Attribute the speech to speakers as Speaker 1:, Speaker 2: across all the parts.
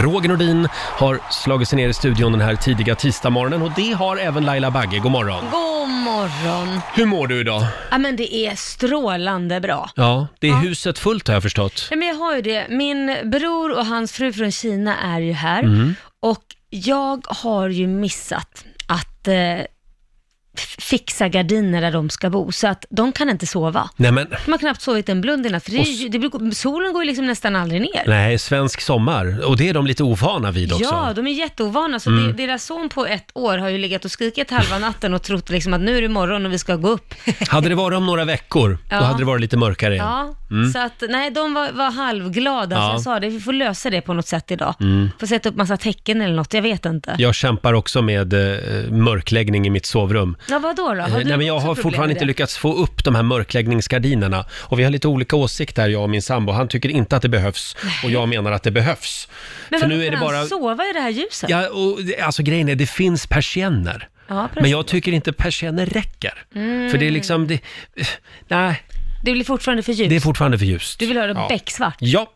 Speaker 1: Roger Nordin har slagit sig ner i studion den här tidiga tisdagmorgonen och det har även Laila Bagge. God morgon!
Speaker 2: God morgon!
Speaker 1: Hur mår du idag?
Speaker 2: Ja men det är strålande bra.
Speaker 1: Ja, det är huset fullt har jag förstått.
Speaker 2: Ja, men jag har ju det. Min bror och hans fru från Kina är ju här
Speaker 1: Mm.
Speaker 2: och jag har ju missat att eh, f- fixa gardiner där de ska bo, så att de kan inte sova.
Speaker 1: Nej men,
Speaker 2: De har knappt sovit en blund innan, för det är, ju- det brukar- solen går ju liksom nästan aldrig ner.
Speaker 1: nej, svensk sommar. Och det är de lite ovana vid också.
Speaker 2: Ja, de är jätteovana. Så
Speaker 1: Mm.
Speaker 2: det, deras son på ett år har ju legat och skrikit halva natten och trott liksom att nu är det morgon och vi ska gå upp.
Speaker 1: Hade det varit om några veckor,
Speaker 2: Ja.
Speaker 1: då hade det varit lite mörkare igen.
Speaker 2: Ja,
Speaker 1: Mm.
Speaker 2: så att nej, de var, var halvglada.
Speaker 1: Ja.
Speaker 2: Så jag sa det, vi får lösa det på något sätt idag.
Speaker 1: Mm.
Speaker 2: Får sätta upp massa tecken eller något, jag vet inte.
Speaker 1: Jag kämpar också med eh, mörkläggning i mitt sovrum.
Speaker 2: Ja, vad då? då?
Speaker 1: Eh,
Speaker 2: Har du
Speaker 1: Nej, men jag
Speaker 2: också
Speaker 1: har
Speaker 2: problem
Speaker 1: fortfarande
Speaker 2: med
Speaker 1: inte
Speaker 2: det?
Speaker 1: lyckats få upp de här mörkläggningsgardinerna. Och vi har lite olika åsikter, jag och min sambo. Han tycker inte att det behövs och jag menar att det behövs.
Speaker 2: Men
Speaker 1: För
Speaker 2: vadå,
Speaker 1: nu är det
Speaker 2: kan
Speaker 1: bara...
Speaker 2: han sova i det här ljuset?
Speaker 1: Ja, och, det- alltså grejen är, det finns persienner.
Speaker 2: Ja, precis.
Speaker 1: Men jag tycker inte persienner räcker.
Speaker 2: Mm.
Speaker 1: För det är liksom, det, nej,
Speaker 2: Det blir fortfarande för ljust.
Speaker 1: det är fortfarande för ljust.
Speaker 2: Du vill ha det
Speaker 1: Ja.
Speaker 2: becksvart?
Speaker 1: Ja,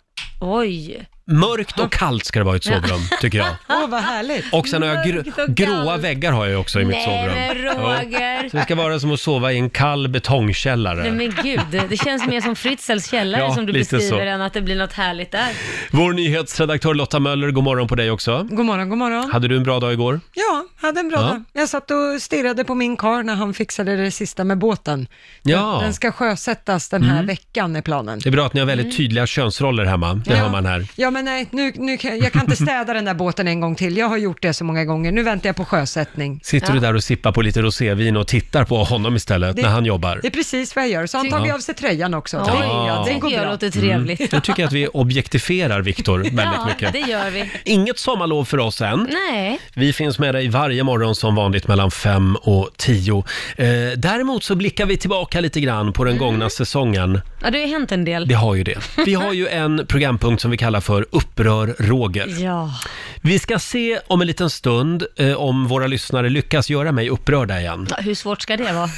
Speaker 2: Oj.
Speaker 1: mörkt och kallt ska det vara i ett
Speaker 2: Ja.
Speaker 1: sovrum, tycker jag.
Speaker 2: Åh, vad härligt.
Speaker 1: Och sen har jag
Speaker 2: Mörkt och
Speaker 1: gr- gråa
Speaker 2: kallt.
Speaker 1: väggar har jag också i mitt
Speaker 2: Nej,
Speaker 1: sovrum.
Speaker 2: men
Speaker 1: Ja.
Speaker 2: Roger.
Speaker 1: Så det ska vara som att sova i en kall betongkällare.
Speaker 2: Nej men gud, det känns mer som Fritzels källare
Speaker 1: Ja,
Speaker 2: som du
Speaker 1: lite
Speaker 2: beskriver
Speaker 1: så.
Speaker 2: än att det blir något härligt där.
Speaker 1: Vår nyhetsredaktör Lotta Möller, god morgon på dig också.
Speaker 3: God morgon, god morgon.
Speaker 1: Hade du en bra dag igår?
Speaker 3: Ja, hade en bra
Speaker 1: Ja.
Speaker 3: dag. Jag satt och stirrade på min kar när han fixade det sista med båten.
Speaker 1: Ja.
Speaker 3: Den ska sjösättas den här
Speaker 1: Mm.
Speaker 3: veckan är planen.
Speaker 1: Det är bra att ni har väldigt tydliga könsroller hemma. Det
Speaker 3: Mm. Ja.
Speaker 1: hör man här.
Speaker 3: Ja, men nej, nu, nu, kan- jag kan inte städa den där båten en gång till. Jag har gjort det så många gånger. Nu väntar jag på sjösättning.
Speaker 1: Sitter
Speaker 3: ja.
Speaker 1: du där och sippar på lite rosévin och tittar på honom istället
Speaker 3: Det-
Speaker 1: när han jobbar?
Speaker 3: Det är precis vad jag gör. Så han
Speaker 1: Tycker-
Speaker 3: tar
Speaker 1: Ja.
Speaker 3: av sig tröjan också.
Speaker 1: Ja.
Speaker 3: Tröjan,
Speaker 1: Det
Speaker 3: den går
Speaker 2: tycker jag
Speaker 3: bra.
Speaker 2: låter trevligt.
Speaker 1: Nu tycker Mm. jag att vi objektifierar Viktor väldigt
Speaker 2: Ja,
Speaker 1: mycket.
Speaker 2: det gör vi.
Speaker 1: Inget sommarlov för oss än.
Speaker 2: Nej.
Speaker 1: Vi finns med dig varje morgon som vanligt mellan 5 och 10. Eh, däremot så blickar vi tillbaka lite grann på den gångna säsongen.
Speaker 2: Ja, det har ju hänt en del.
Speaker 1: Det har ju det. Vi har ju en programpunkt som vi kallar för Upprör Roger.
Speaker 2: Ja.
Speaker 1: Vi ska se om en liten stund eh, om våra lyssnare lyckas göra mig upprörda igen.
Speaker 2: Ja, Hur svårt ska det vara?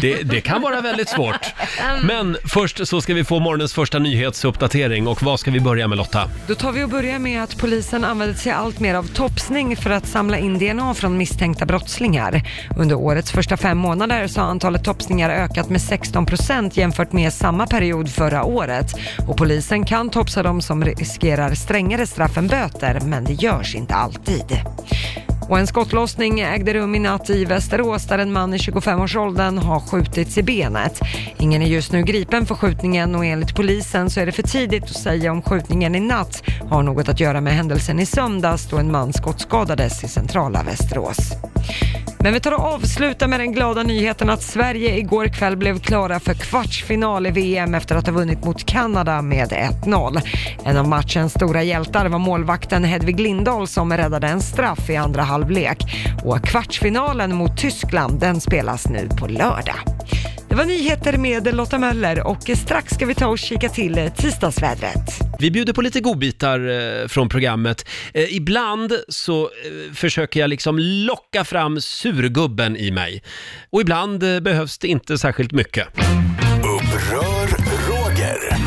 Speaker 1: Det, det kan vara väldigt svårt. Men först så ska vi få morgonens första nyhetsuppdatering och vad ska vi börja med Lotta?
Speaker 3: Då tar vi och börjar med att polisen använder sig allt mer av topsning för att samla in DNA från misstänkta brottslingar. Under årets första fem månader så har antalet topsningar ökat med 16 procent jämfört med samma period förra året. Och polisen kan topsa dem som riskerar strängare straff än böter, men det görs inte alltid. Och en skottlossning ägde rum i natt i Västerås där en man i 25-årsåldern har skjutits i benet. Ingen är just nu gripen för skjutningen och enligt polisen så är det för tidigt att säga om skjutningen i natt har något att göra med händelsen i söndags då en man skottskadades i centrala Västerås. Men vi tar och avslutar med den glada nyheten att Sverige igår kväll blev klara för kvartsfinal i VM efter att ha vunnit mot Kanada med 1-0. En av matchens stora hjältar var målvakten Hedvig Lindahl som räddade en straff i andra halvlek. Och kvartsfinalen mot Tyskland, den spelas nu på lördag. Det var nyheter med Lotta Möller och strax ska vi ta och kika till tisdagsvädret.
Speaker 1: Vi bjuder på lite godbitar eh, från programmet. Eh, ibland så eh, försöker jag liksom locka fram surgubben i mig. Och ibland eh, behövs det inte särskilt mycket.
Speaker 4: Upprör Roger.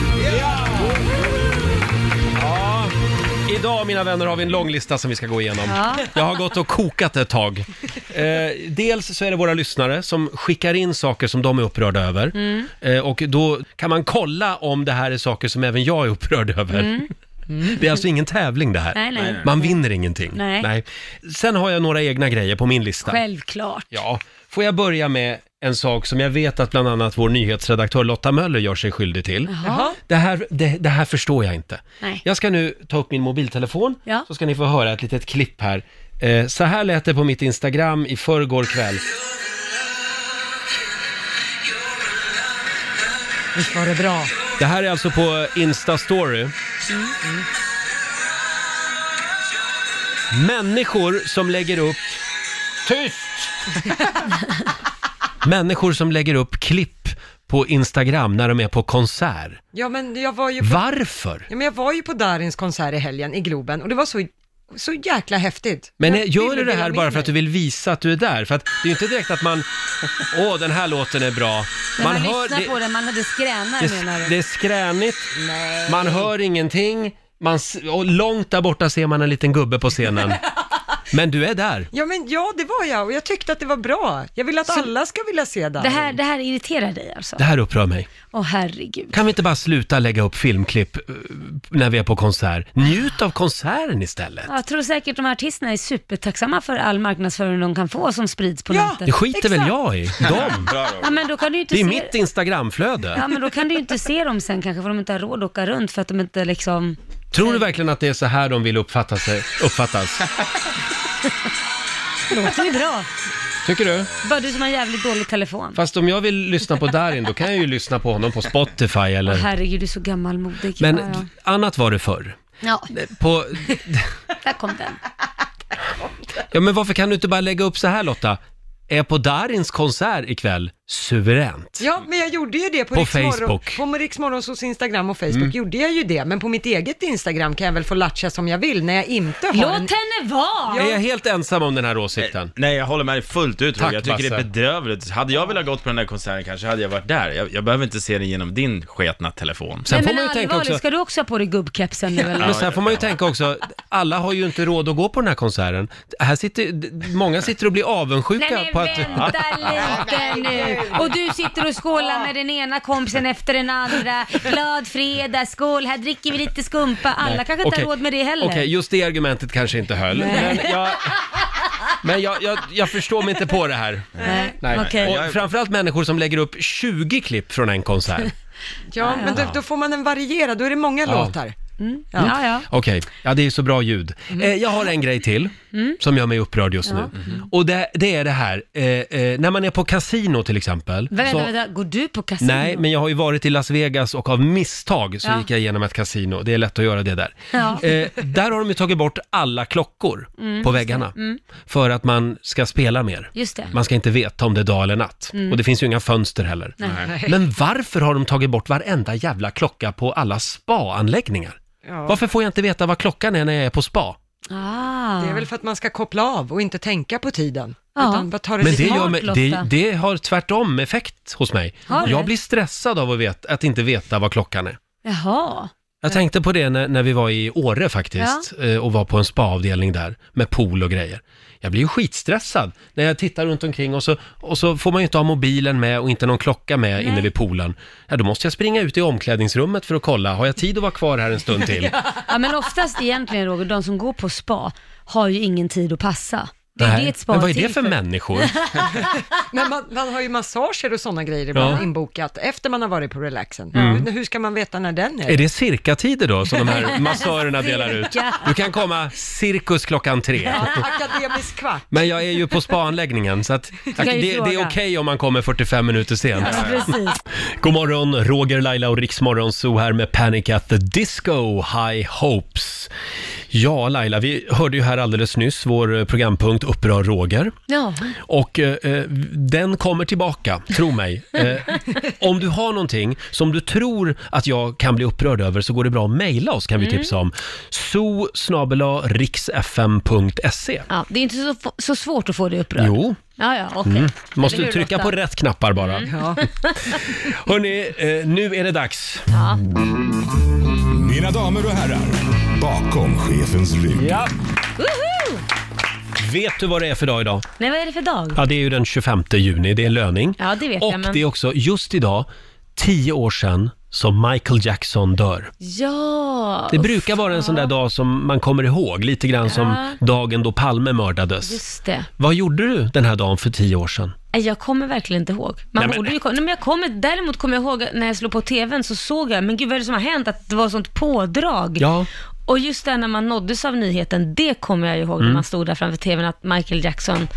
Speaker 1: Idag mina vänner har vi en lång lista som vi ska gå igenom.
Speaker 2: Ja.
Speaker 1: Jag har gått och kokat ett tag. Eh, dels så är det våra lyssnare som skickar in saker som de är upprörda över.
Speaker 2: Mm.
Speaker 1: Eh, och då kan man kolla om det här är saker som även jag är upprörd över.
Speaker 2: Mm.
Speaker 1: Det är alltså ingen tävling det här.
Speaker 2: Nej, nej. Nej.
Speaker 1: Man vinner ingenting.
Speaker 2: Nej.
Speaker 1: Sen har jag några egna grejer på min lista.
Speaker 2: Självklart.
Speaker 1: Ja, får jag börja med en sak som jag vet att bland annat vår nyhetsredaktör Lotta Möller gör sig skyldig till.
Speaker 2: Jaha.
Speaker 1: Det här, det, det här förstår jag inte.
Speaker 2: Nej.
Speaker 1: Jag ska nu ta upp min mobiltelefon,
Speaker 2: Ja.
Speaker 1: så ska ni få höra ett litet klipp här. Eh, så här lät det på mitt Instagram i förrgår kväll.
Speaker 3: Visst var det bra?
Speaker 1: Det här är alltså på Insta-story. Människor som lägger upp... Tyst! Människor som lägger upp klipp på Instagram när de är på konsert.
Speaker 3: Ja, men jag var ju på
Speaker 1: Varför?
Speaker 3: Ja, men jag var ju på Darins konsert i helgen i Globen och det var så, så jäkla häftigt.
Speaker 1: Men eh,
Speaker 3: Jag
Speaker 1: gör
Speaker 3: ville
Speaker 1: du det
Speaker 3: dela
Speaker 1: här
Speaker 3: med
Speaker 1: bara för att du
Speaker 3: mig.
Speaker 1: vill visa att du är där? För att det är ju inte direkt att man... Åh, den här låten är bra.
Speaker 2: Men man, lyssnar
Speaker 1: det,
Speaker 2: på den, man hade skränar
Speaker 1: det,
Speaker 2: menar du?
Speaker 1: det är skränigt, man hör ingenting. Man, s- och långt där borta ser man en liten gubbe på scenen. Men du är där.
Speaker 3: Ja, men ja, det var jag och jag tyckte att det var bra. Jag vill att alla ska vilja se den.
Speaker 2: Det här, det här irriterar dig alltså?
Speaker 1: Det här upprör mig.
Speaker 2: Åh herregud.
Speaker 1: Kan vi inte bara sluta lägga upp filmklipp eh, när vi är på konsert? Njut av konserten istället.
Speaker 2: Jag tror säkert de här artisterna är supertacksamma för all marknadsföring de kan få som sprids på
Speaker 3: Ja.
Speaker 1: Det
Speaker 2: nätet.
Speaker 1: skiter väl
Speaker 3: Exakt.
Speaker 1: jag i. De.
Speaker 5: Bra då.
Speaker 2: Ja, men då kan du ju inte
Speaker 1: Det är
Speaker 2: se...
Speaker 1: mitt Instagramflöde.
Speaker 2: Ja, men då kan du ju inte se dem sen kanske för de inte har råd att åka runt för att de inte liksom...
Speaker 1: Tror du verkligen att det är så här de vill uppfatta sig, uppfattas?
Speaker 2: Det låter ju bra.
Speaker 1: Tycker du?
Speaker 2: Bara du som har en jävligt dålig telefon.
Speaker 1: Fast om jag vill lyssna på Darin, då kan jag ju lyssna på honom på Spotify
Speaker 2: Åh
Speaker 1: eller...
Speaker 2: herregud, du är så gammalmodig.
Speaker 1: Men
Speaker 2: ja, ja.
Speaker 1: annat var det förr.
Speaker 2: ja,
Speaker 1: På,
Speaker 2: där kom den.
Speaker 1: ja, men varför kan du inte bara lägga upp så här Lotta? Är på Darins konsert ikväll suveränt.
Speaker 3: Ja, men jag gjorde ju det på,
Speaker 1: På
Speaker 3: Rix Morgon-
Speaker 1: Facebook. Mm.
Speaker 3: På Rix Morgonzos Instagram och Facebook gjorde jag ju det, men på mitt eget Instagram kan jag väl få latcha som jag vill när jag inte har en...
Speaker 2: Låt henne vara!
Speaker 1: Är jag helt ensam om den här åsikten?
Speaker 5: Nej, jag håller med dig fullt ut
Speaker 1: Tack,
Speaker 5: Roger. Jag tycker det
Speaker 1: Basse.
Speaker 5: är bedrövligt. Hade jag velat gått på den där konserten kanske hade jag varit där. Jag, jag behöver inte se den genom din sketna telefon.
Speaker 1: Sen
Speaker 2: Nej,
Speaker 1: får
Speaker 2: men
Speaker 1: man ju tänka
Speaker 2: allvarligt,
Speaker 1: också...
Speaker 2: ska du också ha på dig gubbkepsen nu eller?
Speaker 1: Men sen får man ju tänka också, alla har ju inte råd att gå på den här konserten. Här sitter, d- många sitter och blir avundsjuka
Speaker 2: Nej men
Speaker 1: på att...
Speaker 2: vänta lite nu! Och du sitter och skålar med den ena kompisen efter den andra. Glad fredag, skål, här dricker vi lite skumpa. Alla kanske inte
Speaker 1: Okej.
Speaker 2: har råd med det heller.
Speaker 1: Okej, just det argumentet kanske inte höll. Men, jag, men jag, jag, jag förstår mig inte på det här.
Speaker 2: Nej.
Speaker 1: Nej.
Speaker 2: Okej.
Speaker 1: Och framförallt människor som lägger upp 20 klipp från en konsert.
Speaker 3: Ja, men då, då får man en varierad, då är det många låtar.
Speaker 2: Ja, Mm. ja. Mm.
Speaker 1: Okej, ja det är så bra ljud. Eh, jag har en grej till som gör mig upprörd just nu.
Speaker 2: Mm-hmm.
Speaker 1: Och det, det är det här, eh, eh, när man är på kasino till exempel.
Speaker 2: Vänta,
Speaker 1: så-
Speaker 2: vänta, går du på kasino?
Speaker 1: Nej, men jag har ju varit i Las Vegas och av misstag så
Speaker 2: Ja.
Speaker 1: gick jag igenom ett kasino. Det är lätt att göra det där.
Speaker 2: Ja. Mm.
Speaker 1: Eh, där har de ju tagit bort alla klockor på väggarna för att man ska spela mer.
Speaker 2: Just det.
Speaker 1: Man ska inte veta om det är dag eller natt.
Speaker 2: Mm.
Speaker 1: Och det finns ju inga fönster heller. Men varför har de tagit bort varenda jävla klocka på alla spa-anläggningar?
Speaker 3: Ja.
Speaker 1: Varför får jag inte veta vad klockan är när jag är på spa?
Speaker 2: Ah.
Speaker 3: Det är väl för att man ska koppla av och inte tänka på tiden.
Speaker 2: Ja.
Speaker 3: Utan bara ta det
Speaker 1: Men
Speaker 3: lite
Speaker 1: det,
Speaker 2: smart,
Speaker 1: gör mig, det,
Speaker 2: Lotta.
Speaker 1: det har tvärtom effekt hos mig.
Speaker 2: Har det?
Speaker 1: Jag blir stressad av att, veta, att inte veta vad klockan är.
Speaker 2: Jaha.
Speaker 1: Jag tänkte på det när, när vi var i Åre faktiskt eh, och var på en spaavdelning där med pool och grejer. Jag blir ju skitstressad när jag tittar runt omkring och så, och så får man ju inte ha mobilen med och inte någon klocka med inne vid poolen. Ja, då måste jag springa ut i omklädningsrummet för att kolla, har jag tid att vara kvar här en stund till?
Speaker 2: Ja, men oftast egentligen Roger, de som går på spa har ju ingen tid att passa. Det är
Speaker 1: Nej.
Speaker 2: det ett spa
Speaker 1: Men vad är
Speaker 2: till
Speaker 1: det för människor?
Speaker 3: Men man, man har ju massager och sådana grejer ibland
Speaker 1: Ja. Mm.
Speaker 3: inbokat efter man har varit på relaxen. Men Hur ska man veta när den är?
Speaker 1: Är det cirkatider då som de här massörerna delar ut?
Speaker 2: Cirka.
Speaker 1: Du kan komma cirkus klockan tre.
Speaker 3: Ja, akademisk kvart.
Speaker 1: Men jag är ju på spaanläggningen så att, det,
Speaker 2: kan ju
Speaker 1: det är okej
Speaker 2: fråga.
Speaker 1: om man kommer 45 minuter sent.
Speaker 2: Ja, precis.
Speaker 1: God morgon, Roger, Laila och Riksmorgon så här med Panic at the Disco, High Hopes. Ja, Laila, vi hörde ju här alldeles nyss vår eh, programpunkt Upprör Roger.
Speaker 2: Ja.
Speaker 1: Och eh, eh, den kommer tillbaka, tro mig. Eh, om du har någonting som du tror att jag kan bli upprörd över så går det bra att mejla oss kan
Speaker 2: Mm.
Speaker 1: vi tipsa om. so riksfm.se
Speaker 2: ja, det är inte så, f- så svårt att få dig upprörd.
Speaker 1: Jo, Mm.
Speaker 2: Ja, ja, okej.
Speaker 1: måste
Speaker 2: Eller
Speaker 1: du
Speaker 2: hur,
Speaker 1: trycka
Speaker 2: Lotta? Mm.
Speaker 1: på rätt knappar bara.
Speaker 3: Ja.
Speaker 1: Hörni, eh, nu är det dags.
Speaker 2: Ja.
Speaker 4: Mina damer och herrar, bakom chefens rygg.
Speaker 1: Ja.
Speaker 2: Woho!
Speaker 1: Vet du vad det är för dag idag?
Speaker 2: Nej, vad är det för dag?
Speaker 1: Ja, det är ju den 25 juni, det är löning.
Speaker 2: Ja, det vet
Speaker 1: Och
Speaker 2: jag, men-
Speaker 1: det är också just idag, tio år sedan, som Michael Jackson dör.
Speaker 2: Ja,
Speaker 1: Det brukar vara en sån där dag som man kommer ihåg, lite grann som dagen då Palme mördades.
Speaker 2: just det.
Speaker 1: Vad gjorde du den här dagen för tio år sedan?
Speaker 2: Nej, Jag kommer verkligen inte ihåg. Man
Speaker 1: Nej, men-
Speaker 2: borde ju kom... Nej, men jag kommer... Däremot kommer jag ihåg att när jag slog på tvn så såg jag, men gud vad är det som har hänt? Att det var sånt pådrag.
Speaker 1: Ja.
Speaker 2: Och just det här när man nåddes av nyheten, det kommer jag ihåg
Speaker 1: Mm.
Speaker 2: när man stod där framför tvn att Michael Jackson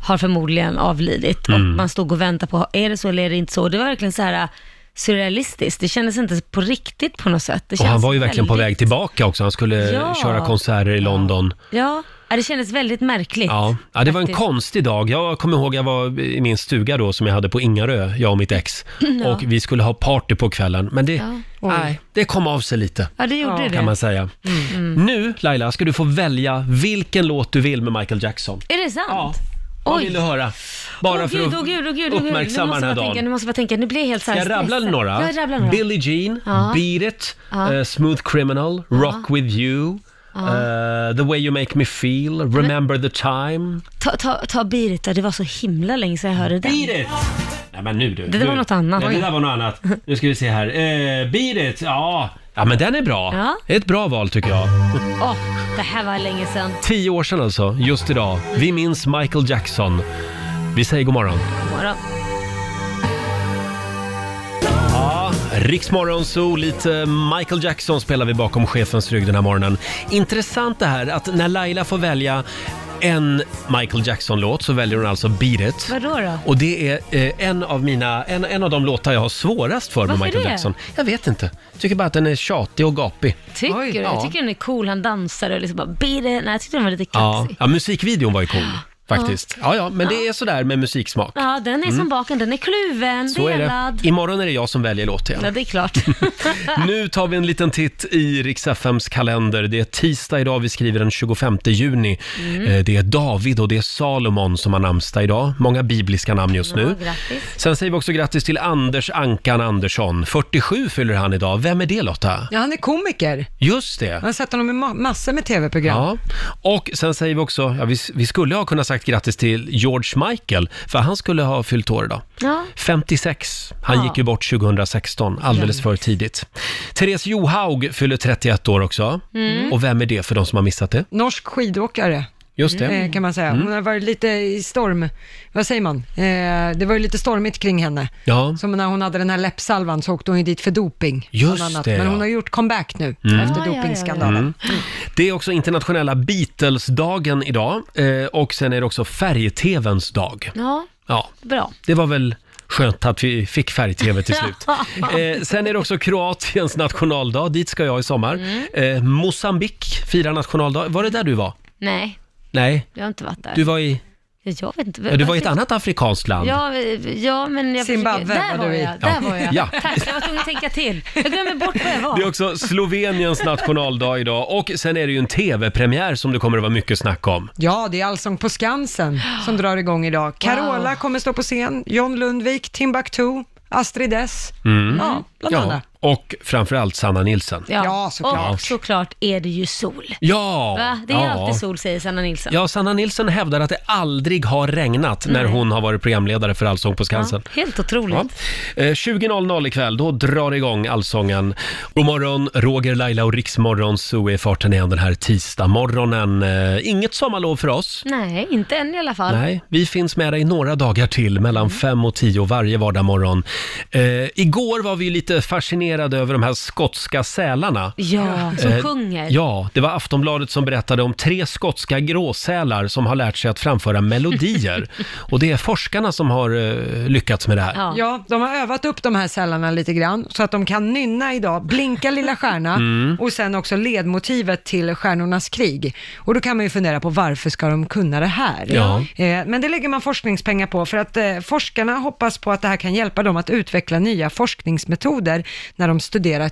Speaker 2: har förmodligen avlidit.
Speaker 1: Mm.
Speaker 2: Och man stod och väntade på, är det så eller är det inte så? Det var verkligen så här äh, surrealistiskt. Det kändes inte på riktigt på något sätt. Det
Speaker 1: Och han
Speaker 2: känns
Speaker 1: var ju verkligen på
Speaker 2: väldigt-
Speaker 1: väg tillbaka också, han skulle
Speaker 2: Ja.
Speaker 1: köra konserter i London.
Speaker 2: Ja, ja, det kändes väldigt märkligt.
Speaker 1: Ja. ja, det var en
Speaker 2: faktiskt.
Speaker 1: konstig dag. Jag kommer ihåg, jag var i min stuga då som jag hade på Ingarö, jag och mitt ex. Och vi skulle ha party på kvällen, men det, nej, det kom av sig lite.
Speaker 2: Ja, det gjorde det.
Speaker 1: Kan man säga.
Speaker 2: Mm,
Speaker 1: Nu, Laila, ska du få välja vilken låt du vill med Michael Jackson.
Speaker 2: Är det sant?
Speaker 1: Vad
Speaker 2: Oj.
Speaker 1: vill du höra? Bara
Speaker 2: Åh,
Speaker 1: för
Speaker 2: gud,
Speaker 1: att
Speaker 2: åh, gud, åh, gud, åh, gud. Nu måste
Speaker 1: uppmärksamma den här
Speaker 2: jag bara
Speaker 1: dagen.
Speaker 2: Tänka, nu måste jag bara tänka, nu blir jag helt så här
Speaker 1: Jag rabblade
Speaker 2: stressad.
Speaker 1: några.
Speaker 2: Jag rabblar några.
Speaker 1: Billie Jean,
Speaker 2: Ja.
Speaker 1: Beat It,
Speaker 2: Ja.
Speaker 1: eh, Smooth Criminal, Rock With You, eh, The Way You Make Me Feel, Remember the Time.
Speaker 2: Ta, ta, ta Birita, det var så himla länge sedan jag hörde den.
Speaker 1: Beat It! Nej men nu du.
Speaker 2: Det där
Speaker 1: nu.
Speaker 2: var något annat.
Speaker 1: Nej, det där var något annat. Nu ska vi se här. Eh, Beat It, ja. Ja men den är bra.
Speaker 2: Ja.
Speaker 1: Det är ett bra val tycker jag.
Speaker 2: Åh, det här var länge sedan.
Speaker 1: Tio år sedan alltså, just idag. Vi minns Michael Jackson. Vi säger god morgon.
Speaker 2: God morgon.
Speaker 1: Riksmorgon Zoo, lite Michael Jackson spelar vi bakom chefens rygg den här morgonen. Intressant det här att när Laila får välja en Michael Jackson-låt så väljer hon alltså Beat It.
Speaker 2: Vadå då?
Speaker 1: Och det är eh, en, av mina, en, en av de låtar jag har svårast för med
Speaker 2: Varför
Speaker 1: Michael
Speaker 2: det?
Speaker 1: Jackson. Jag vet inte. Tycker bara att den är tjatig och gapig.
Speaker 2: Tycker
Speaker 3: Oj,
Speaker 2: du?
Speaker 1: ja.
Speaker 2: Jag tycker den är cool, han dansar och liksom bara Birita. Nej, jag tyckte den var lite
Speaker 1: Ja,
Speaker 2: kaxig.
Speaker 1: ja musikvideon var ju cool faktiskt. Ja, ja, men det är sådär med musiksmak.
Speaker 2: Ja. den är som baken, den är kluven,
Speaker 1: Mm. Så är det.
Speaker 2: delad.
Speaker 1: Imorgon är det jag som väljer låt igen.
Speaker 2: Ja, det är klart.
Speaker 1: Nu tar vi en liten titt i Riks-FMs kalender. Det är tisdag idag, vi skriver den 25 juni. Eh, Det är David och det är Salomon som har namnsdag idag. Många bibliska namn just nu.
Speaker 2: Ja, grattis.
Speaker 1: Sen säger vi också grattis till Anders Ankan Andersson. 47 fyller han idag. Vem är det Lotta?
Speaker 3: Ja, han är komiker.
Speaker 1: Just det.
Speaker 3: Jag har sett honom i ma- massor med tv-program.
Speaker 1: Ja, och sen säger vi också, ja, vi, vi skulle ha kunnat sagt grattis till George Michael, för han skulle ha fyllt år idag.
Speaker 2: Ja.
Speaker 1: 56. Han
Speaker 2: Ja.
Speaker 1: gick ju bort 2016, alldeles för tidigt. Therese Johaug fyller 31 år också. Och vem är det för de som har missat det?
Speaker 3: Mm. Norsk skidåkare.
Speaker 1: Just det. Mm.
Speaker 3: eh, kan man säga. Hon har varit lite i storm, vad säger man? Eh, det var ju lite stormigt kring henne.
Speaker 1: Ja.
Speaker 3: Som när hon hade den här läppsalvan så åkte hon ju dit för doping.
Speaker 1: Just
Speaker 3: bland annat.
Speaker 1: det,
Speaker 3: Men
Speaker 1: ja. Mm.
Speaker 3: hon har gjort comeback nu efter
Speaker 2: Ja, ja, ja,
Speaker 3: dopingskandalen.
Speaker 1: Det är också internationella Beatles-dagen idag. Eh, och sen är det också färg-tvns dag.
Speaker 2: Ja,
Speaker 1: Ja,
Speaker 2: bra.
Speaker 1: det var väl skönt att vi fick färg-tv till slut. Eh, sen är det också Kroatiens nationaldag, dit ska jag i sommar.
Speaker 2: Mm.
Speaker 1: Eh, Mosambik firar nationaldag. Var det där du var?
Speaker 2: Nej,
Speaker 1: Nej,
Speaker 2: jag har inte varit där.
Speaker 1: du var i,
Speaker 2: Jag vet inte.
Speaker 1: ja, du var i ett annat afrikanskt land.
Speaker 2: Ja, ja, men jag
Speaker 3: Zimbabwe
Speaker 2: försöker- där
Speaker 3: var
Speaker 2: var,
Speaker 3: du i.
Speaker 2: jag. Där var jag.
Speaker 1: Ja.
Speaker 2: Tack, jag var tvungen att tänka till. Jag glömmer bort vad jag var.
Speaker 1: Det är också Sloveniens nationaldag idag och sen är det ju en tv-premiär som det kommer att vara mycket snack om.
Speaker 3: Ja, det är Allsång på Skansen som drar igång idag. Carola kommer stå på scen, John Lundvik, Timbuktu, Astrid S. Ja, bland
Speaker 1: Mm. Ja,
Speaker 3: annat.
Speaker 1: och framförallt Sanna Nilsson.
Speaker 3: Ja, såklart.
Speaker 2: Och såklart är det ju sol.
Speaker 1: Ja!
Speaker 2: Va? Det är
Speaker 1: ja.
Speaker 2: alltid sol, säger Sanna Nilsson.
Speaker 1: Ja, Sanna Nilsson hävdar att det aldrig har regnat när hon har varit programledare för Allsång på
Speaker 2: Ja,
Speaker 1: Skansen.
Speaker 2: helt otroligt.
Speaker 1: Ja. Eh, 20.00 ikväll, då drar det igång allsången. God morgon, Roger, Laila och Riksmorgon, så är farten igen den här tisdagmorgonen. Eh, Inget sommarlov för oss.
Speaker 2: Nej, inte än i alla fall.
Speaker 1: Nej, vi finns med dig några dagar till, mellan
Speaker 2: Mm.
Speaker 1: fem och tio varje vardagsmorgon. Eh, igår var vi lite fascinerade över de här skotska sälarna.
Speaker 2: Ja, som
Speaker 1: Eh,
Speaker 2: sjunger.
Speaker 1: Ja, det var Aftonbladet som berättade om tre skotska gråsälar som har lärt sig att framföra melodier. Och det är forskarna som har eh, lyckats med det här.
Speaker 2: Ja.
Speaker 3: Ja, de har övat upp de här sällarna lite grann så att de kan nynna idag, blinka lilla stjärna
Speaker 1: Mm.
Speaker 3: och sen också ledmotivet till Stjärnornas krig. Och då kan man ju fundera på varför ska de kunna det här?
Speaker 1: Ja.
Speaker 3: Eh, Men det lägger man forskningspengar på för att eh, forskarna hoppas på att det här kan hjälpa dem att utveckla nya forskningsmetoder när de studerar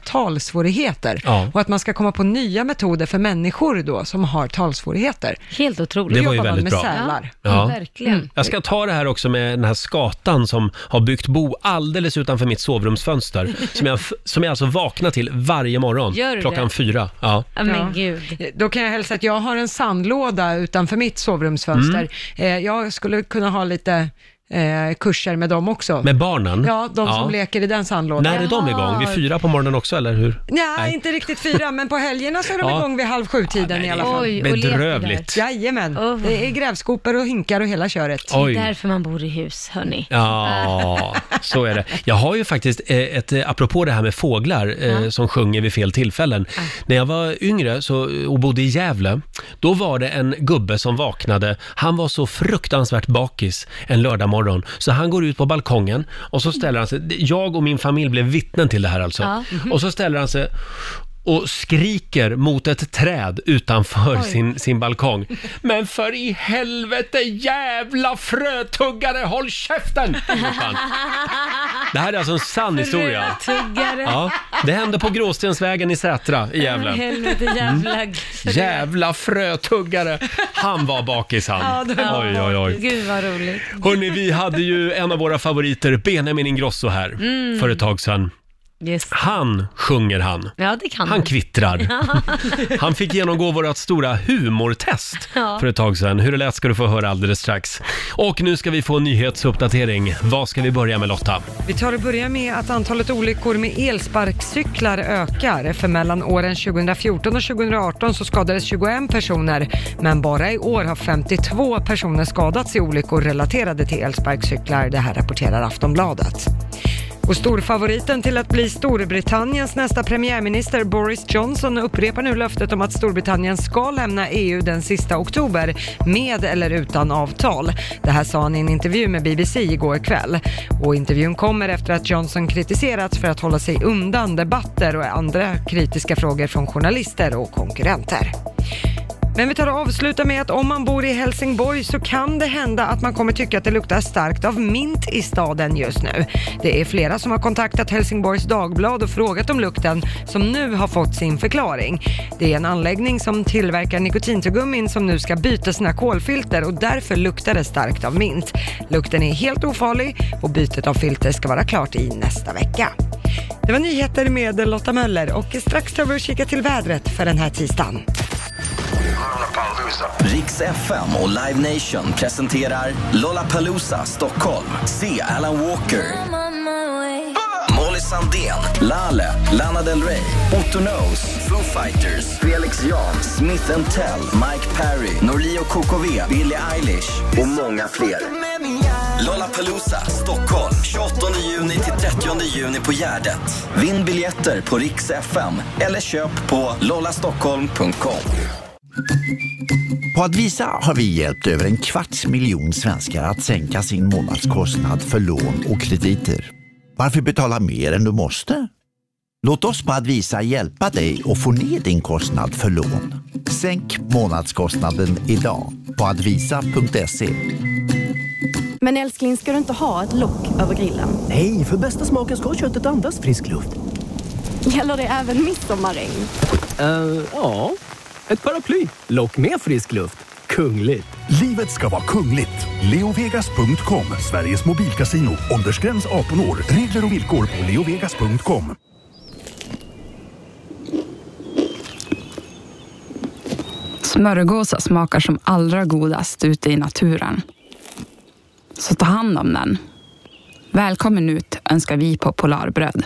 Speaker 3: talsvårigheter.
Speaker 1: Ja.
Speaker 3: Och att man ska komma på nya metoder för människor då som har talsvårigheter.
Speaker 2: Helt otroligt.
Speaker 1: Det var ju
Speaker 3: jobbar man
Speaker 1: väldigt
Speaker 3: med
Speaker 1: bra.
Speaker 3: sälar.
Speaker 1: Ja.
Speaker 2: verkligen.
Speaker 1: Jag ska ta det här också med den här skatan som har byggt bo alldeles utanför mitt sovrumsfönster. Som jag, som jag alltså vaknar till varje morgon
Speaker 2: Gör du
Speaker 1: klockan
Speaker 2: det?
Speaker 1: fyra. Ja.
Speaker 2: Ja. Men gud.
Speaker 3: Då kan jag hälsa att jag har en sandlåda utanför mitt sovrumsfönster.
Speaker 1: Mm.
Speaker 3: Eh, Jag skulle kunna ha lite eh, kurser med dem också.
Speaker 1: Med barnen?
Speaker 3: Ja, de som leker i den sandlådan.
Speaker 1: När är de igång? Vid fyra på morgonen också, eller hur?
Speaker 3: Nej,
Speaker 1: Nej.
Speaker 3: inte riktigt fyra, men på helgerna så är de
Speaker 1: Ja.
Speaker 3: igång vid halv sju-tiden i alla fall.
Speaker 2: Oj, och leker
Speaker 1: Bedrövligt.
Speaker 3: Jajamän,
Speaker 2: Oh.
Speaker 3: det är grävskopor och hinkar och hela köret.
Speaker 2: Det är
Speaker 1: Oj.
Speaker 2: därför man bor i hus, hörni.
Speaker 1: Ja, så är det. Jag har ju faktiskt eh, ett, eh, apropå det här med fåglar eh, som sjunger vid fel tillfällen. När jag var yngre så, eh, och bodde i Gävle, då var det en gubbe som vaknade. Han var så fruktansvärt bakis en lördag morgon. så han går ut på balkongen och så ställer han sig, jag och min familj blev vittnen till det här alltså,
Speaker 2: Ja.
Speaker 1: och så ställer han sig och skriker mot ett träd utanför sin, sin balkong. Men för i helvete jävla frötuggare, håll käften! ropar han. Det här är alltså en sann historia.
Speaker 2: Rödtuggare.
Speaker 1: Ja, det hände på Gråstensvägen i Sätra i Gävle.
Speaker 2: Helvete jävla...
Speaker 1: Jävla frötuggare! Han var bakis han.
Speaker 2: Ja,
Speaker 1: Oj, oj, oj.
Speaker 2: Gud vad roligt.
Speaker 1: Hörni, vi hade ju en av våra favoriter, Benjamin Ingrosso här,
Speaker 2: Mm.
Speaker 1: för ett tag sedan.
Speaker 2: Just.
Speaker 1: Han sjunger han.
Speaker 2: Ja, det
Speaker 1: Han
Speaker 2: kan han.
Speaker 1: kvittrar. Han fick genomgå vårt stora humortest
Speaker 2: Ja.
Speaker 1: för ett tag sedan. Hur det lät ska du få höra alldeles strax. Och nu ska vi få en nyhetsuppdatering. Vad ska vi börja med Lotta?
Speaker 3: Vi tar och börjar med att antalet olyckor med elsparkcyklar ökar. För mellan åren 2014 och 2018 så skadades 21 personer, men bara i år har 52 personer skadats i olyckor relaterade till elsparkcyklar. Det här rapporterar Aftonbladet. Och storfavoriten till att bli Storbritanniens nästa premiärminister Boris Johnson upprepar nu löftet om att Storbritannien ska lämna EU den sista oktober med eller utan avtal. Det här sa han i en intervju med BBC igår kväll. Och intervjun kommer efter att Johnson kritiserats för att hålla sig undan debatter och andra kritiska frågor från journalister och konkurrenter. Men vi tar och avslutar med att om man bor i Helsingborg så kan det hända att man kommer tycka att det luktar starkt av mint i staden just nu. Det är flera som har kontaktat Helsingborgs Dagblad och frågat om lukten som nu har fått sin förklaring. Det är en anläggning som tillverkar nikotintuggummin som nu ska byta sina kolfilter och därför luktar det starkt av mint. Lukten är helt ofarlig och bytet av filter ska vara klart i nästa vecka. Det var nyheter med Lotta Möller och strax tar vi och kikar till vädret för den här tisdagen.
Speaker 6: Riks FM och Live Nation presenterar Lollapalooza Stockholm. Se Alan Walker, Molly Sandén, Lale, Lana Del Rey, Otto Knows, Foo Fighters, Felix Jan, Smith Tell, Mike Perry, Norli och KKV, Billie Eilish och många fler. Lollapalooza Stockholm 28 juni till 30 juni på Gärdet. Vinn biljetter på Riks FM eller köp på lollastockholm.com.
Speaker 7: På Advisa har vi hjälpt över en kvarts miljon svenskar att sänka sin månadskostnad för lån och krediter. Varför betala mer än du måste? Låt oss på Advisa hjälpa dig att få ner din kostnad för lån. Sänk månadskostnaden idag på advisa.se.
Speaker 8: Men älskling, ska du inte ha ett lock över grillen?
Speaker 9: Nej, för bästa smaken ska köttet andas frisk luft.
Speaker 8: Gäller det även midsommarregn?
Speaker 9: Eh, ja, ett paraply. Lock med frisk luft. Kungligt.
Speaker 10: Livet ska vara kungligt. Leovegas.com, Sveriges mobilkasino. Åldersgräns 18 år. Regler och villkor på leovegas.com.
Speaker 11: Smörgås smakar som allra godast ute i naturen. Så ta hand om den. Välkommen ut önskar vi på Polarbröd.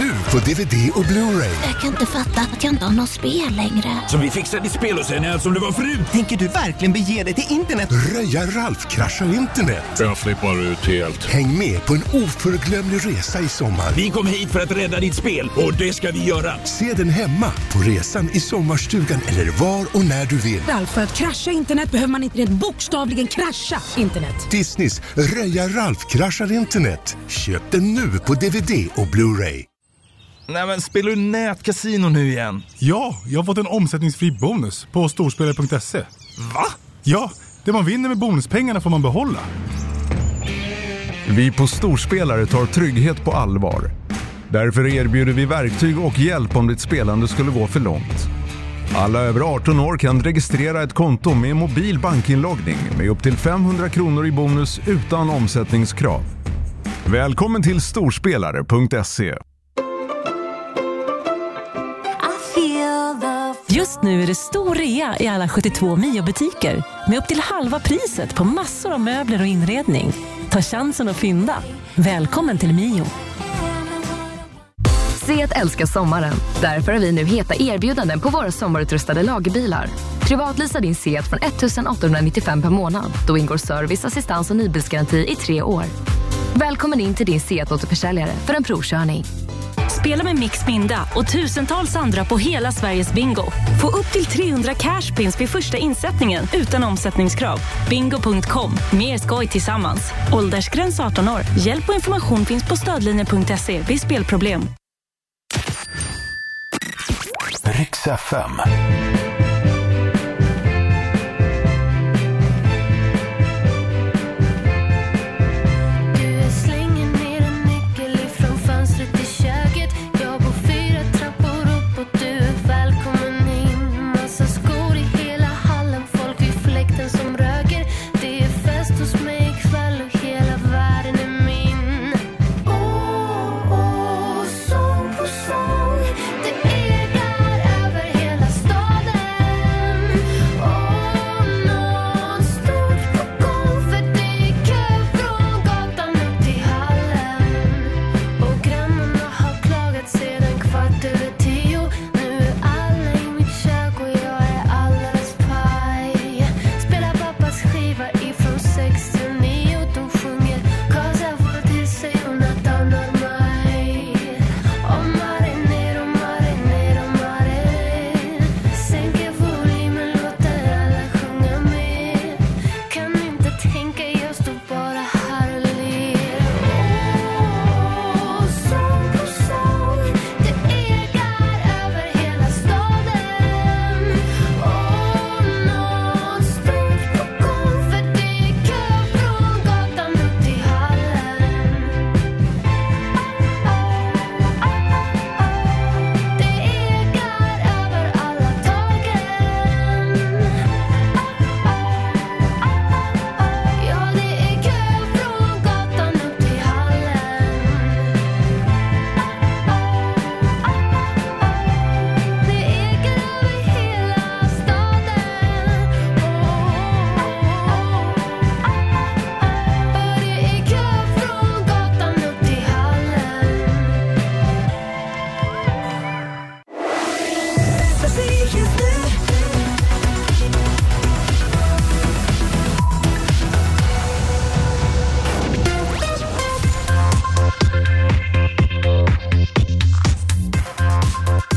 Speaker 10: Nu på DVD och Blu-ray.
Speaker 12: Jag kan inte fatta att jag inte har något spel längre.
Speaker 10: Som vi fixade spel och sen som det var förut.
Speaker 9: Tänker du verkligen bege dig till internet?
Speaker 10: Röja Ralf kraschar internet.
Speaker 5: Jag flippar ut helt.
Speaker 10: Häng med på en oförglömlig resa i sommar.
Speaker 5: Vi kom hit för att rädda ditt spel och det ska vi göra.
Speaker 10: Se den hemma, på resan, i sommarstugan eller var och när du vill.
Speaker 12: För att krascha internet behöver man inte rent bokstavligen krascha internet.
Speaker 10: Disneys Röja Ralf kraschar internet. Köp den nu på DVD och Blu-ray.
Speaker 9: Nej men spelar du nätkasino nu igen?
Speaker 5: Ja, jag har fått en omsättningsfri bonus på storspelare.se. Va? Ja, det man vinner med bonuspengarna får man behålla.
Speaker 9: Vi på Storspelare tar trygghet på allvar. Därför erbjuder vi verktyg och hjälp om ditt spelande skulle gå för långt. Alla över 18 år kan registrera ett konto med mobil bankinloggning med upp till 500 kronor i bonus utan omsättningskrav. Välkommen till storspelare.se.
Speaker 12: Just nu är det stor rea i alla 72 Mio-butiker med upp till halva priset på massor av möbler och inredning. Ta chansen att fynda. Välkommen till Mio.
Speaker 11: Seat älskar sommaren. Därför har vi nu heta erbjudanden på våra sommarutrustade lagerbilar. Privatlisa din Seat från 1895 per månad. Då ingår service, assistans och nybilsgaranti i tre år. Välkommen in till din Seat-återförsäljare för en provkörning.
Speaker 12: Spela med Mix Minda och tusentals andra på hela Sveriges bingo. Få upp till 300 cashpins vid första insättningen utan omsättningskrav. Bingo.com. Mer skoj tillsammans. Åldersgräns 18 år. Hjälp och information finns på stödlinjen.se vid spelproblem.
Speaker 10: Riks FM.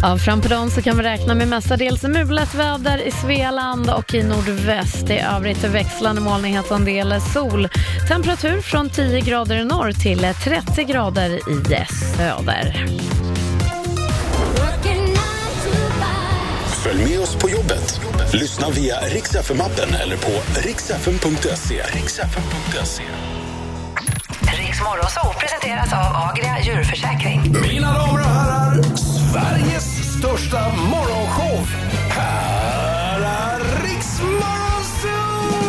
Speaker 13: Ja, fram på dagen så kan vi räkna med mestadels mulet väder i Svealand och i nordväst. I övrigt växlande molnighetandel sol. Temperatur från 10 grader i norr till 30 grader i söder.
Speaker 10: Följ med oss på jobbet. Lyssna via riksfm-appen eller på riksfm.se. Riksfm.se.
Speaker 14: Riks Morgonzoo presenteras av Agria djurförsäkring.
Speaker 10: Mina damer och herrar, Sveriges största morgonshow. Här är Riks Morgonzoo!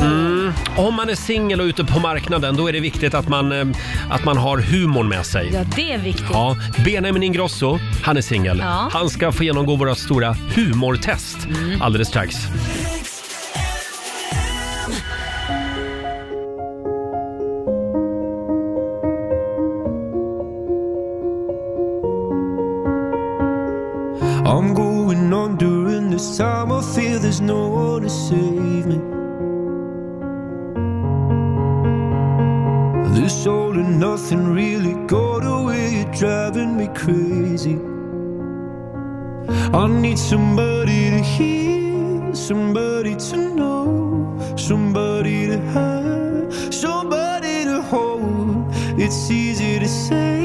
Speaker 1: Mm. Om man är singel och ute på marknaden, då är det viktigt att man, eh, att man har humorn med sig.
Speaker 2: Ja, det är viktigt.
Speaker 1: Ja, Benjamin Ingrosso, han är singel.
Speaker 2: Ja. Mm.
Speaker 1: Han ska få genomgå våra stora humortest alldeles strax.
Speaker 15: I'm going on during this time. I feel there's no one to save me. This all and nothing really got away. You're driving me crazy. I need somebody to hear, somebody to know, somebody to have, somebody to hold. It's easy to say,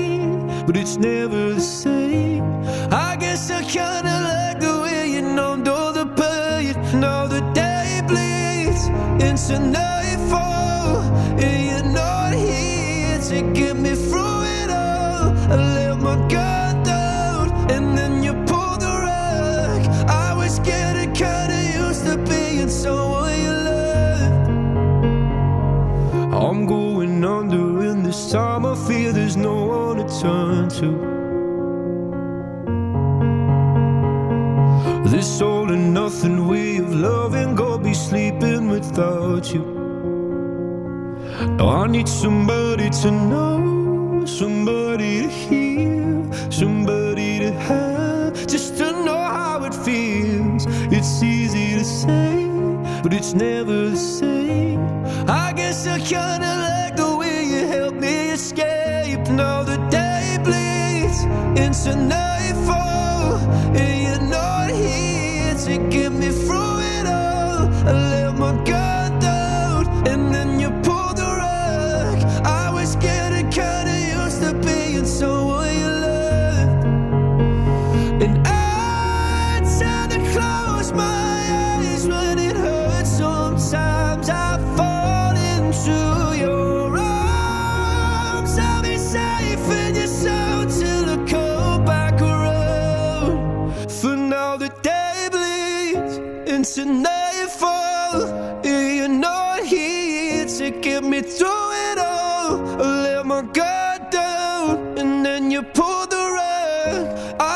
Speaker 15: but it's never the same. I guess I kinda like the way you numbed all the pain. Now the day bleeds into nightfall, and you're not here to get me through it all. I let my guard down, and then you pulled the rug. I was getting kinda used to being someone you loved. I'm going under, and this time I fear there's no one to turn to. This all and nothing way of loving, go be sleeping without you. Now I need somebody to know, somebody to hear, somebody to have, just to know how it feels. It's easy to say, but it's never the same. I guess I kinda like the way you help me escape. Now the day bleeds into nightfall, and you're not here to get me through it all. I let my guard down, and then you pulled the rug. I was getting kinda used to being someone you loved, and I tend to close my eyes when it hurts. Sometimes I fall into your arms. I'll be safe in your soul till I come back around. For now the day bleeds into nightfall. And you're not here to get me through it all. I let my guard down, and then you pulled the rug.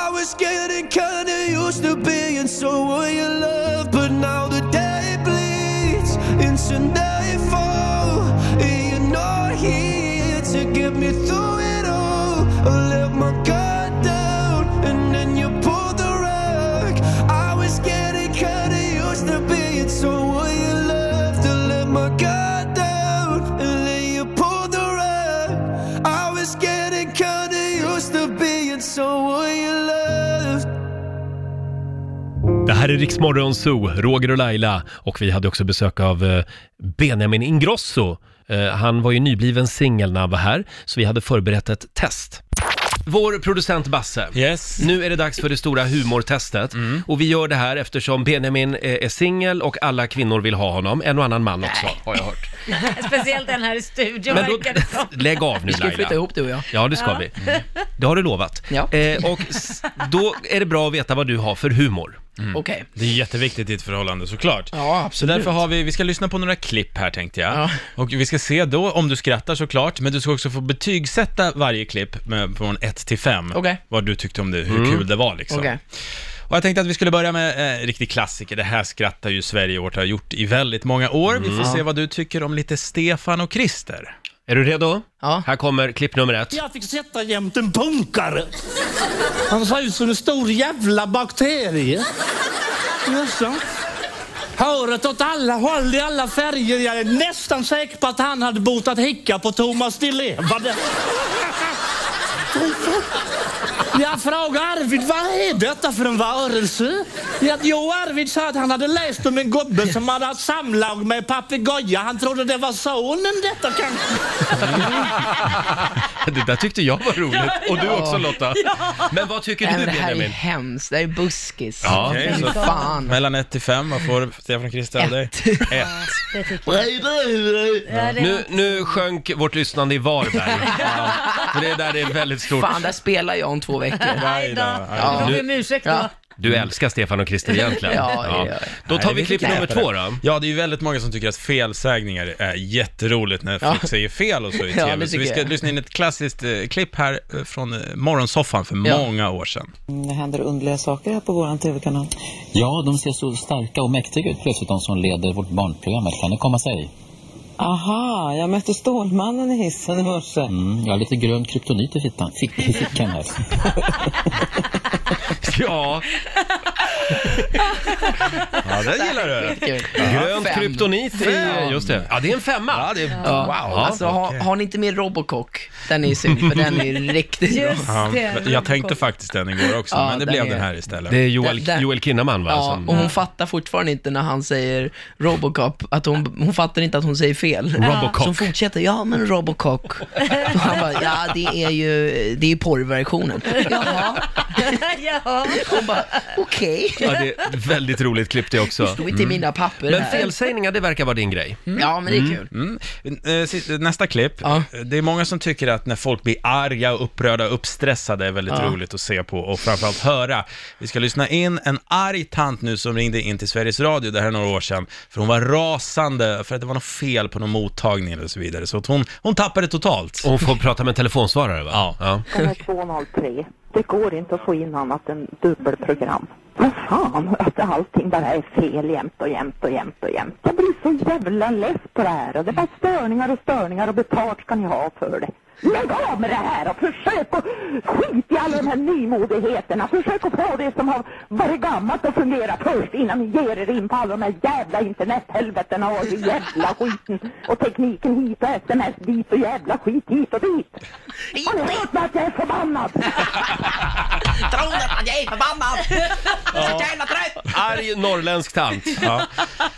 Speaker 15: I was getting kinda used to being someone you love, but now the day bleeds into nightfall. And you're not here to get me through it all. I let my guard down, and then you pulled the rug. I was getting kinda used to being someone you loved. I let my guard down, and then you pulled the rug. I was getting kinda used to being someone you loved.
Speaker 1: Det här är Riksmorgon Zoo, Roger och Laila och vi hade också besök av eh, Benjamin Ingrosso. Eh, Han var ju nybliven singel när han var här, så vi hade förberett ett test. Vår producent Basse, nu är det dags för det stora humortestet.
Speaker 16: Mm.
Speaker 1: Och vi gör det här eftersom Benjamin eh, är singel och alla kvinnor vill ha honom. En och annan man också, har jag hört.
Speaker 2: Speciellt den här i studion
Speaker 1: Men då-
Speaker 2: verkar det som.
Speaker 1: Lägg av nu
Speaker 16: Vi ska ju
Speaker 1: Laila.
Speaker 16: flytta ihop, du och jag.
Speaker 1: Ja, det ska
Speaker 2: Ja.
Speaker 1: vi.
Speaker 2: Mm.
Speaker 1: Det har du lovat. Eh, och s- då är det bra att veta vad du har för humor.
Speaker 16: Okej.
Speaker 5: Mm. Det är jätteviktigt i ett förhållande såklart.
Speaker 16: Ja,
Speaker 5: Så
Speaker 16: absolut.
Speaker 5: därför har vi, vi ska lyssna på några klipp här tänkte jag. Och vi ska se då om du skrattar såklart, men du ska också få betygsätta varje klipp med, från 1 till 5.
Speaker 16: Okej.
Speaker 5: Vad du tyckte om det, hur
Speaker 16: Mm.
Speaker 5: kul det var liksom.
Speaker 16: Okej.
Speaker 5: Och jag tänkte att vi skulle börja med eh, en riktig klassiker. Det här skrattar ju Sverige åt och har gjort i väldigt många år. Vi får
Speaker 1: Mm.
Speaker 5: se vad du tycker om lite Stefan och Christer.
Speaker 1: Är du redo? Ja. Här kommer klipp nummer ett.
Speaker 17: Jag fick sätta jämt en punkare. Han såg ut som en stor jävla bakterie. Jaså? Håret åt alla håll i alla färger. Jag är nästan säker på att han hade botat hicka på Thomas Di Leva. Jag frågade Arvid, vad är detta för en varelse? Jag, jo, Arvid sa att han hade läst om en gubbe som hade haft samlag med papegoja. Han trodde det var sonen detta kanske.
Speaker 1: Det där tyckte jag var roligt.
Speaker 16: Ja,
Speaker 1: Och du
Speaker 16: ja.
Speaker 1: också Lotta.
Speaker 16: Ja.
Speaker 1: Men vad tycker
Speaker 16: Nej,
Speaker 1: du
Speaker 16: men det här är
Speaker 1: Benjamin?
Speaker 16: hemskt, det här är buskis.
Speaker 5: Ja, okej,
Speaker 16: Fy
Speaker 5: så
Speaker 16: fan.
Speaker 5: mellan 1 till 5, vad får Stefan och Christer av dig? 1.
Speaker 16: Det
Speaker 1: Nu, nu sjönk vårt lyssnande i Varberg. För det där är väldigt stort.
Speaker 16: Fan, där spelar jag om två veckor.
Speaker 1: Aj då. Ja.
Speaker 16: Du
Speaker 1: Nu-
Speaker 16: får om ursäkt då.
Speaker 1: Du älskar Stefan och Christer egentligen.
Speaker 16: Ja, ja, ja.
Speaker 1: Då tar
Speaker 5: Nej,
Speaker 1: vi
Speaker 5: är
Speaker 1: klipp
Speaker 5: lite
Speaker 1: nummer
Speaker 5: knepigare.
Speaker 1: två då.
Speaker 5: Ja, det är ju väldigt många som tycker att felsägningar är jätteroligt när folk
Speaker 1: Ja.
Speaker 5: säger fel och så i
Speaker 1: Ja,
Speaker 5: tv.
Speaker 1: det
Speaker 5: så
Speaker 1: tycker
Speaker 5: vi ska
Speaker 1: jag.
Speaker 5: lyssna in ett klassiskt eh, klipp här eh, från eh, morgonsoffan för
Speaker 18: Ja.
Speaker 5: många år sedan.
Speaker 18: Det händer underliga saker här på vår tv-kanal.
Speaker 19: Ja, de ser så starka och mäktiga ut plötsligt, de som leder vårt barnprogram. Kan det komma sig?
Speaker 18: Aha, jag mötte Stålmannen i hissen i morse.
Speaker 19: Mm, jag har lite grön kryptonit i fickan, fick, i fickan här.
Speaker 1: ja.
Speaker 5: Ja, den gillar du.
Speaker 1: Grönt
Speaker 16: Fem.
Speaker 1: kryptonit i...
Speaker 16: Fem.
Speaker 1: Just det. Ja, det är en femma. Ja,
Speaker 5: det är...
Speaker 16: Ja.
Speaker 1: Wow.
Speaker 16: Alltså, har, har ni inte med Robocock? Den är ju synd, för den är ju riktigt bra.
Speaker 5: Ja, jag tänkte faktiskt den igår också,
Speaker 16: Ja,
Speaker 5: men det
Speaker 16: den
Speaker 5: blev
Speaker 16: är-
Speaker 5: den här istället.
Speaker 1: Det är Joel,
Speaker 16: Den- den-
Speaker 1: Joel Kinnaman va?
Speaker 16: Ja,
Speaker 1: som-
Speaker 16: och hon fattar fortfarande inte när han säger Robocop, att hon, hon fattar inte att hon säger fel.
Speaker 1: Robocock.
Speaker 16: Så hon fortsätter, ja men Robocock. Och han bara, ja det är ju, det är ju porrversionen. Jaha.
Speaker 2: ja.
Speaker 16: Hon bara, okej.
Speaker 1: Ja, det är ett väldigt roligt klipp det också.
Speaker 16: står inte i mina papper
Speaker 1: Mm. Men
Speaker 16: här.
Speaker 1: felsägningar, det verkar vara din grej.
Speaker 16: Ja, men det är kul.
Speaker 5: Mm. Eh, sist- Nästa klipp. Eh, Det är många som tycker att när folk blir arga, upprörda och uppstressade är väldigt
Speaker 16: Ja.
Speaker 5: roligt att se på och framförallt höra. Vi ska lyssna in en arg tant nu som ringde in till Sveriges Radio, det här är några år sedan, för hon var rasande för att det var något fel på någon mottagning eller så vidare. Så att hon, hon tappade totalt.
Speaker 1: Och hon får prata med en telefonsvarare va?
Speaker 5: Ja.
Speaker 20: Den här 203, det går inte att få in annat än dubbelprogram. Vad fan, att allting bara är fel jämt och jämt och jämt och jämt. Jag blir så jävla less på det här och det är bara störningar och störningar och betalt ska ni ha för det. Lägg av med det här och försök att skit i alla de här nymodigheterna. Försök att få det som har varit gammalt att fungera först innan ni ger er in på alla de här jävla internethelvetena och jävla skiten och tekniken hit och sms dit och jävla skit hit och dit. Har ni hört mig att jag är förbannad?
Speaker 16: Tror du att jag är förbannad? Jag är så jävla trött.
Speaker 1: Arg norrländsk tant.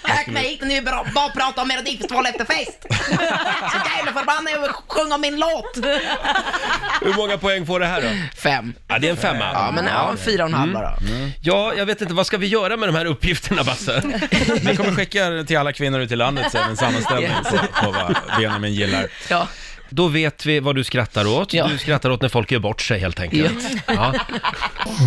Speaker 16: Tack mig hit nu bara bara prata om Melodifestivalen efter fest. Så jävla förbannad över att sjunga min låt.
Speaker 1: Hur många poäng får det här då?
Speaker 16: Fem.
Speaker 1: Ja, det är en femma. Mm.
Speaker 16: Ja, men ja, en fyra och en halva då.
Speaker 1: Ja, jag vet inte, vad ska vi göra med de här uppgifterna Basse?
Speaker 5: Vi kommer skicka till alla kvinnor ute i landet sen en sammanställning så- på vad Benjamin gillar.
Speaker 16: Ja.
Speaker 1: Då vet vi vad du skrattar åt. Du skrattar åt när folk gör bort sig helt enkelt. Ja.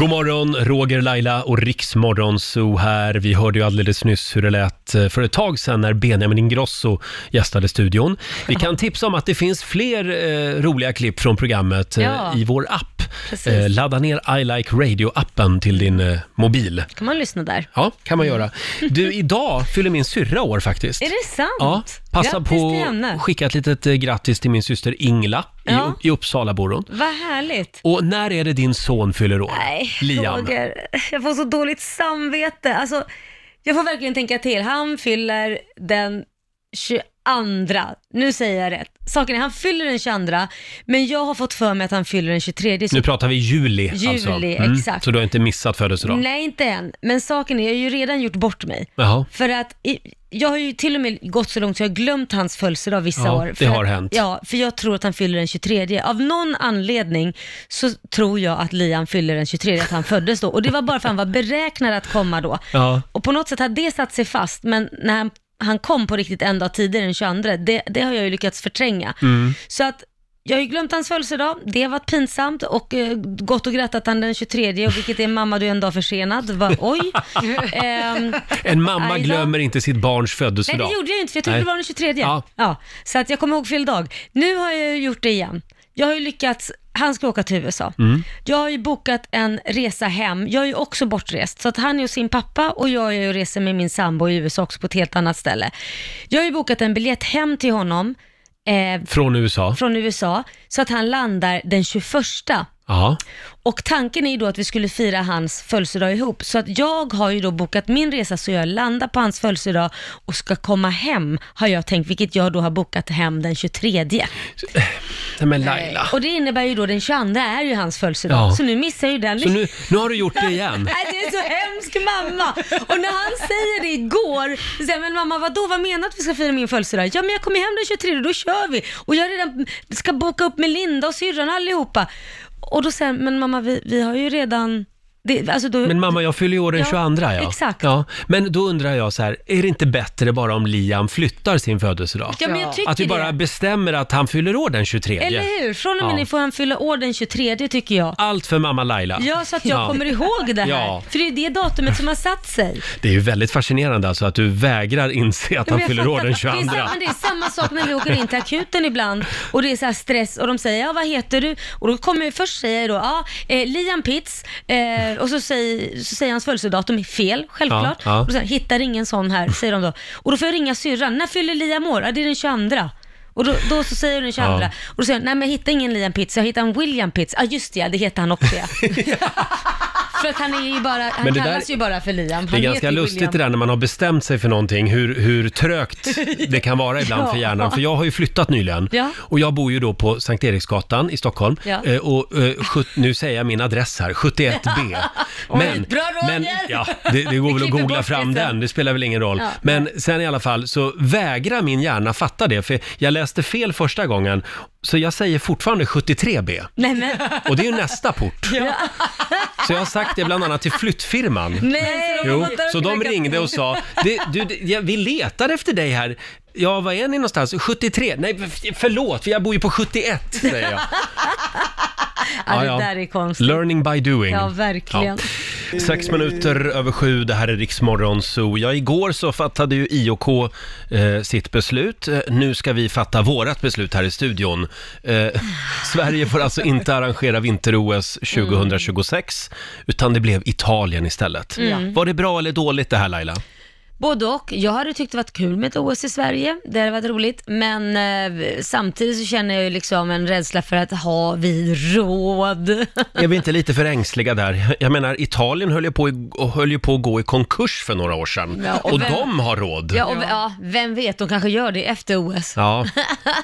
Speaker 1: God morgon, Roger, Laila och Riksmorgon Zoo här. Vi hörde ju alldeles nyss hur det lät eh, för ett tag sedan när Benjamin Ingrosso gästade studion. Vi kan tipsa om att det finns fler eh, roliga klipp från programmet eh,
Speaker 2: Ja.
Speaker 1: i vår app.
Speaker 2: Precis.
Speaker 1: Eh, ladda ner I Like Radio-appen till din eh, mobil.
Speaker 2: kan man lyssna där.
Speaker 1: Ja, kan man göra. Du, idag fyller min syrra år faktiskt.
Speaker 2: Är det sant?
Speaker 1: Ja, passa
Speaker 2: Grattis till
Speaker 1: på
Speaker 2: henne.
Speaker 1: att skicka ett litet eh, grattis till min syster Ingla
Speaker 2: Ja.
Speaker 1: i, i Uppsala bor hon.
Speaker 2: Vad härligt.
Speaker 1: Och när är det din son fyller år?
Speaker 2: Nej,
Speaker 1: Liam.
Speaker 2: Roger. Jag får så dåligt samvete. Alltså, jag får verkligen tänka till. Han fyller den 22. Nu säger jag rätt. Saken är, han fyller den 22, men jag har fått för mig att han fyller den 23. Så
Speaker 1: Nu pratar vi juli,
Speaker 2: Juli,
Speaker 1: alltså.
Speaker 2: exakt.
Speaker 1: Så du har inte missat födelsedagen?
Speaker 2: Nej, inte än. Men saken är, jag har ju redan gjort bort mig.
Speaker 1: Jaha.
Speaker 2: För att i, jag har ju till och med gått så långt så jag har glömt hans födelsedag vissa
Speaker 1: Ja,
Speaker 2: år.
Speaker 1: det
Speaker 2: För
Speaker 1: har
Speaker 2: att,
Speaker 1: hänt.
Speaker 2: Ja, för jag tror att han fyller den 23. Av någon anledning så tror jag att Liam fyller den 23, att han föddes då. Och det var bara för att han var beräknad att komma då.
Speaker 1: Ja.
Speaker 2: Och på något sätt har det satt sig fast, men när han, han kom på riktigt en dag tidigare, den 22, det, det har jag ju lyckats förtränga.
Speaker 1: Mm.
Speaker 2: Så att jag har ju glömt hans födelsedag, det har varit pinsamt och eh, gått och grattat han den 23 och vilket är mamma du är en dag försenad. Va, oj. Ehm,
Speaker 1: En mamma
Speaker 2: aj då.
Speaker 1: glömmer inte sitt barns
Speaker 2: Nej
Speaker 1: födelsedag.
Speaker 2: det gjorde jag inte för jag trodde
Speaker 1: Nej.
Speaker 2: det var den 23.
Speaker 1: Ja.
Speaker 2: Ja. Så att jag kommer ihåg fel dag. Nu har jag ju gjort det igen. Jag har ju lyckats, han ska åka till USA.
Speaker 1: Mm.
Speaker 2: Jag har ju bokat en resa hem. Jag är ju också bortrest, så att han är hos sin pappa och jag är och reser med min sambo i USA också på ett helt annat ställe. Jag har ju bokat en biljett hem till honom eh,
Speaker 1: Från USA?
Speaker 2: från USA, så att han landar den 21
Speaker 1: Ja.
Speaker 2: Och tanken är ju då att vi skulle fira hans födelsedag ihop. Så att jag har ju då bokat min resa så jag landar på hans födelsedag och ska komma hem, har jag tänkt, vilket jag då har bokat hem den 23.
Speaker 1: Nej men Laila.
Speaker 2: Och det innebär ju då den 22 är ju hans födelsedag.
Speaker 1: Ja.
Speaker 2: Så nu missar jag ju den.
Speaker 1: Så nu, nu har du gjort det igen.
Speaker 2: Nej, det är så hemsk mamma. Och när han säger det igår, så säger jag, men mamma vadå, vad menar du att vi ska fira min födelsedag? Ja men jag kommer hem den 23 och då kör vi. Och jag redan ska boka upp med Linda och syrran allihopa. Och då säger han, men mamma vi, vi har ju redan, det, alltså då,
Speaker 1: Men mamma, jag fyller ju år den
Speaker 2: Ja,
Speaker 1: 22 ja.
Speaker 2: exakt.
Speaker 1: Ja. Men då undrar jag så här, är det inte bättre bara om Liam flyttar sin födelsedag?
Speaker 2: Ja, men jag tycker
Speaker 1: att vi bara
Speaker 2: det.
Speaker 1: bestämmer att han fyller år den 23.
Speaker 2: Eller hur? Från och med
Speaker 1: Ja.
Speaker 2: nu får han fylla år den 23 tycker jag.
Speaker 1: Allt för mamma Laila.
Speaker 2: Ja, så att jag kommer ihåg det här.
Speaker 1: Ja.
Speaker 2: För det är ju det datumet som har satt sig.
Speaker 1: Det är ju väldigt fascinerande alltså att du vägrar inse att
Speaker 2: Ja, men
Speaker 1: han
Speaker 2: jag
Speaker 1: fyller
Speaker 2: fattar
Speaker 1: år den
Speaker 2: inte.
Speaker 1: 22.
Speaker 2: Det är, samma, det är samma sak när vi åker in till akuten ibland och det är så här stress och de säger ja vad heter du? Och då kommer jag först säga då ja eh, Liam Pitts eh, och så säger, så säger hans födelsedatum fel självklart.
Speaker 3: Ja, ja.
Speaker 2: Och sen, hittar ingen sån här säger de då. Och då får jag ringa syrran, när fyller Liam år? Ja det är den 22. Och då, då så säger hon den 22
Speaker 3: Ja.
Speaker 2: och då säger hon, nej men jag hittar ingen Liam Pitts, jag hittar en William Pitts. Ja ah, just det, ja, det heter han också ja. För att han är ju bara, han
Speaker 1: Men det där-
Speaker 2: kallas ju bara för Liam.
Speaker 1: Det är
Speaker 2: Han
Speaker 1: ganska
Speaker 2: heter ju
Speaker 1: lustigt
Speaker 2: William.
Speaker 1: det där när man har bestämt sig för någonting, hur, hur trögt det kan vara ibland
Speaker 2: Ja.
Speaker 1: för hjärnan. För jag har ju flyttat nyligen
Speaker 2: Ja.
Speaker 1: och jag bor ju då på Sankt Eriksgatan i Stockholm.
Speaker 2: Ja.
Speaker 1: Eh, och, eh, sjut, nu säger jag min adress här, 71B.
Speaker 2: Oj, bra, Roger!
Speaker 1: men ja, det, det går väl att
Speaker 2: klipper
Speaker 1: googla
Speaker 2: bort
Speaker 1: fram
Speaker 2: det sen.
Speaker 1: den, det spelar väl ingen roll.
Speaker 2: Ja.
Speaker 1: Men sen i alla fall så vägrar min hjärna fatta det, för jag läste fel första gången. Så jag säger fortfarande 73B.
Speaker 2: Nej men.
Speaker 1: Och det är ju nästa port. Så jag har sagt det bland annat till flyttfirman.
Speaker 2: Nej,
Speaker 1: Jo, så de ringde och sa, "Det- du, det- ja, vi letar efter dig här. Ja, var är ni någonstans? 73? Nej, f- förlåt, för jag bor ju på 71, säger jag.
Speaker 2: Ja,
Speaker 1: Ja, ja.
Speaker 2: det där är konstigt.
Speaker 1: Learning by doing.
Speaker 2: Ja, verkligen.
Speaker 1: Ja. Sex minuter över sju, det här är Riksmorgon Zoo. Ja, igår så fattade ju IOK eh, sitt beslut. Eh, Nu ska vi fatta vårat beslut här i studion. Eh, Sverige får alltså inte arrangera vinter-OS 2026, utan det blev Italien istället.
Speaker 2: Mm.
Speaker 1: Var det bra eller dåligt det här Laila?
Speaker 2: Både och. Jag hade tyckt det varit kul med ett OS i Sverige. Det hade varit roligt. Men eh, samtidigt så känner jag ju liksom en rädsla för att har vi råd?
Speaker 1: Är vi inte lite för ängsliga där? Jag menar, Italien höll ju på, i- och höll ju på att gå i konkurs för några år sedan.
Speaker 2: Ja, och
Speaker 1: och
Speaker 2: vem-
Speaker 1: de har råd.
Speaker 2: Ja, och, ja, vem vet, de kanske gör det efter OS.
Speaker 1: Ja,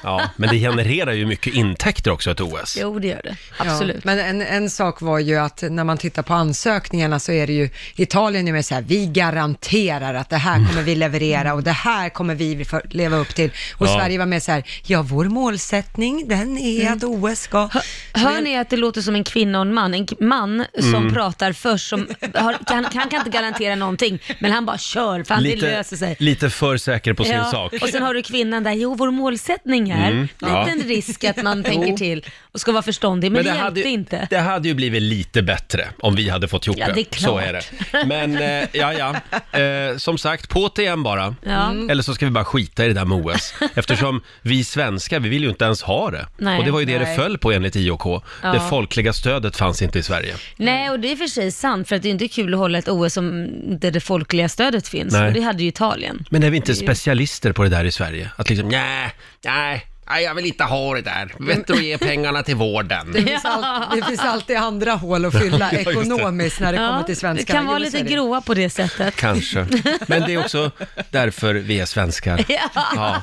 Speaker 1: ja, men det genererar ju mycket intäkter också ett OS.
Speaker 2: Jo, det gör det.
Speaker 3: Ja,
Speaker 2: Absolut.
Speaker 3: Men en, en sak var ju att när man tittar på ansökningarna så är det ju Italien är med så här, vi garanterar att det
Speaker 2: Mm.
Speaker 3: här kommer vi leverera och det här kommer vi för, leva upp till. Och
Speaker 2: Ja. Mm.
Speaker 3: Sverige var med så här, ja vår målsättning den är att OS ska...
Speaker 2: Hör ni att det låter som en kvinna och en man? En k- man som
Speaker 3: Mm.
Speaker 2: pratar först, som har, kan, han kan inte garantera någonting, men han bara kör, för han det löser sig.
Speaker 1: lite för säker på sin
Speaker 2: Ja,
Speaker 1: sak.
Speaker 2: Och sen har du kvinnan där, jo vår målsättning är,
Speaker 1: Mm, ja.
Speaker 2: liten risk att man tänker
Speaker 1: Jo.
Speaker 2: till och ska vara förståndig, men, det, hjälpte
Speaker 1: hade, ju-
Speaker 2: inte.
Speaker 1: det hade ju blivit lite bättre om vi hade fått ihop
Speaker 2: Ja, det är
Speaker 1: Så
Speaker 2: klart.
Speaker 1: är det. Men eh, ja, ja. Eh, som sagt, på till igen bara.
Speaker 2: Ja. Mm.
Speaker 1: Eller så ska vi bara skita i det där med OS. Eftersom vi svenskar, vi vill ju inte ens ha det.
Speaker 2: Nej.
Speaker 1: Och det var ju det det
Speaker 2: Nej.
Speaker 1: föll på enligt IOK.
Speaker 2: Ja.
Speaker 1: Det folkliga stödet fanns inte i Sverige.
Speaker 2: Nej, och det är för sig sant, för att det är inte kul att hålla ett OS som där det folkliga stödet finns,
Speaker 1: Nej.
Speaker 2: och det hade ju Italien.
Speaker 1: Men är vi inte
Speaker 2: Det är ju-
Speaker 1: specialister på det där i Sverige? Att liksom, nej, nej, nej, jag vill inte ha det där. Bättre att ge pengarna till vården.
Speaker 3: Det finns, all, det finns alltid andra hål att fylla
Speaker 1: Ja, just det.
Speaker 3: ekonomiskt när det
Speaker 2: Ja,
Speaker 3: kommer till svenskarna.
Speaker 2: Vi kan vara
Speaker 3: Jo, så
Speaker 2: lite
Speaker 3: är det.
Speaker 2: gråa på det sättet.
Speaker 1: Kanske. Men det är också därför vi är svenskar.
Speaker 2: Ja.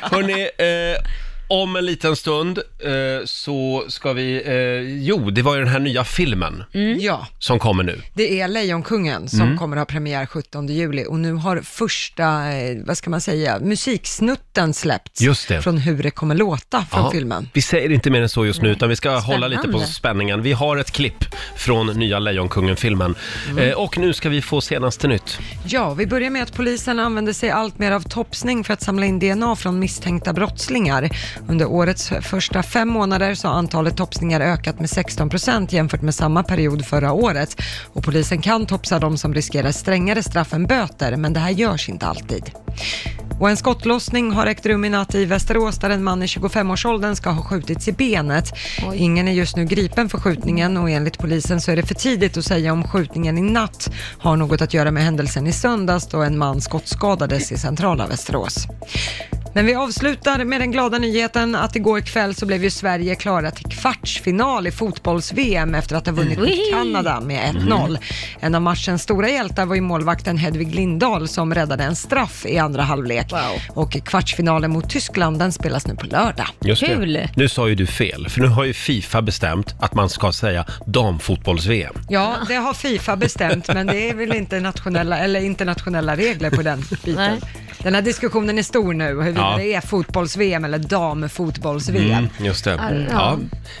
Speaker 1: Hörrni, eh, om en liten stund eh, så ska vi... Eh, jo, det var ju den här nya filmen
Speaker 2: Mm.
Speaker 3: Ja.
Speaker 1: som kommer nu.
Speaker 3: Det är Lejonkungen som
Speaker 1: Mm.
Speaker 3: kommer att ha premiär 17 juli och nu har första, eh, vad ska man säga, musiksnutten släppts
Speaker 1: Just det.
Speaker 3: från hur det kommer låta från
Speaker 1: Ja,
Speaker 3: filmen.
Speaker 1: Vi säger inte mer än så just nu, utan vi ska hålla
Speaker 3: Spännande.
Speaker 1: lite på spänningen. Vi har ett klipp från nya Lejonkungen-filmen. Eh, och nu ska vi få senaste nytt.
Speaker 3: Ja, vi börjar med att polisen använder sig allt mer av topsning för att samla in DNA från misstänkta brottslingar. Under årets första fem månader så har antalet topsningar ökat med 16 procent jämfört med samma period förra året. Och polisen kan topsa de som riskerar strängare straff än böter, men det här görs inte alltid. Och en skottlossning har ägt rum i natt i Västerås där en man i 25-årsåldern ska ha skjutits i benet. Ingen är just nu gripen för skjutningen och enligt polisen så är det för tidigt att säga om skjutningen i natt har något att göra med händelsen i söndags då en man skottskadades i centrala Västerås. Men vi avslutar med den glada nyheten att igår kväll så blev ju Sverige klara till kvartsfinal i fotbolls-VM efter att ha vunnit mot
Speaker 2: Wee!
Speaker 3: Kanada med
Speaker 1: Mhm.
Speaker 3: 1-0. En av matchens stora hjältar var ju målvakten Hedvig Lindahl som räddade en straff i andra halvlek. Och kvartsfinalen mot Tyskland den spelas nu på lördag.
Speaker 1: Just det. Nu sa ju du fel, för nu har ju Fifa bestämt att man ska säga damfotbolls-VM.
Speaker 3: Ja, det har Fifa bestämt, men det är väl inte nationella, eller internationella regler på den biten. Den här diskussionen är stor nu, huruvida
Speaker 1: Ja.
Speaker 3: det är fotbolls-VM eller damfotbolls-VM.
Speaker 1: Mm, just det.
Speaker 3: Ja.
Speaker 1: Ja.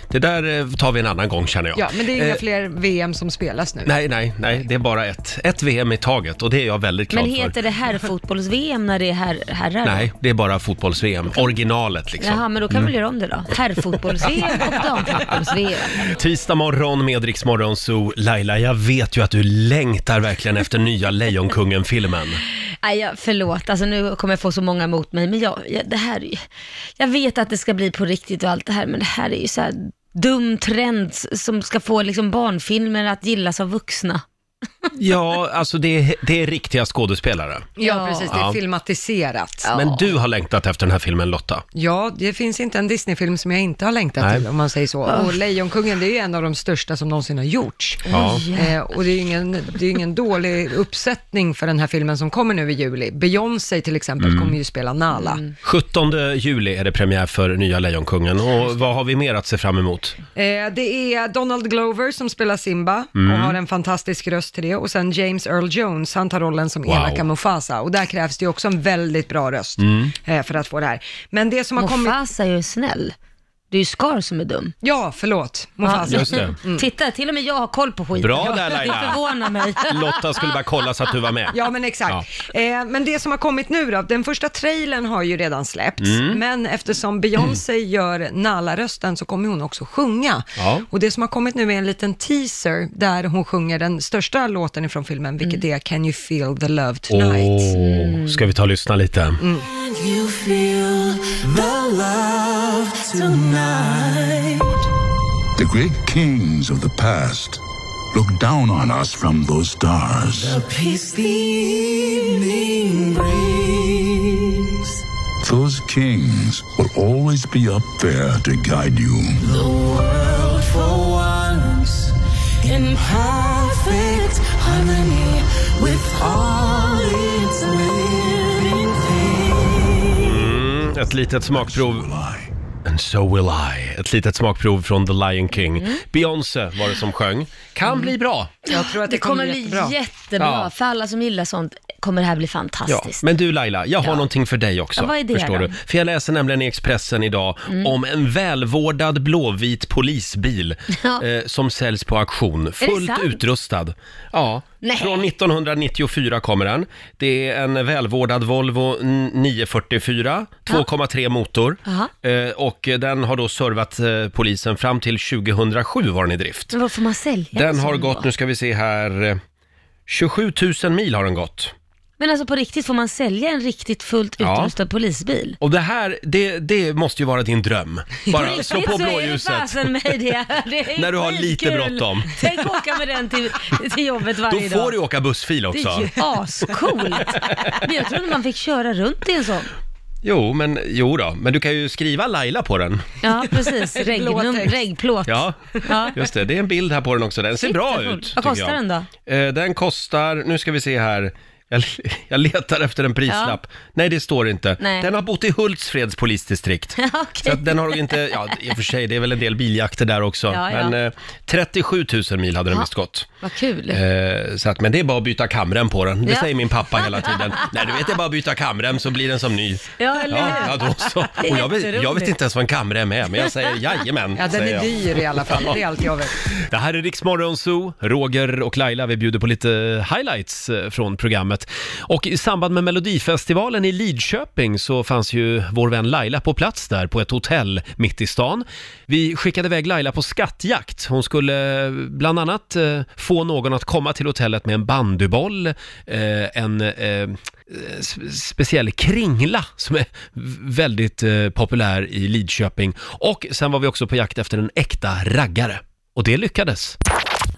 Speaker 1: Det där eh, tar vi en annan gång känner jag.
Speaker 3: Ja, men det är inga
Speaker 1: Eh,
Speaker 3: fler VM som spelas nu.
Speaker 1: Nej, nej, nej, det är bara ett. Ett VM i taget och det är jag väldigt glad
Speaker 2: Men
Speaker 1: för.
Speaker 2: heter det herrfotbolls-VM när det är herr, herrar? då?
Speaker 1: Nej, det är bara fotbolls-VM, originalet liksom.
Speaker 2: Jaha, men då kan vi
Speaker 1: Mm.
Speaker 2: väl göra om det då? Herrfotbolls-VM och damfotbolls-VM.
Speaker 1: Tisdag morgon med Rix Morgon Zoo. Laila, jag vet ju att du längtar verkligen efter nya Lejonkungen-filmen.
Speaker 2: Nej, jag- förlåt, alltså nu kommer jag få så många emot mig, men jag, jag, det här, är ju- jag vet att det ska bli på riktigt och allt det här, men det här är ju så här dum trend som ska få liksom barnfilmer att gillas av vuxna.
Speaker 1: Ja, alltså det är, det är riktiga skådespelare.
Speaker 3: Ja, precis. Det är
Speaker 1: Ja.
Speaker 3: filmatiserat.
Speaker 1: Men du har längtat efter den här filmen Lotta.
Speaker 3: Ja, det finns inte en Disney-film som jag inte har längtat
Speaker 1: Nej.
Speaker 3: till, om man säger så.
Speaker 2: Ah.
Speaker 3: Och Lejonkungen, det är ju en av de största som någonsin har gjorts.
Speaker 1: Ja.
Speaker 3: Eh, och det är ju ingen, det är ju ingen dålig uppsättning för den här filmen som kommer nu i juli. Beyoncé till exempel
Speaker 1: Mm.
Speaker 3: kommer ju spela Nala.
Speaker 1: 17 juli är det premiär för nya Lejonkungen och vad har vi mer att se fram emot?
Speaker 3: Eh, det är Donald Glover som spelar Simba
Speaker 1: Mm.
Speaker 3: och har en fantastisk röst till det. Och sen James Earl Jones, han tar rollen som
Speaker 1: Wow.
Speaker 3: elaka Mufasa. Och där krävs det ju också en väldigt bra röst
Speaker 2: Mm.
Speaker 3: eh, för att få det här. Men det som har kommit...
Speaker 2: Mufasa är ju snäll. Det är ju Scar som är dum.
Speaker 3: Ja, förlåt. Mufasa.
Speaker 1: Ja, just det.
Speaker 2: Mm. Titta, till och med jag har koll på skiten.
Speaker 1: Bra där, Laila.
Speaker 2: Det förvånar mig.
Speaker 1: Lotta skulle bara kolla så att du var med.
Speaker 3: Ja, men exakt. Eh, men det som har kommit nu då, den första trailern har ju redan släppts,
Speaker 1: Mm.
Speaker 3: men eftersom Beyoncé gör Nala-rösten så kommer hon också sjunga.
Speaker 1: Ja.
Speaker 3: Och det som har kommit nu är en liten teaser där hon sjunger den största låten ifrån filmen, vilket
Speaker 1: Mm.
Speaker 3: är Can you feel the love tonight?
Speaker 1: Åh, ska vi ta och lyssna lite?
Speaker 3: Mm.
Speaker 15: You feel the love tonight.
Speaker 6: The great kings of the past look down on us from those stars.
Speaker 15: The peace the evening brings.
Speaker 6: Those kings will always be up there to guide you.
Speaker 15: The world for once in perfect harmony with all its living things.
Speaker 1: Mm, ett litet smakprov. And so will I. Ett litet smakprov från The Lion King. Beyoncé var det som sjöng. Kan bli bra.
Speaker 3: Mm. Jag tror att det,
Speaker 2: kommer
Speaker 3: kommer
Speaker 2: bli
Speaker 3: jättebra.
Speaker 2: jättebra.
Speaker 1: Ja.
Speaker 2: För alla som gillar sånt kommer det här bli
Speaker 1: Ja,
Speaker 2: fantastiskt.
Speaker 1: men du Laila, jag har
Speaker 2: Ja.
Speaker 1: någonting för dig också.
Speaker 2: Ja, vad är det
Speaker 1: förstår
Speaker 2: då?
Speaker 1: du? För jag läser nämligen i Expressen idag
Speaker 2: Mm.
Speaker 1: om en välvårdad blåvit polisbil
Speaker 2: Ja.
Speaker 1: eh, som säljs på auktion, fullt
Speaker 2: sant?
Speaker 1: utrustad. Ja,
Speaker 2: Nej.
Speaker 1: från 1994 kommer den. Det är en välvårdad Volvo 944, 2,3 motor.
Speaker 2: Jaha.
Speaker 1: Eh, och den har då servat eh, polisen fram till 2007 var den i drift.
Speaker 2: Men vad får man sälja en
Speaker 1: Den
Speaker 2: sån
Speaker 1: har
Speaker 2: då?
Speaker 1: gått, nu ska vi se här, eh, 27 000 mil har den gått.
Speaker 2: Men alltså på riktigt, får man sälja en riktigt fullt
Speaker 1: Ja.
Speaker 2: utrustad polisbil?
Speaker 1: Och det här, det, det måste ju vara din dröm. Bara slå på
Speaker 2: Så Alltså, är det
Speaker 1: blåljuset.
Speaker 2: fasen mig det. det är
Speaker 1: När du har lite
Speaker 2: skitkul.
Speaker 1: bråttom.
Speaker 2: Tänk åka med den till, till jobbet
Speaker 1: Då
Speaker 2: varje dag.
Speaker 1: får du åka bussfil
Speaker 2: Det är
Speaker 1: också.
Speaker 2: ju ascoolt. Men jag trodde man fick köra runt i en sån.
Speaker 1: Jo, men jo då. Men du kan ju skriva Laila på den.
Speaker 2: Ja, precis.
Speaker 3: Blå
Speaker 2: Regnum,
Speaker 3: text.
Speaker 2: regnplåt.
Speaker 1: Ja,
Speaker 2: Ja.
Speaker 1: just det. Det är en bild här på den också. Den ser
Speaker 2: Shit,
Speaker 1: bra
Speaker 2: vad cool.
Speaker 1: ut.
Speaker 2: Vad
Speaker 1: tycker
Speaker 2: kostar
Speaker 1: jag.
Speaker 2: den då?
Speaker 1: Eh, Den kostar, nu ska vi se här. Jag, jag letar efter en prislapp. Nej, det står inte.
Speaker 2: Nej.
Speaker 1: Den har bott i Hultsfreds polisdistrikt.
Speaker 2: Okej.
Speaker 1: Så att den har inte, ja i och för sig, det är väl en del biljakter där också.
Speaker 2: Ja, ja.
Speaker 1: Men eh, 37 000 mil hade den
Speaker 2: Ja.
Speaker 1: visst gått.
Speaker 2: Vad kul.
Speaker 1: Eh, så att, men det är bara att byta kamrem på den. Det
Speaker 2: Ja.
Speaker 1: säger min pappa hela tiden. Nej, du vet, det är bara att byta kamrem så blir den som ny.
Speaker 2: Ja, eller
Speaker 1: ja,
Speaker 2: hur?
Speaker 1: ja, då så.
Speaker 2: Det är
Speaker 1: Och jag, vet, jag vet
Speaker 2: jätteroligt.
Speaker 1: inte ens vad en kamrem är, men jag säger jajamän.
Speaker 3: Ja, den
Speaker 1: säger
Speaker 3: är
Speaker 1: jag.
Speaker 3: dyr i alla fall,
Speaker 1: Ja.
Speaker 3: det är allt jag vet.
Speaker 1: Det här är Riksmorgon Zoo. Roger och Laila, vi bjuder på lite highlights eh, från programmet. Och i samband med Melodifestivalen i Lidköping så fanns ju vår vän Laila på plats där på ett hotell mitt i stan. Vi skickade iväg Laila på skattjakt. Hon skulle eh, bland annat eh, få någon att komma till hotellet med en bandyboll, eh, en eh, s- speciell kringla som är v- väldigt eh, populär i Lidköping. Och sen var vi också på jakt efter en äkta raggare. Och det lyckades.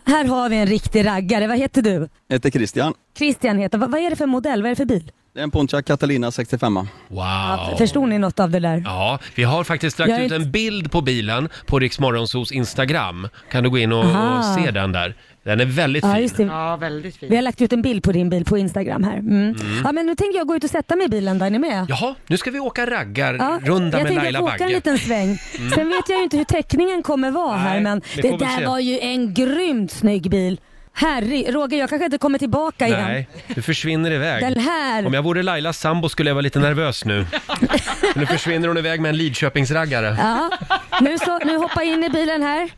Speaker 21: Här har vi en riktig raggare. Vad heter du?
Speaker 22: Jag heter Christian.
Speaker 21: Christian heter Vad vad är det för modell? Vad är det för bil?
Speaker 22: Det
Speaker 21: Det är en Pontiac Catalina 65.
Speaker 1: Wow.
Speaker 2: Förstod ni något av det där?
Speaker 1: Ja, vi har faktiskt lagt
Speaker 2: Jag är
Speaker 1: ut en
Speaker 2: inte-
Speaker 1: bild på bilen på Rix Morgonzos Instagram. Kan du gå in och, och
Speaker 2: Aha.
Speaker 1: se den där? Den är väldigt
Speaker 2: Ja,
Speaker 1: fin.
Speaker 2: just det.
Speaker 23: Ja, väldigt fin.
Speaker 2: Vi har lagt ut en bild på din bil på Instagram här. Mm.
Speaker 1: Mm.
Speaker 2: Ja, men nu tänker jag gå ut och sätta mig i bilen, där är ni med?
Speaker 1: Jaha, nu ska vi åka raggar-runda
Speaker 2: jag
Speaker 1: med
Speaker 2: tänkte
Speaker 1: Laila
Speaker 2: jag får åka
Speaker 1: Bagge.
Speaker 2: en liten sväng.
Speaker 1: Mm.
Speaker 2: Sen vet jag ju inte hur teckningen kommer vara här men
Speaker 1: det
Speaker 2: det,
Speaker 1: får vi
Speaker 2: där
Speaker 1: se.
Speaker 2: var ju en grymt snygg bil. Herre, Roger jag kanske inte kommer tillbaka igen.
Speaker 1: Nej, du försvinner iväg.
Speaker 2: Den här.
Speaker 1: Om jag vore Lailas sambo skulle jag vara lite nervös nu. Men nu försvinner hon iväg med en Lidköpingsraggare.
Speaker 2: Ja, nu, så, nu hoppar jag in i bilen här.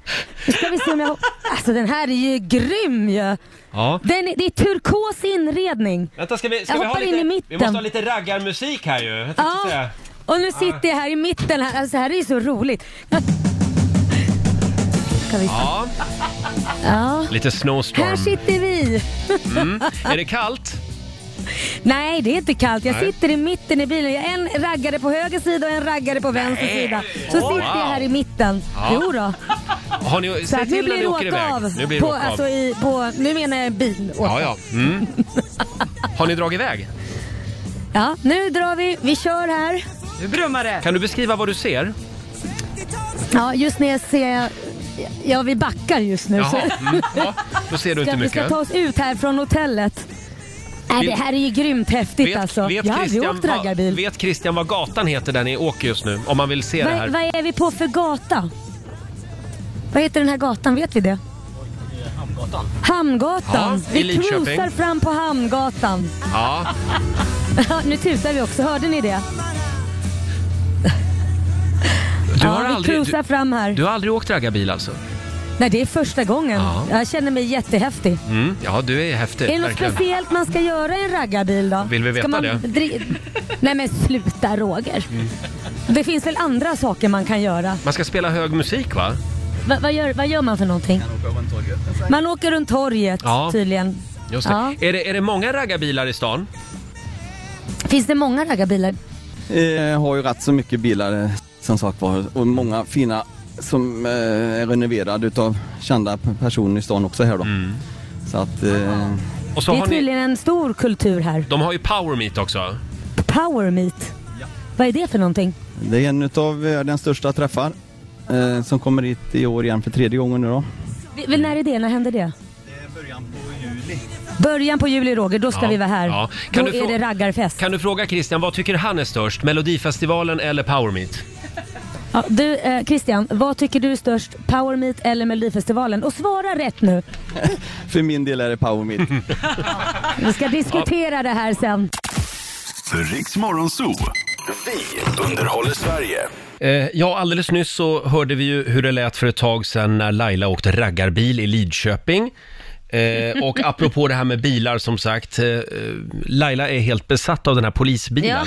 Speaker 2: Nu ska vi se om jag hop- Alltså den här är ju grym ju.
Speaker 1: Ja.
Speaker 2: Den, är- det är turkos inredning.
Speaker 1: Vänta, ska vi,
Speaker 2: ska Jag vi ha hoppar in lite- i mitten. vi måste ha
Speaker 1: lite raggarmusik här ju. Jag
Speaker 2: tänkte Ja. säga. Och nu sitter jag här i mitten här. Alltså det här är ju så roligt. Ska vi se.
Speaker 1: Ja.
Speaker 2: ja.
Speaker 1: Lite
Speaker 2: Här
Speaker 1: snowstorm.
Speaker 2: sitter vi.
Speaker 1: Mm. Är det kallt?
Speaker 2: Nej, det är inte kallt. Jag
Speaker 1: Nej.
Speaker 2: sitter i mitten i bilen. Jag är en raggare på höger sida och en raggare på vänster
Speaker 1: Nej.
Speaker 2: sida. Så
Speaker 1: Wow.
Speaker 2: sitter jag här i mitten.
Speaker 1: Ja.
Speaker 2: Jo då.
Speaker 1: Har ni,
Speaker 2: Så
Speaker 1: säg
Speaker 2: att nu
Speaker 1: till när
Speaker 2: blir
Speaker 1: ni
Speaker 2: det
Speaker 1: åker
Speaker 2: åka
Speaker 1: iväg.
Speaker 2: av.
Speaker 1: Nu blir det
Speaker 2: på,
Speaker 1: åka
Speaker 2: alltså,
Speaker 1: av.
Speaker 2: i, på, nu menar jag bil.
Speaker 1: Ja,
Speaker 2: åka.
Speaker 1: ja. Mm. Har ni dragit iväg?
Speaker 2: ja, nu drar vi. Vi kör här.
Speaker 23: Nu brummar det.
Speaker 1: Kan du beskriva vad du ser?
Speaker 2: Ja, just nu ser jag... Ja, vi backar just nu.
Speaker 1: Jaha,
Speaker 2: så-
Speaker 1: mm. ja, då ser du
Speaker 2: ska,
Speaker 1: inte
Speaker 2: vi ska
Speaker 1: mycket.
Speaker 2: ta oss ut här från hotellet. Nej,
Speaker 1: Vet-
Speaker 2: det här är ju grymt häftigt alltså. jag har aldrig åkt
Speaker 1: vad,
Speaker 2: raggarbil.
Speaker 1: vet Christian vad gatan heter där ni åker just nu? Om man vill se det
Speaker 2: Vad,
Speaker 1: här.
Speaker 2: vad är vi på för gata? Vad heter den här gatan? Vet vi det? Hamngatan.
Speaker 1: Ja, i
Speaker 2: vi
Speaker 1: Lidköping.
Speaker 2: cruisar fram på Hamngatan.
Speaker 1: Ja.
Speaker 2: nu tutar vi också, hörde ni det?
Speaker 1: Du,
Speaker 2: ja,
Speaker 1: har
Speaker 2: vi
Speaker 1: aldrig,
Speaker 2: cruisar
Speaker 1: du,
Speaker 2: fram här.
Speaker 1: du har aldrig åkt raggarbil alltså?
Speaker 2: Nej, det är första gången.
Speaker 1: Ja.
Speaker 2: Jag känner mig jättehäftig.
Speaker 1: Mm. Ja, du är häftig.
Speaker 2: är det något
Speaker 1: verkligen.
Speaker 2: speciellt man ska göra i en raggarbil då?
Speaker 1: Vill vi veta
Speaker 2: ska man
Speaker 1: det?
Speaker 2: dri- Nej men sluta Roger.
Speaker 1: Mm.
Speaker 2: Det finns väl andra saker man kan göra?
Speaker 1: Man ska spela hög musik va?
Speaker 2: Va, vad, gör, vad gör man för någonting? Man åker runt torget
Speaker 1: Ja.
Speaker 2: tydligen.
Speaker 1: Just det.
Speaker 2: Ja.
Speaker 1: Är, det, är det många raggarbilar i stan?
Speaker 2: Finns det många raggarbilar?
Speaker 21: Eh, har ju rätt så mycket bilar eh, som sagt var och många fina som eh, är renoverade utav kända p- personer i stan också här då. Så att... Eh,
Speaker 1: Mm. Och så
Speaker 2: det är
Speaker 1: har ni,
Speaker 2: tydligen en stor kultur här.
Speaker 1: de har ju power meet också.
Speaker 2: Power meet. Vad är det för någonting?
Speaker 21: Det är en utav världens största träffar eh, som kommer hit i år igen för tredje gången nu då.
Speaker 2: Vi- vi- när är det? När händer det? Början på juli Roger, då ska
Speaker 1: Ja,
Speaker 2: vi vara här.
Speaker 1: ja. Kan
Speaker 2: Då
Speaker 1: du
Speaker 2: är
Speaker 1: frå-
Speaker 2: det raggarfest.
Speaker 1: Kan du fråga Christian, vad tycker han är störst? Melodifestivalen eller power meet?
Speaker 2: Ja, du eh, Christian, vad tycker du är störst? Power meet eller Melodifestivalen? Och svara rätt nu.
Speaker 21: För min del är det Power Meet.
Speaker 2: Vi ska diskutera det här sen.
Speaker 10: Riks Morgonzoo. Vi underhåller Sverige.
Speaker 1: Eh, ja, alldeles nyss så hörde vi ju hur det lät för ett tag sedan när Laila åkte raggarbil i Lidköping. Eh, och apropå det här med bilar som sagt, eh, Laila är helt besatt av den här polisbilen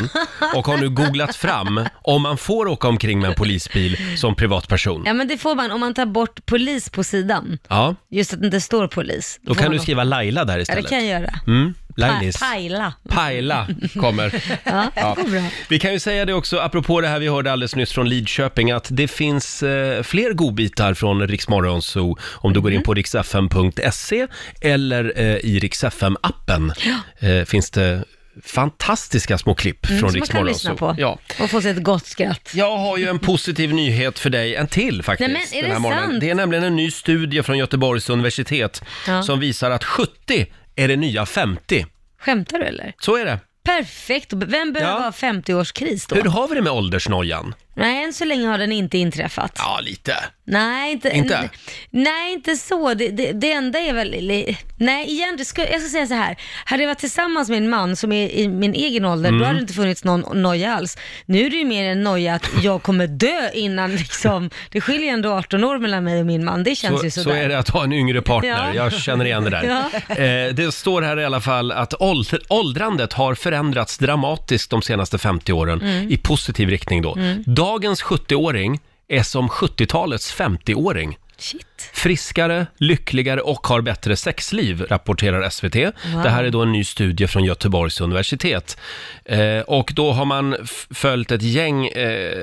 Speaker 1: och har nu googlat fram om man får åka omkring med en polisbil som privatperson.
Speaker 5: Ja men det får man om man tar bort polis på sidan.
Speaker 1: Ja,
Speaker 5: Just att det inte står polis.
Speaker 1: då kan du skriva Laila där
Speaker 5: Ja, det
Speaker 1: istället.
Speaker 5: kan jag göra.
Speaker 1: Mm, Lailis.
Speaker 5: Pa- pajla.
Speaker 1: Pajla kommer.
Speaker 5: Ja,
Speaker 1: Ja.
Speaker 5: det går bra.
Speaker 1: Vi kan ju säga det också, apropå det här vi hörde alldeles nyss från Lidköping, att det finns eh, fler godbitar från Riksmorgon Zoo om du går
Speaker 5: Mm.
Speaker 1: in på riksfm.se eller eh, i riksfm-appen. Eh, finns det fantastiska små klipp
Speaker 5: Mm,
Speaker 1: från
Speaker 5: som man kan
Speaker 1: Riksmorgon
Speaker 5: lyssna
Speaker 1: Zoo.
Speaker 5: på.
Speaker 1: Ja.
Speaker 5: Och få sig ett gott skratt.
Speaker 1: Jag har ju en positiv nyhet för dig, en till faktiskt.
Speaker 5: Nej, men är
Speaker 1: den
Speaker 5: det
Speaker 1: här morgonen.
Speaker 5: sant?
Speaker 1: det är nämligen en ny studie från Göteborgs universitet
Speaker 5: Ja.
Speaker 1: som visar att 70 är det nya 50.
Speaker 5: Skämtar du eller?
Speaker 1: Så är det.
Speaker 5: Perfekt, vem behöver ha 50-årskris då?
Speaker 1: Hur har vi det med åldersnojan?
Speaker 5: Nej, än så länge har den inte inträffat.
Speaker 1: Ja, lite.
Speaker 5: Nej, inte,
Speaker 1: Inte?
Speaker 5: n- nej, inte så. Det, det, det enda är väl... li- Nej, igen, det ska, jag ska säga så här. Hade jag varit tillsammans med en man som är i min egen ålder,
Speaker 3: Mm.
Speaker 5: då hade det inte funnits någon noja alls. Nu är det ju mer en noja att jag kommer dö innan liksom... Det skiljer ändå 18 år mellan mig och min man. Det känns
Speaker 1: så,
Speaker 5: ju
Speaker 1: så,
Speaker 5: sådär.
Speaker 1: är det att ha en yngre partner,
Speaker 5: Ja.
Speaker 1: jag känner igen det där.
Speaker 5: Ja.
Speaker 1: Eh, det står här i alla fall att åld- åldrandet har förändrats dramatiskt de senaste 50 åren,
Speaker 5: Mm.
Speaker 1: i positiv riktning då.
Speaker 5: Mm.
Speaker 1: Dagens 70-åring är som 70-talets 50-åring.
Speaker 5: Shit.
Speaker 1: friskare, lyckligare och har bättre sexliv, rapporterar SVT. Det här är då en ny studie från Göteborgs universitet. Eh, och då har man f- följt ett gäng eh,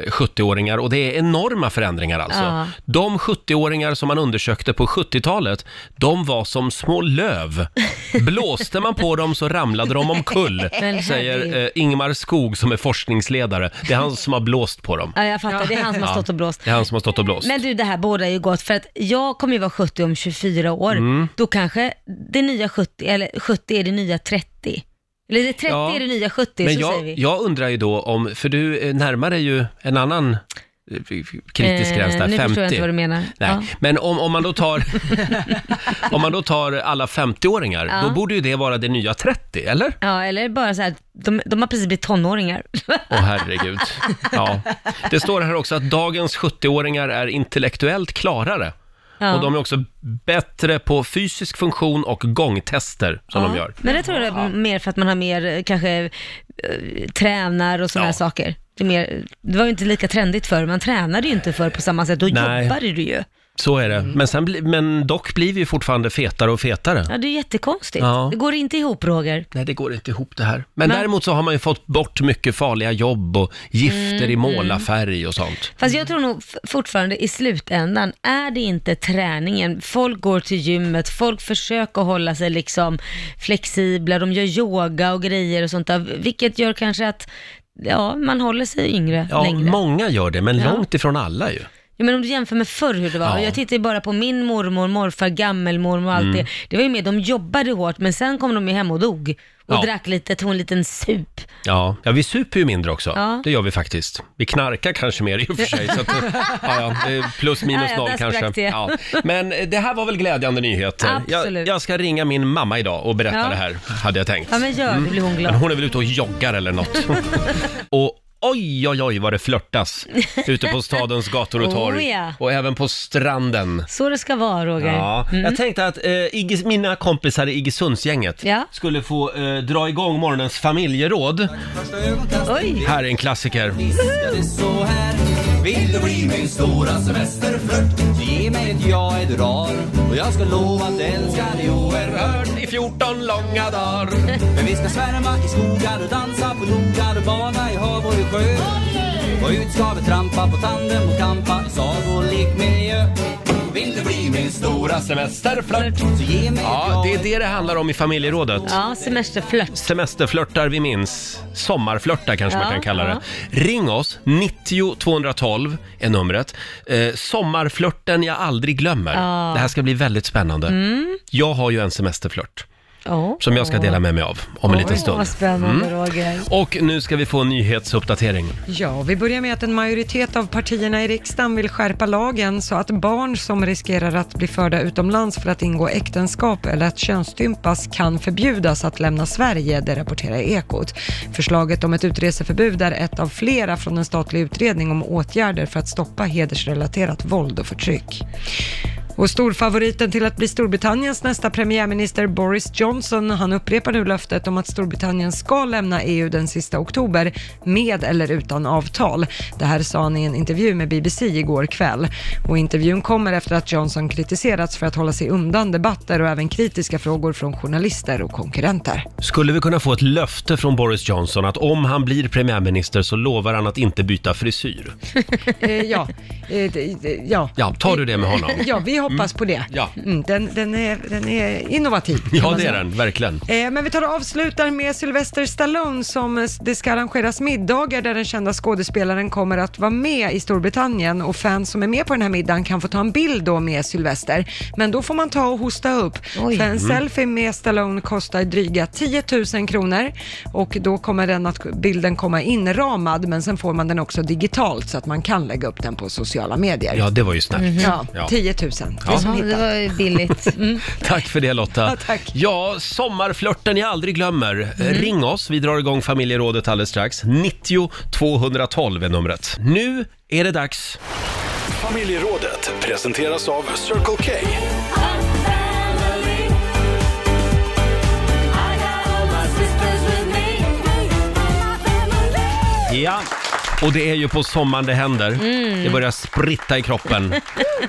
Speaker 1: 70-åringar och det är enorma förändringar alltså.
Speaker 24: Ja.
Speaker 1: De 70-åringar som man undersökte på 70-talet, de var som små löv. Blåste man på dem så ramlade de omkull,
Speaker 2: Men
Speaker 1: säger
Speaker 2: herregud.
Speaker 1: eh, Ingmar Skog som är forskningsledare. Det är han som har blåst på dem.
Speaker 2: Ja, jag fattar. Det är han som har stått och blåst.
Speaker 1: Det är han som har stått och blåst.
Speaker 2: Men du, det här båda är ju gott för att jag kommer ju vara 70 om 24 år.
Speaker 1: Mm.
Speaker 2: Då kanske det nya 70, eller 70 är det nya 30. Eller det 30
Speaker 1: Ja.
Speaker 2: är det nya 70,
Speaker 1: Men
Speaker 2: så
Speaker 1: jag,
Speaker 2: säger vi.
Speaker 1: jag undrar ju då om, för du eh, närmar dig ju en annan eh, kritisk
Speaker 2: Eh,
Speaker 1: gräns där, 50.
Speaker 2: nu förstår jag inte vad du menar.
Speaker 1: Nej,
Speaker 2: Ja.
Speaker 1: men om, om, man då tar, om man då tar alla 50-åringar,
Speaker 2: Ja.
Speaker 1: då borde ju det vara det nya 30, eller?
Speaker 2: Ja, eller bara så här, de, de har precis blivit tonåringar.
Speaker 1: Åh herregud. Ja. Det står här också att dagens 70-åringar är intellektuellt klarare.
Speaker 2: Ja.
Speaker 1: Och de är också bättre på fysisk funktion och gångtester som de
Speaker 2: Ja.
Speaker 1: gör.
Speaker 2: Men det tror jag är mer för att man har mer, eh, kanske eh, tränar och sådana här saker. Det, är mer, det var ju inte lika trendigt förr, man tränade ju inte förr på samma sätt, då
Speaker 1: Nej.
Speaker 2: jobbade du ju.
Speaker 1: Så är det. Men, sen, bli- men dock blir vi ju fortfarande fetare och fetare.
Speaker 2: Ja, det är jättekonstigt.
Speaker 1: Ja.
Speaker 2: Det går inte ihop Roger.
Speaker 1: Nej, det går inte ihop det här. Men, däremot så har man ju fått bort mycket farliga jobb och gifter i
Speaker 2: Mm,
Speaker 1: målarfärg och sånt.
Speaker 2: Fast jag tror nog f- fortfarande i slutändan är det inte träningen. Folk går till gymmet, folk försöker hålla sig liksom flexibla, de gör yoga och grejer och sånt där, vilket gör kanske att ja, man håller sig yngre
Speaker 1: Ja,
Speaker 2: längre.
Speaker 1: många gör det, men
Speaker 2: Ja.
Speaker 1: långt ifrån alla ju.
Speaker 2: Ja, men om du jämför med förr hur det var.
Speaker 1: Ja.
Speaker 2: Jag tittar ju bara på min mormor, morfar, gammelmormor och allt
Speaker 1: Mm.
Speaker 2: det. Det var ju mer, de jobbade hårt men sen kom de ju hem och dog. Och
Speaker 1: Ja.
Speaker 2: drack lite, tog en liten sup.
Speaker 1: Ja, ja vi super ju mindre också.
Speaker 2: Ja.
Speaker 1: Det gör vi faktiskt. Vi knarkar kanske mer i och för sig. Så att, ja, ja, det är plus minus
Speaker 2: Ja, ja,
Speaker 1: noll
Speaker 2: där sprack
Speaker 1: kanske.
Speaker 2: det.
Speaker 1: Ja. Men eh, det här var väl glädjande nyheter. Jag,
Speaker 2: Absolut.
Speaker 1: jag ska ringa min mamma idag och berätta
Speaker 2: Ja.
Speaker 1: det här, hade jag tänkt. Mm.
Speaker 2: Ja, men gör det, blir hon glad.
Speaker 1: Men hon är väl ute och joggar eller något. och oj, oj, oj vad det flörtas ute på stadens gator och
Speaker 2: Oh,
Speaker 1: torg.
Speaker 2: ja.
Speaker 1: Och även på stranden.
Speaker 2: Så det ska vara Roger.
Speaker 1: Ja,
Speaker 2: Mm.
Speaker 1: jag tänkte att eh, Igge, mina kompisar i Iggesundsgänget skulle få eh, dra igång morgonens familjeråd.
Speaker 2: Oj!
Speaker 1: Här är en klassiker.
Speaker 11: Vill du bli min stora semesterflört? Ge mig ett ja, ett rar Och jag ska lova att älska dig oerhört
Speaker 1: I 14 långa dagar
Speaker 11: Men vi ska svärma i skogar och dansa på logar och bada i hav och i sjö Och ut ska vi trampa på tandem och kampa i sagolik miljö Vill du bli min stora semesterflört? Så ge mig ett
Speaker 1: Ja,
Speaker 11: ja,
Speaker 1: det är det det handlar om i familjerådet.
Speaker 2: Ja, semesterflört.
Speaker 1: Semesterflörtar vi minns. Sommarflörtar kanske man
Speaker 2: Ja,
Speaker 1: kan kalla det.
Speaker 2: ja.
Speaker 1: Ring oss, 90 212 är numret. Eh, sommarflörten jag aldrig glömmer.
Speaker 2: Ja.
Speaker 1: Det här ska bli väldigt spännande.
Speaker 2: Mm.
Speaker 1: Jag har ju en semesterflört
Speaker 2: Oh.
Speaker 1: som jag ska dela med mig av om en liten
Speaker 3: Oj,
Speaker 1: stund. Mm.
Speaker 3: vad spännande,
Speaker 2: Roger.
Speaker 1: Och nu ska vi få en nyhetsuppdatering.
Speaker 3: Ja, vi börjar med att en majoritet av partierna i riksdagen vill skärpa lagen så att barn som riskerar att bli förda utomlands för att ingå äktenskap eller att könsstympas kan förbjudas att lämna Sverige, det rapporterar Ekot. Förslaget om ett utreseförbud är ett av flera från en statlig utredning om åtgärder för att stoppa hedersrelaterat våld och förtryck. Och storfavoriten till att bli Storbritanniens nästa premiärminister Boris Johnson, han upprepar nu löftet om att Storbritannien ska lämna EU den sista oktober med eller utan avtal. Det här sa han i en intervju med BBC igår kväll. Och intervjun kommer efter att Johnson kritiserats för att hålla sig undan debatter och även kritiska frågor från journalister och konkurrenter.
Speaker 1: Skulle vi kunna få ett löfte från Boris Johnson att om han blir premiärminister så lovar han att inte byta frisyr?
Speaker 3: Eh, ja, eh, d- d- ja.
Speaker 1: Ja, tar du det med honom?
Speaker 3: Ja, vi hoppas på det.
Speaker 1: Ja.
Speaker 3: Mm, den, den, är, den är innovativ. kan
Speaker 1: Ja,
Speaker 3: man
Speaker 1: det är
Speaker 3: säga.
Speaker 1: den, verkligen.
Speaker 3: Eh, Men vi tar och avslutar med Sylvester Stallone som eh, det ska arrangeras middagar där den kända skådespelaren kommer att vara med i Storbritannien och fans som är med på den här middagen kan få ta en bild då med Sylvester. Men då får man ta och hosta upp. För en
Speaker 22: Mm.
Speaker 3: selfie med Stallone kostar dryga 10 000 kronor och då kommer den att, bilden komma inramad men sen får man den också digitalt så att man kan lägga upp den på sociala medier.
Speaker 1: Ja, det var ju snällt.
Speaker 3: Mm-hmm. Ja,
Speaker 1: Ja.
Speaker 3: 10 000.
Speaker 1: Ja.
Speaker 3: Ja.
Speaker 2: Ja, det var ju billigt. Mm.
Speaker 1: Tack för det Lotta.
Speaker 2: Ja,
Speaker 3: tack.
Speaker 1: Ja, sommarflörten jag aldrig glömmer. Eh, Ring oss, vi drar igång familjerådet alldeles strax. 90 212 är numret. Nu är det dags.
Speaker 10: Familjerådet presenteras av Circle K.
Speaker 1: Ja, Och det är ju på sommaren det händer.
Speaker 2: Mm.
Speaker 1: Det börjar spritta i kroppen.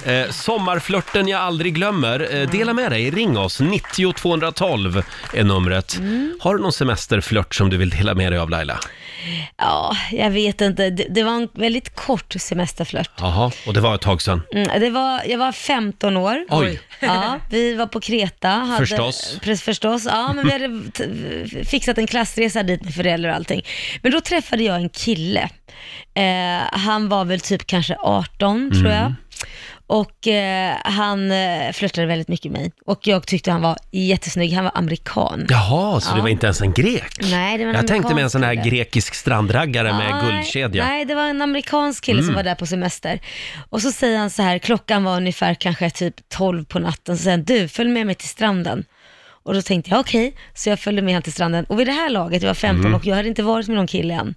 Speaker 1: Eh, sommarflörten jag aldrig glömmer. Eh, dela med dig, ring oss. 90 212 är numret.
Speaker 2: Mm.
Speaker 1: Har du någon semesterflört som du vill dela med dig av Laila?
Speaker 2: Ja, Ah, jag vet inte. Det, det var en väldigt kort semesterflört.
Speaker 1: Jaha, och det var ett tag sedan.
Speaker 2: Mm, det var, jag var 15 år.
Speaker 1: Oj.
Speaker 2: Ja, vi var på Kreta. Hade,
Speaker 1: Förstås.
Speaker 2: Pre- förstås. Ja, men vi hade t- fixat en klassresa dit med föräldrar och allting. Men då träffade jag en kille. Eh, han var väl typ kanske 18, tror jag.
Speaker 24: Mm.
Speaker 2: Och eh, han eh, flörtade väldigt mycket med mig. Och jag tyckte han var jättesnygg. Han var amerikan.
Speaker 1: Jaha, så det
Speaker 2: Ja.
Speaker 1: var inte ens en grek?
Speaker 2: Nej, det var en
Speaker 1: jag tänkte med en
Speaker 2: amerikansk
Speaker 1: sån här
Speaker 2: kille.
Speaker 1: grekisk strandraggare med
Speaker 2: Nej,
Speaker 1: guldkedja.
Speaker 2: Nej, det var en amerikansk kille som
Speaker 1: Mm.
Speaker 2: var där på semester. Och så säger han så här, klockan var ungefär kanske typ 12 på natten, så säger han, du följ med mig till stranden. Och då tänkte jag okej, så jag följde med han till stranden. Och vid det här laget, jag var 15
Speaker 24: Mm.
Speaker 2: och jag hade inte varit med någon kille än.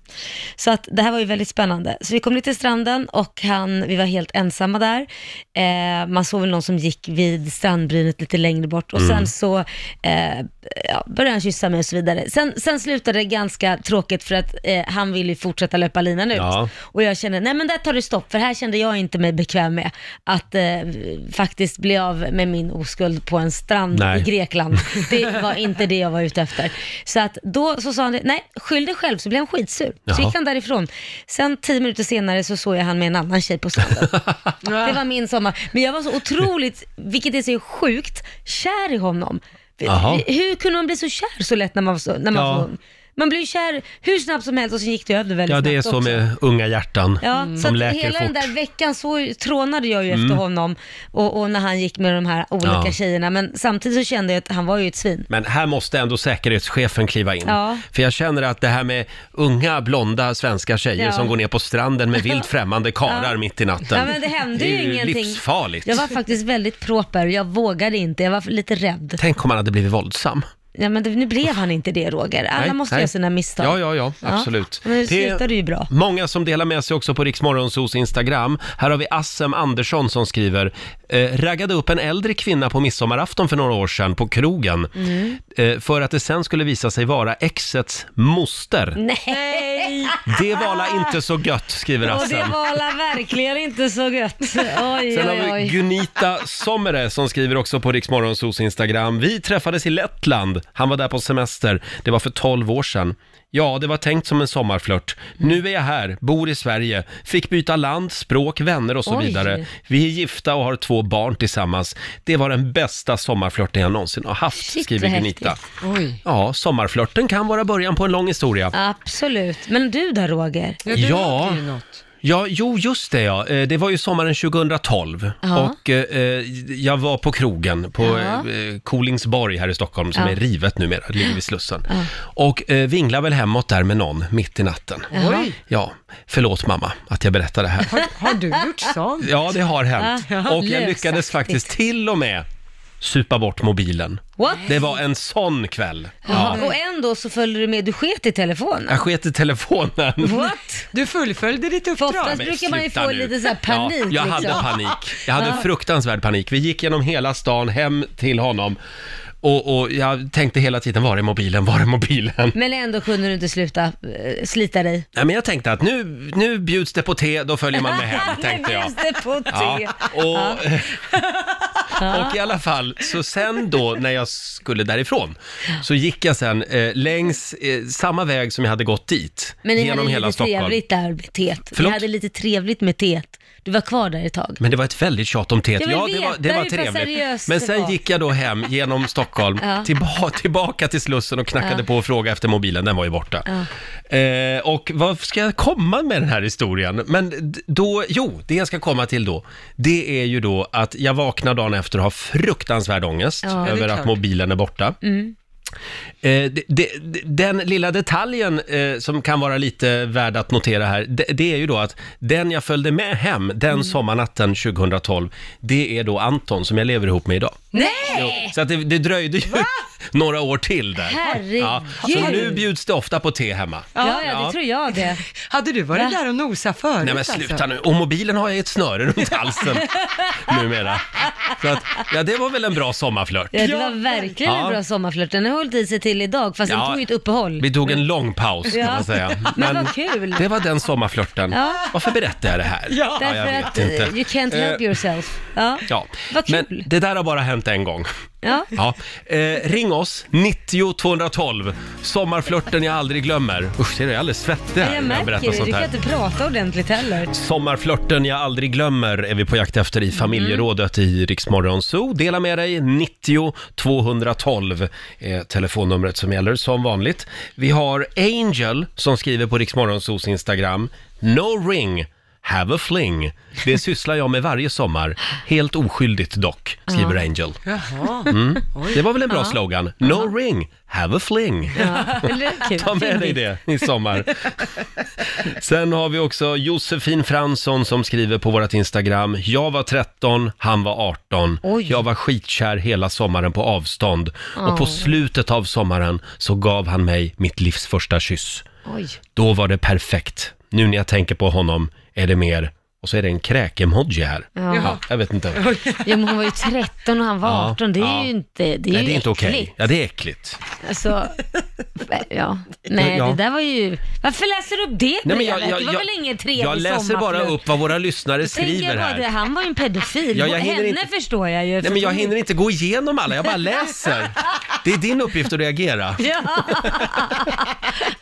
Speaker 2: Så att det här var ju väldigt spännande. Så vi kom ner till stranden och han, vi var helt ensamma där. Eh, man såg väl någon som gick vid strandbrynet lite längre bort och
Speaker 24: Mm.
Speaker 2: sen så eh, ja, började han kyssa mig och så vidare. Sen, sen slutade det ganska tråkigt för att eh, han ville ju fortsätta löpa linan ut.
Speaker 24: Ja.
Speaker 2: Och jag kände, nej men där tar det stopp, för här kände jag inte mig bekväm med att eh, faktiskt bli av med min oskuld på en strand
Speaker 24: Nej.
Speaker 2: i Grekland. Det var inte det jag var ute efter. Så att då så sa han, det, nej skyll dig själv, så blev han skitsur. Så
Speaker 24: Jaha.
Speaker 2: gick han därifrån. Sen tio minuter senare så såg jag han med en annan tjej på stranden. det var min sommar. Men jag var så otroligt, vilket är så sjukt, kär i honom.
Speaker 24: Jaha.
Speaker 2: Hur kunde man bli så kär så lätt när man var, så, när man
Speaker 1: Ja.
Speaker 2: var ung? Man blev ju kär hur snabbt som helst och så gick det över väldigt
Speaker 1: Ja, det är
Speaker 2: snabbt
Speaker 1: så
Speaker 2: också.
Speaker 1: med unga hjärtan
Speaker 2: Ja, så
Speaker 1: som
Speaker 2: att
Speaker 1: Mm. läker
Speaker 2: hela
Speaker 1: fort.
Speaker 2: den där veckan så trånade jag ju
Speaker 1: Mm.
Speaker 2: efter honom och, och när han gick med de här olika
Speaker 1: Ja.
Speaker 2: tjejerna. Men samtidigt så kände jag att han var ju ett svin.
Speaker 1: Men här måste ändå säkerhetschefen kliva in.
Speaker 2: Ja.
Speaker 1: För jag känner att det här med unga blonda svenska tjejer
Speaker 2: Ja.
Speaker 1: som går ner på stranden med vilt främmande karar
Speaker 2: Ja.
Speaker 1: mitt i natten.
Speaker 2: Ja, men det hände
Speaker 1: Det
Speaker 2: ju,
Speaker 1: är ju
Speaker 2: ingenting.
Speaker 1: livsfarligt.
Speaker 2: Jag var faktiskt väldigt proper. Jag vågade inte. Jag var lite rädd.
Speaker 1: Tänk om han hade blivit våldsam.
Speaker 2: Ja, men det, nu blev han inte det, Roger. Alla
Speaker 1: Nej,
Speaker 2: måste
Speaker 1: nej.
Speaker 2: göra sina misstag.
Speaker 1: Ja, ja, ja, absolut.
Speaker 2: Men det slutade ju bra.
Speaker 1: Många som delar med sig också på Riksmorgonsos Instagram. Här har vi Assem Andersson som skriver, eh, raggade upp en äldre kvinna på midsommarafton för några år sedan på krogen.
Speaker 24: Mm.
Speaker 1: Eh, för att det sen skulle visa sig vara exets moster.
Speaker 2: Nej!
Speaker 1: Det var la inte så gött, skriver
Speaker 2: Och det
Speaker 1: Assem.
Speaker 2: var la verkligen inte så gött. Oj,
Speaker 1: Sen
Speaker 2: oj,
Speaker 1: har vi
Speaker 2: oj.
Speaker 1: Gunita Sommere som skriver också på Riksmorgonsos Instagram. Vi träffades i Lettland. Han var där på semester. Det var för 12 år sedan. Ja, det var tänkt som en sommarflört. Nu är jag här, bor i Sverige, fick byta land, språk, vänner och så
Speaker 24: Oj.
Speaker 1: vidare. Vi är gifta och har två barn tillsammans. Det var den bästa sommarflörten jag någonsin har haft, skriver
Speaker 2: vad
Speaker 1: Gunita.
Speaker 2: häftigt.
Speaker 3: Oj.
Speaker 1: Ja, sommarflörten kan vara början på en lång historia.
Speaker 2: Absolut. Men du då, Roger?
Speaker 1: Ja. Ja, jo, just det ja. Eh, Det var ju sommaren 2012
Speaker 2: Ja.
Speaker 1: och eh, jag var på krogen på
Speaker 2: Ja.
Speaker 1: eh, Kolingsborg här i Stockholm som
Speaker 2: Ja.
Speaker 1: är rivet numera, det ligger vid Slussen. Och eh, vinglade väl hemåt där med någon mitt i natten.
Speaker 3: Oj.
Speaker 1: Ja, förlåt mamma att jag berättar det här.
Speaker 3: Har, har du gjort sånt?
Speaker 1: Ja, det har hänt.
Speaker 3: Ja.
Speaker 1: Och jag lyckades
Speaker 3: Lösaktigt.
Speaker 1: faktiskt till och med supa bort mobilen.
Speaker 2: What?
Speaker 1: Det var en sån kväll. Ja.
Speaker 2: Jaha, Och ändå så följde du med, du sket i telefonen.
Speaker 1: Jag sket i telefonen.
Speaker 2: What?
Speaker 3: Du fullföljde ditt uppdrag.
Speaker 2: Oftast
Speaker 1: Men
Speaker 2: brukar man ju
Speaker 1: sluta
Speaker 2: få
Speaker 1: nu.
Speaker 2: lite så här panik.
Speaker 1: Ja, jag hade
Speaker 2: liksom.
Speaker 1: panik. Jag hade
Speaker 2: Ja.
Speaker 1: fruktansvärd panik. Vi gick genom hela stan hem till honom och, och jag tänkte hela tiden, var är mobilen, var är mobilen?
Speaker 2: Men ändå kunde du inte sluta eh, slita dig.
Speaker 1: Nej, men jag tänkte att nu, nu bjuds det på te, då följer man med hem, tänkte jag.
Speaker 2: Nu bjuds det på te.
Speaker 1: Ja, och, och i alla fall, så sen då när jag skulle därifrån så gick jag sen eh, längs eh, samma väg som jag hade gått dit,
Speaker 2: Men ni
Speaker 1: genom
Speaker 2: hade
Speaker 1: hela
Speaker 2: lite
Speaker 1: Stockholm.
Speaker 2: trevligt där med teet. Ni
Speaker 1: Förlåt?
Speaker 2: hade lite trevligt med teet. Du var kvar där ett tag.
Speaker 1: Men det var ett väldigt tjat om teet.
Speaker 2: Jag vill
Speaker 1: Ja, det var, det
Speaker 2: veta
Speaker 1: var
Speaker 2: hur pass seriöst
Speaker 1: trevligt. Men
Speaker 2: det
Speaker 1: sen
Speaker 2: var.
Speaker 1: gick jag då hem genom Stockholm,
Speaker 2: Ja.
Speaker 1: tillba tillbaka till Slussen och knackade
Speaker 2: Ja.
Speaker 1: på och frågade efter mobilen. Den var ju borta.
Speaker 2: Ja.
Speaker 1: Eh, och vad ska jag komma med den här historien? Men d- då, jo, det jag ska komma till då, det är ju då att jag vaknar dagen efter och har fruktansvärd ångest
Speaker 2: Ja, det är
Speaker 1: över att
Speaker 2: klart.
Speaker 1: mobilen är borta.
Speaker 2: Mm.
Speaker 1: Eh, det- det- den lilla detaljen eh, som kan vara lite värd att notera här, det, det är ju då att den jag följde med hem den
Speaker 2: Mm.
Speaker 1: sommarnatten 2012, det är då Anton som jag lever ihop med idag.
Speaker 2: Nej!
Speaker 1: Så att det, det dröjde ju några år till där.
Speaker 2: Herregud.
Speaker 1: Så nu bjuds det ofta på te hemma.
Speaker 2: Ja, ja, det tror jag det.
Speaker 3: Hade du varit
Speaker 2: Va?
Speaker 3: där och nosat förut?
Speaker 1: Nej men sluta
Speaker 3: alltså?
Speaker 1: nu, och mobilen har jag i ett snöre runt halsen numera. Så att, ja det var väl en bra sommarflört.
Speaker 2: Ja, det var verkligen en
Speaker 1: Ja.
Speaker 2: bra sommarflört. Den har fullt i sig till idag, fast
Speaker 1: Ja.
Speaker 2: vi tog ju ett uppehåll.
Speaker 1: Vi tog en lång paus kan
Speaker 2: Ja.
Speaker 1: man säga.
Speaker 2: Men vad kul.
Speaker 1: Det var den sommarflörten.
Speaker 2: Ja.
Speaker 1: Varför berättar jag det här?
Speaker 2: Därför
Speaker 1: jag
Speaker 2: att eh, you can't help
Speaker 1: Eh,
Speaker 2: yourself. Ja.
Speaker 1: Ja,
Speaker 2: Vad
Speaker 1: men
Speaker 2: kul.
Speaker 1: det där har bara hänt en gång.
Speaker 2: Ja.
Speaker 1: Ja. Eh, ring oss, 90 212. Sommarflörten jag aldrig glömmer. Usch, ser du, jag är alldeles svettig här
Speaker 2: jag
Speaker 1: när jag
Speaker 2: märker
Speaker 1: berättar
Speaker 2: det, du
Speaker 1: sånt
Speaker 2: kan
Speaker 1: här.
Speaker 2: inte prata ordentligt heller.
Speaker 1: Sommarflörten jag aldrig glömmer är vi på jakt efter
Speaker 11: Mm.
Speaker 1: i familjerådet i Riksmorgon Zoo. Dela med dig, 90 212 är telefonnumret som gäller som vanligt. Vi har Angel som skriver på Riksmorgon Zoos Instagram, No ring, have a fling. Det sysslar jag med varje sommar, helt oskyldigt dock, skriver
Speaker 11: Ja.
Speaker 1: Angel.
Speaker 11: Jaha.
Speaker 1: Mm. Det var väl en bra
Speaker 11: Ja.
Speaker 1: slogan? No ring, have a fling. Ta med dig det i sommar. Sen har vi också Josefin Fransson som skriver på vårt Instagram. Jag var 13, han var 18. Jag var skitkär hela sommaren på avstånd. Och på
Speaker 11: Åh.
Speaker 1: slutet av sommaren så gav han mig mitt livs första kyss.
Speaker 11: Oj.
Speaker 1: Då var det perfekt. Nu när jag tänker på honom är det mer... Och så är det en kräk-emoji här.
Speaker 2: Ja.
Speaker 1: jag vet inte.
Speaker 2: Ja, men hon var ju 13 och han var
Speaker 1: Ja,
Speaker 2: 18. Det är
Speaker 1: ja.
Speaker 2: ju inte, det är
Speaker 1: Nej,
Speaker 2: ju
Speaker 1: det är inte okej.
Speaker 2: äckligt.
Speaker 1: Ja, det är äckligt.
Speaker 2: Alltså, ja. Nej,
Speaker 1: Ja.
Speaker 2: det där var ju... Varför läser du upp det brevet? Det var väl ingen trevlig
Speaker 1: Jag läser bara
Speaker 2: sommarflört?
Speaker 1: upp vad våra lyssnare
Speaker 2: Tänk
Speaker 1: skriver
Speaker 2: jag bara
Speaker 1: här.
Speaker 2: det, han var ju en pedofil.
Speaker 1: Ja, jag hinner
Speaker 2: Henne
Speaker 1: inte-
Speaker 2: förstår jag ju.
Speaker 1: Nej, men jag hinner inte gå igenom alla, jag bara läser. Det är din uppgift att reagera.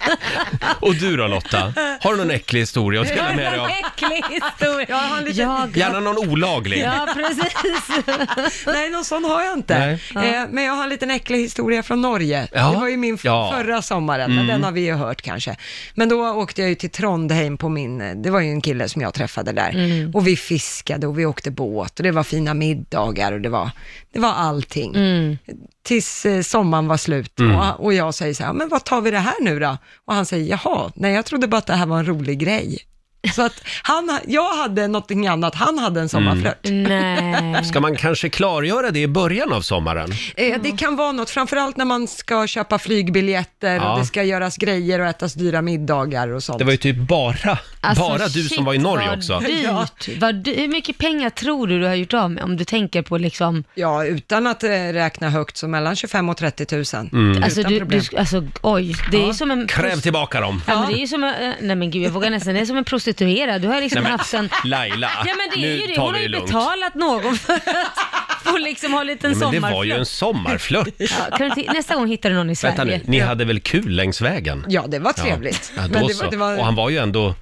Speaker 2: Ja.
Speaker 1: Och du då Lotta? Har du någon äcklig historia att dela med dig av?
Speaker 2: Äcklig historia. Jag har en liten...
Speaker 1: Gärna någon olaglig. Mm.
Speaker 2: precis.
Speaker 3: Nej, någon sån har jag inte.
Speaker 1: Nej. Ja.
Speaker 3: Eh, men jag har en liten äcklig historia från Norge.
Speaker 1: Ja.
Speaker 3: Det var ju min f-
Speaker 1: Ja.
Speaker 3: förra sommaren,
Speaker 1: Mm.
Speaker 3: men den har vi ju hört kanske. Men då åkte jag ju till Trondheim på min, det var ju en kille som jag träffade där.
Speaker 2: Mm.
Speaker 3: Och vi fiskade och vi åkte båt och det var fina middagar och det var, det var allting.
Speaker 2: Mm.
Speaker 3: Tills eh, sommaren var slut
Speaker 11: Mm.
Speaker 3: och, och jag säger så här, men vad tar vi det här nu då? Och han säger, jaha, nej jag trodde bara att det här var en rolig grej. Så att han, jag hade någonting annat, han hade en sommarflört.
Speaker 2: Mm. Nej.
Speaker 1: Ska man kanske klargöra det i början av sommaren?
Speaker 3: Eh, Det kan vara något, framförallt när man ska köpa flygbiljetter
Speaker 1: Ja.
Speaker 3: och det ska göras grejer och ätas dyra middagar och sånt.
Speaker 1: Det var ju typ bara,
Speaker 2: Alltså,
Speaker 1: bara du
Speaker 2: shit,
Speaker 1: som var i Norge
Speaker 2: vad
Speaker 1: också.
Speaker 2: Dyrt. Vad dy- hur mycket pengar tror du du har gjort av med om du tänker på liksom...
Speaker 3: Ja, utan att eh, räkna högt, så mellan 25 och 30 000.
Speaker 1: Mm.
Speaker 2: Alltså,
Speaker 3: Utan
Speaker 2: du,
Speaker 3: problem.
Speaker 2: du, alltså oj, det är ju som en...
Speaker 1: Kräv tillbaka dem.
Speaker 2: Ja, men det är ju som, en- eh, nej men gud jag vågar nästan, det är som en prostituerad. Du har liksom
Speaker 1: Nej, men,
Speaker 2: haft en...
Speaker 1: Laila,
Speaker 2: Ja men det är
Speaker 1: nu
Speaker 2: ju det,
Speaker 1: tar vi
Speaker 2: hon har
Speaker 1: det
Speaker 2: ju
Speaker 1: lugnt.
Speaker 2: betalat någon för att få liksom ha en liten
Speaker 1: Ja, men det
Speaker 2: sommarflört.
Speaker 1: var ju en sommarflört.
Speaker 2: Ja, kan du inte- nästa gång hittar du någon i Sverige.
Speaker 1: Vänta nu, ni hade väl kul längs vägen?
Speaker 3: Ja, det var
Speaker 1: Ja.
Speaker 3: trevligt.
Speaker 1: Ja,
Speaker 3: Men
Speaker 1: då
Speaker 3: det var-
Speaker 1: så.
Speaker 3: det var-
Speaker 1: Och han var ju ändå, eh,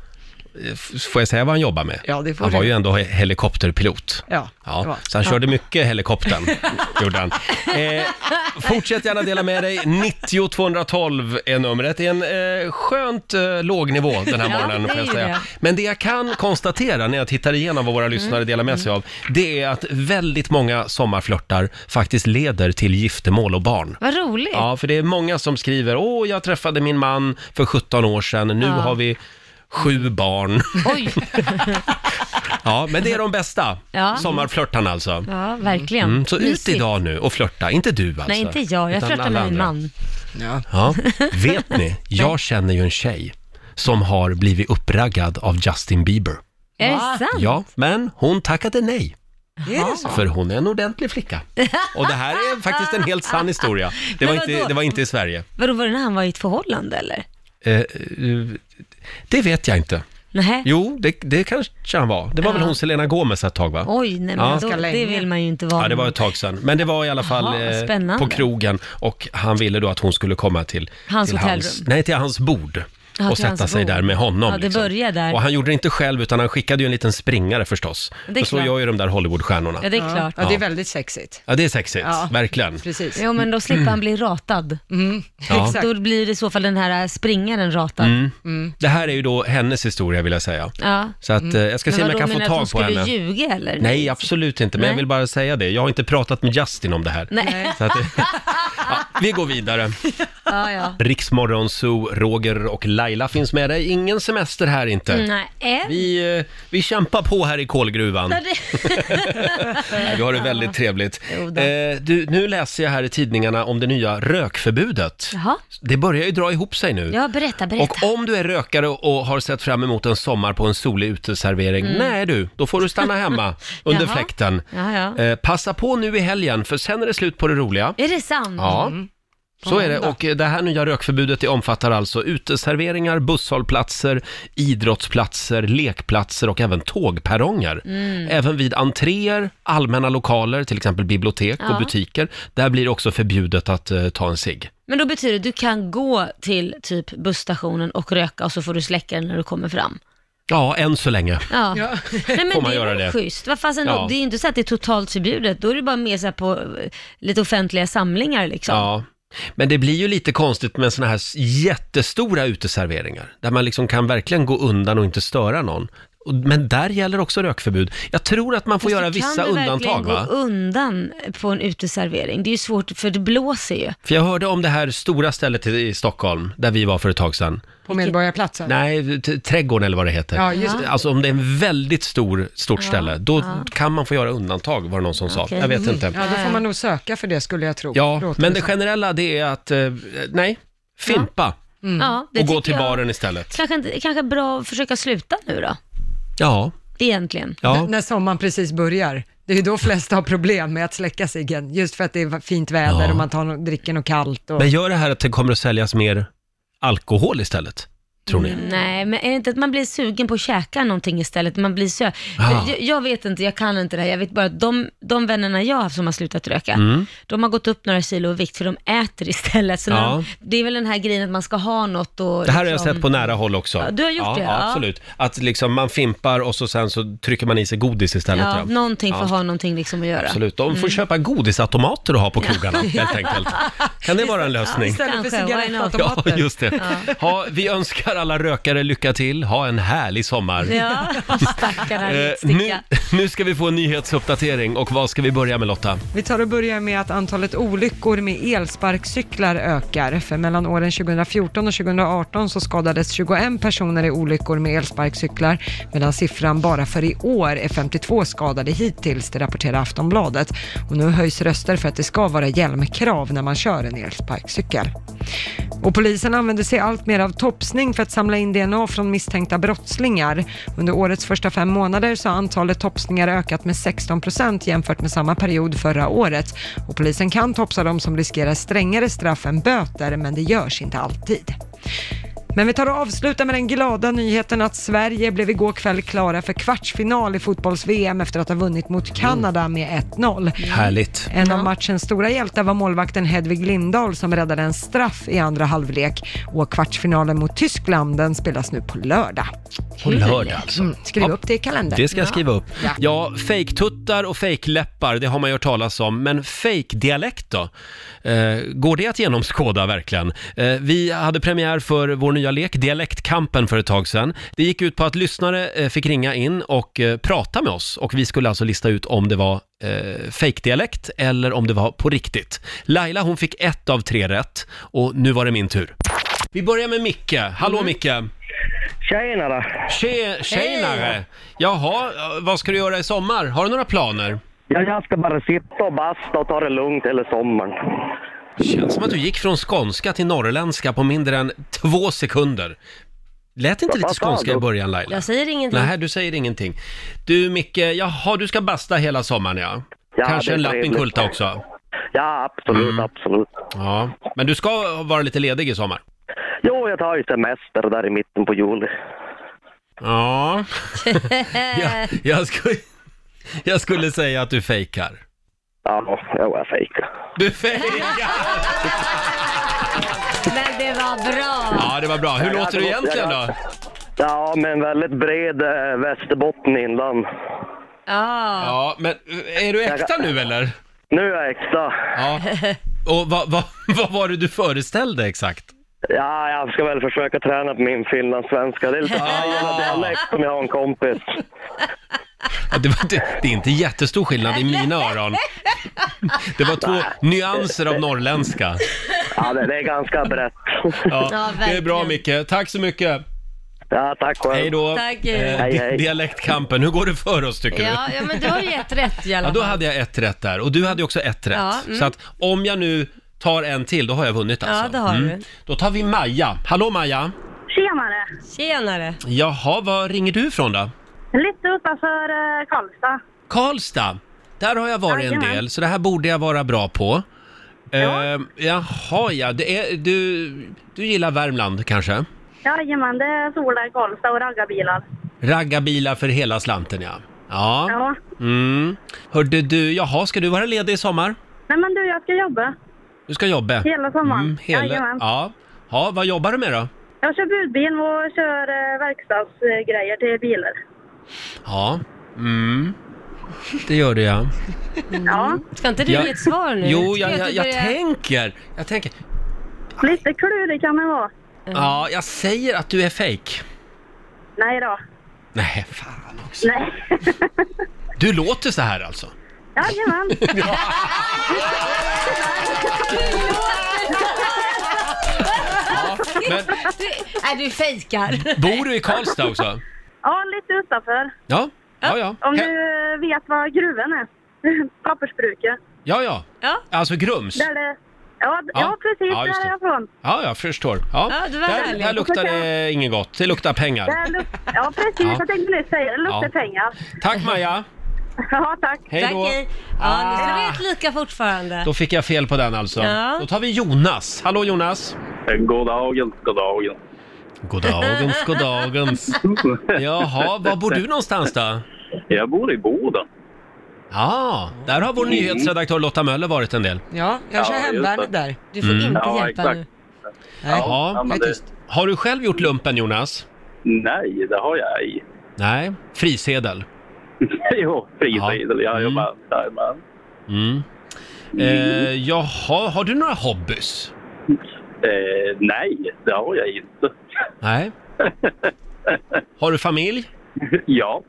Speaker 1: f- får jag säga vad han jobbar med?
Speaker 3: Ja, det får
Speaker 1: han var
Speaker 3: du.
Speaker 1: ju ändå he- helikopterpilot.
Speaker 3: Ja, det
Speaker 1: Ja,
Speaker 3: var-
Speaker 1: så han
Speaker 3: Ja.
Speaker 1: körde mycket helikoptern, gjorde han. Eh, fortsätt gärna dela med dig, 90 212 är numret. Det är en eh, skönt eh, låg nivå den här
Speaker 11: Ja,
Speaker 1: morgonen,
Speaker 11: det
Speaker 1: får jag
Speaker 11: är ju
Speaker 1: säga.
Speaker 11: det.
Speaker 1: Men det jag kan konstatera när jag tittar igenom vad våra
Speaker 3: Mm.
Speaker 1: lyssnare delar med sig av, det är att väldigt många sommarflörtar faktiskt leder till giftermål och barn.
Speaker 2: Vad roligt.
Speaker 1: Ja, för det är många som skriver “Åh, jag träffade min man för 17 år sedan, nu
Speaker 2: Ja.
Speaker 1: har vi sju barn”.
Speaker 2: Oj.
Speaker 1: Ja, men det är de bästa
Speaker 2: Ja.
Speaker 1: sommarflörtarna alltså.
Speaker 2: Ja, verkligen.
Speaker 1: Mm, så ut
Speaker 2: Mysigt.
Speaker 1: idag nu och flörta, inte du alltså.
Speaker 2: Nej, inte jag. Jag
Speaker 1: utan
Speaker 2: flörtar
Speaker 1: alla
Speaker 2: med min
Speaker 1: andra.
Speaker 2: man.
Speaker 1: Ja, vet ni, jag känner ju en tjej som har blivit uppraggad av Justin Bieber.
Speaker 2: Är det sant?
Speaker 1: Ja, men hon tackade nej.
Speaker 2: Är det så?
Speaker 1: För hon är en ordentlig flicka. Och det här är faktiskt en helt sann historia. Det var,
Speaker 2: Men
Speaker 1: inte,
Speaker 2: vadå?
Speaker 1: det var inte i Sverige.
Speaker 2: Vadå, var det när han var i ett förhållande eller?
Speaker 1: Eh, eh, det vet jag inte.
Speaker 2: Nej.
Speaker 1: Jo, det, det kanske han var. Det var väl
Speaker 2: Ja.
Speaker 1: hon Selena Gomez ett tag va?
Speaker 2: Oj, nej men
Speaker 1: Ja.
Speaker 2: då, det vill man ju inte vara.
Speaker 1: Ja, det var
Speaker 2: med.
Speaker 1: ett tag sedan. Men det var i alla fall
Speaker 2: Jaha,
Speaker 1: eh,
Speaker 2: spännande.
Speaker 1: på krogen och han ville då att hon skulle komma till
Speaker 2: Hans
Speaker 1: till
Speaker 2: hotellrum.
Speaker 1: nej, till hans bord.
Speaker 2: Ja,
Speaker 1: och
Speaker 2: till
Speaker 1: sätta
Speaker 2: hans
Speaker 1: sig
Speaker 2: bord.
Speaker 1: där med honom.
Speaker 2: Ja, det
Speaker 1: liksom.
Speaker 2: börjar där.
Speaker 1: Och han gjorde det inte själv, utan han skickade ju en liten springare förstås.
Speaker 2: Det är
Speaker 1: För så
Speaker 2: klart.
Speaker 1: gör ju de där Hollywoodstjärnorna.
Speaker 2: Ja, det är klart.
Speaker 1: Ja, det är,
Speaker 3: väldigt sexigt.
Speaker 1: sexigt,
Speaker 2: Ja.
Speaker 1: verkligen.
Speaker 3: Precis.
Speaker 2: Jo, men då slipper han bli ratad.
Speaker 3: Mm.
Speaker 1: Ja.
Speaker 2: Exakt. Då blir det i så fall den här äh, springaren ratad.
Speaker 1: Mm. Det här är ju då hennes historia vill jag säga.
Speaker 2: Ja. Mm.
Speaker 1: Så
Speaker 3: Mm.
Speaker 1: att, eh, jag ska se om
Speaker 2: Men
Speaker 1: jag kan
Speaker 2: vadå,
Speaker 1: få
Speaker 2: menar du
Speaker 1: tag
Speaker 2: att
Speaker 1: på
Speaker 2: hon
Speaker 1: henne.
Speaker 2: skulle ljuga eller?
Speaker 1: Nej, absolut inte. Men
Speaker 2: Nej.
Speaker 1: jag vill bara säga det. Jag har inte pratat med Justin om det här.
Speaker 2: Nej.
Speaker 1: Så att, det- ja, vi går vidare.
Speaker 2: ja, ja.
Speaker 1: Riksmorgon Zoo, Roger och Laila finns med dig. Ingen semester här inte.
Speaker 2: Mm, Nej.
Speaker 1: Vi, eh, vi kämpar på här i kolgruvan.
Speaker 2: Ja, det-
Speaker 1: Nej, Vi har det väldigt trevligt.
Speaker 2: Jo då.
Speaker 1: Eh, du, nu läser jag här i tidningarna om det nya rökförbudet.
Speaker 2: Jaha.
Speaker 1: Det börjar ju dra ihop sig nu.
Speaker 2: Ja, berätta, berätta.
Speaker 1: Och om du är rökare och har sett fram emot en sommar på en solig uteservering,
Speaker 2: Mm.
Speaker 1: nej du, då får du stanna hemma under
Speaker 2: Jaha.
Speaker 1: fläkten.
Speaker 2: Ja, ja.
Speaker 1: Eh, passa på nu i helgen, för sen är det slut på det roliga.
Speaker 2: Är det sant?
Speaker 1: Ja.
Speaker 2: Mm.
Speaker 1: Så är det och eh, det här nya rökförbudet det omfattar alltså uteserveringar, busshållplatser, idrottsplatser, lekplatser och även tågperronger.
Speaker 11: Mm.
Speaker 1: Även vid entréer, allmänna lokaler, till exempel bibliotek
Speaker 2: Ja.
Speaker 1: och butiker, där blir det också förbjudet att eh, ta en cigg.
Speaker 2: Men då betyder det att du kan gå till typ busstationen och röka och så får du släcka den när du kommer fram.
Speaker 1: Ja, än så länge.
Speaker 2: Ja. Nej, men
Speaker 1: Får man
Speaker 2: det
Speaker 1: göra
Speaker 2: är
Speaker 1: det?
Speaker 2: väl schysst. Vad fasen,
Speaker 1: Ja.
Speaker 2: Det är ju inte så att det är totalt förbjudet. Då är det bara mer så här på eh, lite offentliga samlingar liksom.
Speaker 1: Ja. Men det blir ju lite konstigt med såna här jättestora uteserveringar, där man liksom kan verkligen gå undan och inte störa någon. Och- Men där gäller också rökförbud. Jag tror att man får
Speaker 2: Fast
Speaker 1: göra
Speaker 2: du
Speaker 1: vissa
Speaker 2: Kan du
Speaker 1: undantag,
Speaker 2: verkligen
Speaker 1: va?
Speaker 2: gå undan på en uteservering? Det är ju svårt, för det blåser ju.
Speaker 1: För jag hörde om det här stora stället i i Stockholm, där vi var för ett tag sedan.
Speaker 3: På Medborgarplatsen?
Speaker 1: Nej, t- trädgården eller vad det heter.
Speaker 3: Ja, just det.
Speaker 1: Alltså om det är en väldigt stor, stort
Speaker 3: Ja,
Speaker 1: ställe, då
Speaker 3: ja.
Speaker 1: kan man få göra undantag var det någon som sa. Jag vet inte.
Speaker 3: Ja, då får man nog söka för det skulle jag tro.
Speaker 1: Ja,
Speaker 3: Låter
Speaker 1: men
Speaker 3: det
Speaker 1: det
Speaker 3: som.
Speaker 1: generella det är att, eh, nej, fimpa
Speaker 3: Mm.
Speaker 2: Ja, det
Speaker 1: och gå
Speaker 2: tycker
Speaker 1: till
Speaker 2: jag.
Speaker 1: baren istället.
Speaker 2: Kanske, inte- kanske bra att försöka sluta nu då,
Speaker 1: Ja,
Speaker 2: egentligen.
Speaker 1: Ja.
Speaker 3: N- När sommaren precis börjar. Det är ju då flesta har problem med att släcka ciggen, just för att det är fint väder
Speaker 1: Ja.
Speaker 3: och man tar no- dricker något kallt. Och...
Speaker 1: men gör det här att det kommer att säljas mer alkohol istället, tror ni?
Speaker 2: Mm, Nej, men är det inte att man blir sugen på att käka någonting istället? Man blir så...
Speaker 1: Ah.
Speaker 2: Jag, jag vet inte, jag kan inte det här. Jag vet bara att de, de vännerna jag har haft som har slutat röka,
Speaker 1: Mm.
Speaker 2: de har gått upp några kilo i vikt för de äter istället. Så när
Speaker 1: Ja.
Speaker 2: de, det är väl den här grejen att man ska ha något och...
Speaker 1: Det här har jag
Speaker 2: liksom-
Speaker 1: sett på nära håll också.
Speaker 2: Ja, du har gjort
Speaker 1: ja,
Speaker 2: det,
Speaker 1: Ja,
Speaker 2: ja.
Speaker 1: absolut. Att liksom man fimpar och så sen så trycker man i sig godis istället.
Speaker 2: Ja,
Speaker 1: ja.
Speaker 2: någonting för
Speaker 1: Ja.
Speaker 2: att ha någonting liksom att göra.
Speaker 1: Absolut. De får köpa godisautomater att ha på krogarna, helt enkelt. Kan det vara en lösning?
Speaker 3: Istället för
Speaker 2: Kanske, why not?
Speaker 1: Ja,
Speaker 3: cigarettautomater.
Speaker 1: just det. Ha, vi önskar alla rökare lycka till. Ha en härlig sommar.
Speaker 2: Ja, stackarna
Speaker 1: Eh, nu, nu ska vi få en nyhetsuppdatering och vad ska vi börja med Lotta?
Speaker 3: Vi tar och börjar med att antalet olyckor med elsparkcyklar ökar. För mellan åren 2014 och 2018 så skadades 21 personer i olyckor med elsparkcyklar medan siffran bara för i år är 52 skadade hittills, det rapporterar Aftonbladet. Och nu höjs röster för att det ska vara hjälmkrav när man kör en elsparkcykel. Och polisen använder sig allt mer av topsning för att samla in DNA från misstänkta brottslingar. Under årets första fem månader så har antalet topsningar ökat med 16 procent jämfört med samma period förra året. Och polisen kan topsa de som riskerar strängare straff än böter, men det görs inte alltid. Men vi tar och avslutar med den glada nyheten att Sverige blev igår kväll klara för kvartsfinal i fotbolls-VM efter att ha vunnit mot Kanada med 1-0.
Speaker 1: Härligt.
Speaker 3: En av matchens stora hjältar var målvakten Hedvig Lindahl som räddade en straff i andra halvlek. Och kvartsfinalen mot Tyskland, den spelas nu på lördag.
Speaker 1: På lördag alltså.
Speaker 3: Mm, skriv
Speaker 1: Ja,
Speaker 3: upp det i kalendern.
Speaker 1: Det ska jag
Speaker 3: Ja.
Speaker 1: skriva upp.
Speaker 3: Ja.
Speaker 1: Ja, fejktuttar och fejkläppar, det har man ju hört talas om. Men fejkdialekt då? Eh, går det att genomskåda verkligen? Eh, vi hade premiär för vår nya lek, Dialektkampen, för ett tag sedan. Det gick ut på att lyssnare eh, fick ringa in och eh, prata med oss. Och vi skulle alltså lista ut om det var eh, fejkdialekt eller om det var på riktigt. Laila, hon fick ett av tre rätt. Och nu var det min tur. Vi börjar med Micke. Hallå Micke!
Speaker 24: Mm. Tjenare!
Speaker 1: Tje, tjenare! Jaha, vad ska du göra i sommar? Har du några planer?
Speaker 24: Ja, jag ska bara sitta och basta och ta det lugnt hela sommaren.
Speaker 1: Känns som att du gick från skånska till norrländska på mindre än två sekunder. Lät inte
Speaker 24: Vad
Speaker 1: lite
Speaker 24: sa
Speaker 1: skånska i
Speaker 24: du?
Speaker 1: början Laila?
Speaker 2: Jag säger ingenting.
Speaker 1: Nej, du säger ingenting. Du Micke, jaha du ska basta hela sommaren ja.
Speaker 24: Ja,
Speaker 1: Kanske
Speaker 24: det är
Speaker 1: en
Speaker 24: trevligt.
Speaker 1: lappinkulta också. Mm.
Speaker 24: Ja, absolut, absolut.
Speaker 1: Ja, men du ska vara lite ledig i sommar.
Speaker 24: Jo, jag tar ju semester där i mitten på juli.
Speaker 1: Ja, jag, jag, skulle, jag skulle säga att du fejkar.
Speaker 24: Ja, jag fejkar.
Speaker 1: Du fejkar!
Speaker 2: Men det var bra.
Speaker 1: Ja, det var bra. Hur
Speaker 24: Ja,
Speaker 1: låter du
Speaker 24: jag-
Speaker 1: egentligen då?
Speaker 24: Ja, men väldigt bred äh, Västerbotten inland.
Speaker 2: Ja.
Speaker 1: Ja, men eh, är du äkta nu eller?
Speaker 24: Nu är jag äkta.
Speaker 1: Ja. Och vad, vad, vad var det du föreställde exakt?
Speaker 24: Ja, jag ska väl försöka träna på min finlandssvenska. Det är lite Pajala dialekt som jag har en kompis.
Speaker 1: Ja, Det, var, det, det är inte jättestor skillnad i mina öron. Det var två nyanser av norrländska.
Speaker 24: Ja, det, det är ganska brett.
Speaker 1: Ja, det är bra Micke. Tack så mycket.
Speaker 24: Ja, tack själv.
Speaker 1: Hej då.
Speaker 2: Tack, hej.
Speaker 1: Eh,
Speaker 2: Hej,
Speaker 1: di-
Speaker 24: hej.
Speaker 1: Dialektkampen, hur går det för oss tycker
Speaker 2: Ja,
Speaker 1: du?
Speaker 2: ja, men du har ju ett rätt i alla
Speaker 1: Ja,
Speaker 2: fall.
Speaker 1: då hade jag ett rätt där och du hade ju också ett rätt.
Speaker 2: Ja, mm.
Speaker 1: Så att om jag nu tar en till, då har jag vunnit
Speaker 2: Ja,
Speaker 1: alltså.
Speaker 2: det har du.
Speaker 1: Då tar vi Maja. Hallå Maja!
Speaker 9: Tjenare!
Speaker 2: Tjenare!
Speaker 1: Jaha, var ringer du ifrån då?
Speaker 9: Lite utanför eh, Karlstad.
Speaker 1: Karlstad, där har jag varit en
Speaker 9: Jajamän.
Speaker 1: del, så det här borde jag vara bra på. Eh, jaha, ja. Det är, du, du gillar Värmland kanske?
Speaker 9: Jajamän, det är solar, Karlstad och raggarbilar.
Speaker 1: Raggarbilar för hela slanten, ja. Ja.
Speaker 9: Ja.
Speaker 1: Mm. Hörde du, jaha, ska du vara ledig i sommar?
Speaker 9: Nej men du, jag ska jobba.
Speaker 1: Du ska jobba? Mm,
Speaker 9: Hela sommaren.
Speaker 1: hela,
Speaker 9: Jajamän.
Speaker 1: ja. ja. Vad jobbar du med då?
Speaker 9: Jag kör budbil och kör eh, verkstadsgrejer till bilar.
Speaker 1: Ja. Mm. Det gör du ja.
Speaker 9: Ja.
Speaker 2: Ska inte du
Speaker 1: Mm. Ja.
Speaker 2: ge ett svar nu?
Speaker 1: Jo,
Speaker 2: Ska
Speaker 1: jag, jag,
Speaker 2: du
Speaker 1: jag
Speaker 2: börja-
Speaker 1: tänker. Jag tänker.
Speaker 9: Lite klurig kan det vara.
Speaker 1: Ja, jag säger att du är fake.
Speaker 9: Nej då.
Speaker 1: Nej, fan.
Speaker 9: Nej.
Speaker 1: Du låter så här alltså?
Speaker 9: Jajamän.
Speaker 1: men-
Speaker 2: Nej, du fejkar.
Speaker 1: Bor du i Karlstad också?
Speaker 9: Ja, lite utanför.
Speaker 1: Ja, ja, ja.
Speaker 9: Om
Speaker 1: He-
Speaker 9: du eh, vet vad gruvan är. Pappersbruket.
Speaker 1: Ja, ja.
Speaker 2: Ja.
Speaker 1: Alltså Grums?
Speaker 9: Där det... ja, d-
Speaker 1: Ja.
Speaker 9: ja, precis.
Speaker 1: Ja, just
Speaker 9: där är
Speaker 1: det.
Speaker 9: jag från.
Speaker 1: Ja, jag förstår. Ja.
Speaker 9: Ja, det var
Speaker 1: där,
Speaker 9: härligt.
Speaker 1: där luktar det inget gott. Det luktar pengar.
Speaker 9: Där luk- ja, precis.
Speaker 1: Ja.
Speaker 9: Jag tänkte nyss säga det. luktar
Speaker 1: Ja.
Speaker 9: pengar.
Speaker 1: Tack Maja!
Speaker 9: Ja, tack. Ah.
Speaker 1: Hej då.
Speaker 2: Tack, hej. Ja, nu står det helt lika fortfarande.
Speaker 1: Då fick jag fel på den alltså.
Speaker 2: Ja.
Speaker 1: Då tar vi Jonas. Hallå Jonas!
Speaker 25: Goddagen, goddagen.
Speaker 1: Goddagens, goddagens. Jaha, var bor du någonstans då?
Speaker 25: Jag bor i Boden.
Speaker 1: Ja, där har vår
Speaker 25: Mm.
Speaker 1: nyhetsredaktör Lotta Möller varit en del.
Speaker 3: Ja, jag kör
Speaker 25: Ja, just
Speaker 3: hemvärnet
Speaker 25: det.
Speaker 3: där.
Speaker 25: Du får Mm. inte Ja, hjälpa exakt. nu.
Speaker 3: Nej.
Speaker 1: Ja,
Speaker 25: Ja, men
Speaker 1: det...
Speaker 25: det-
Speaker 1: Har du själv gjort lumpen Jonas?
Speaker 25: Nej, det har jag ej.
Speaker 1: Nej, frisedel.
Speaker 25: jo, frisedel. Jag jobbar jajamän.
Speaker 1: Mm. Eh, jaha, har du några hobbys?
Speaker 25: Eh, nej, det har jag inte.
Speaker 1: Nej. Har du familj?
Speaker 25: Ja,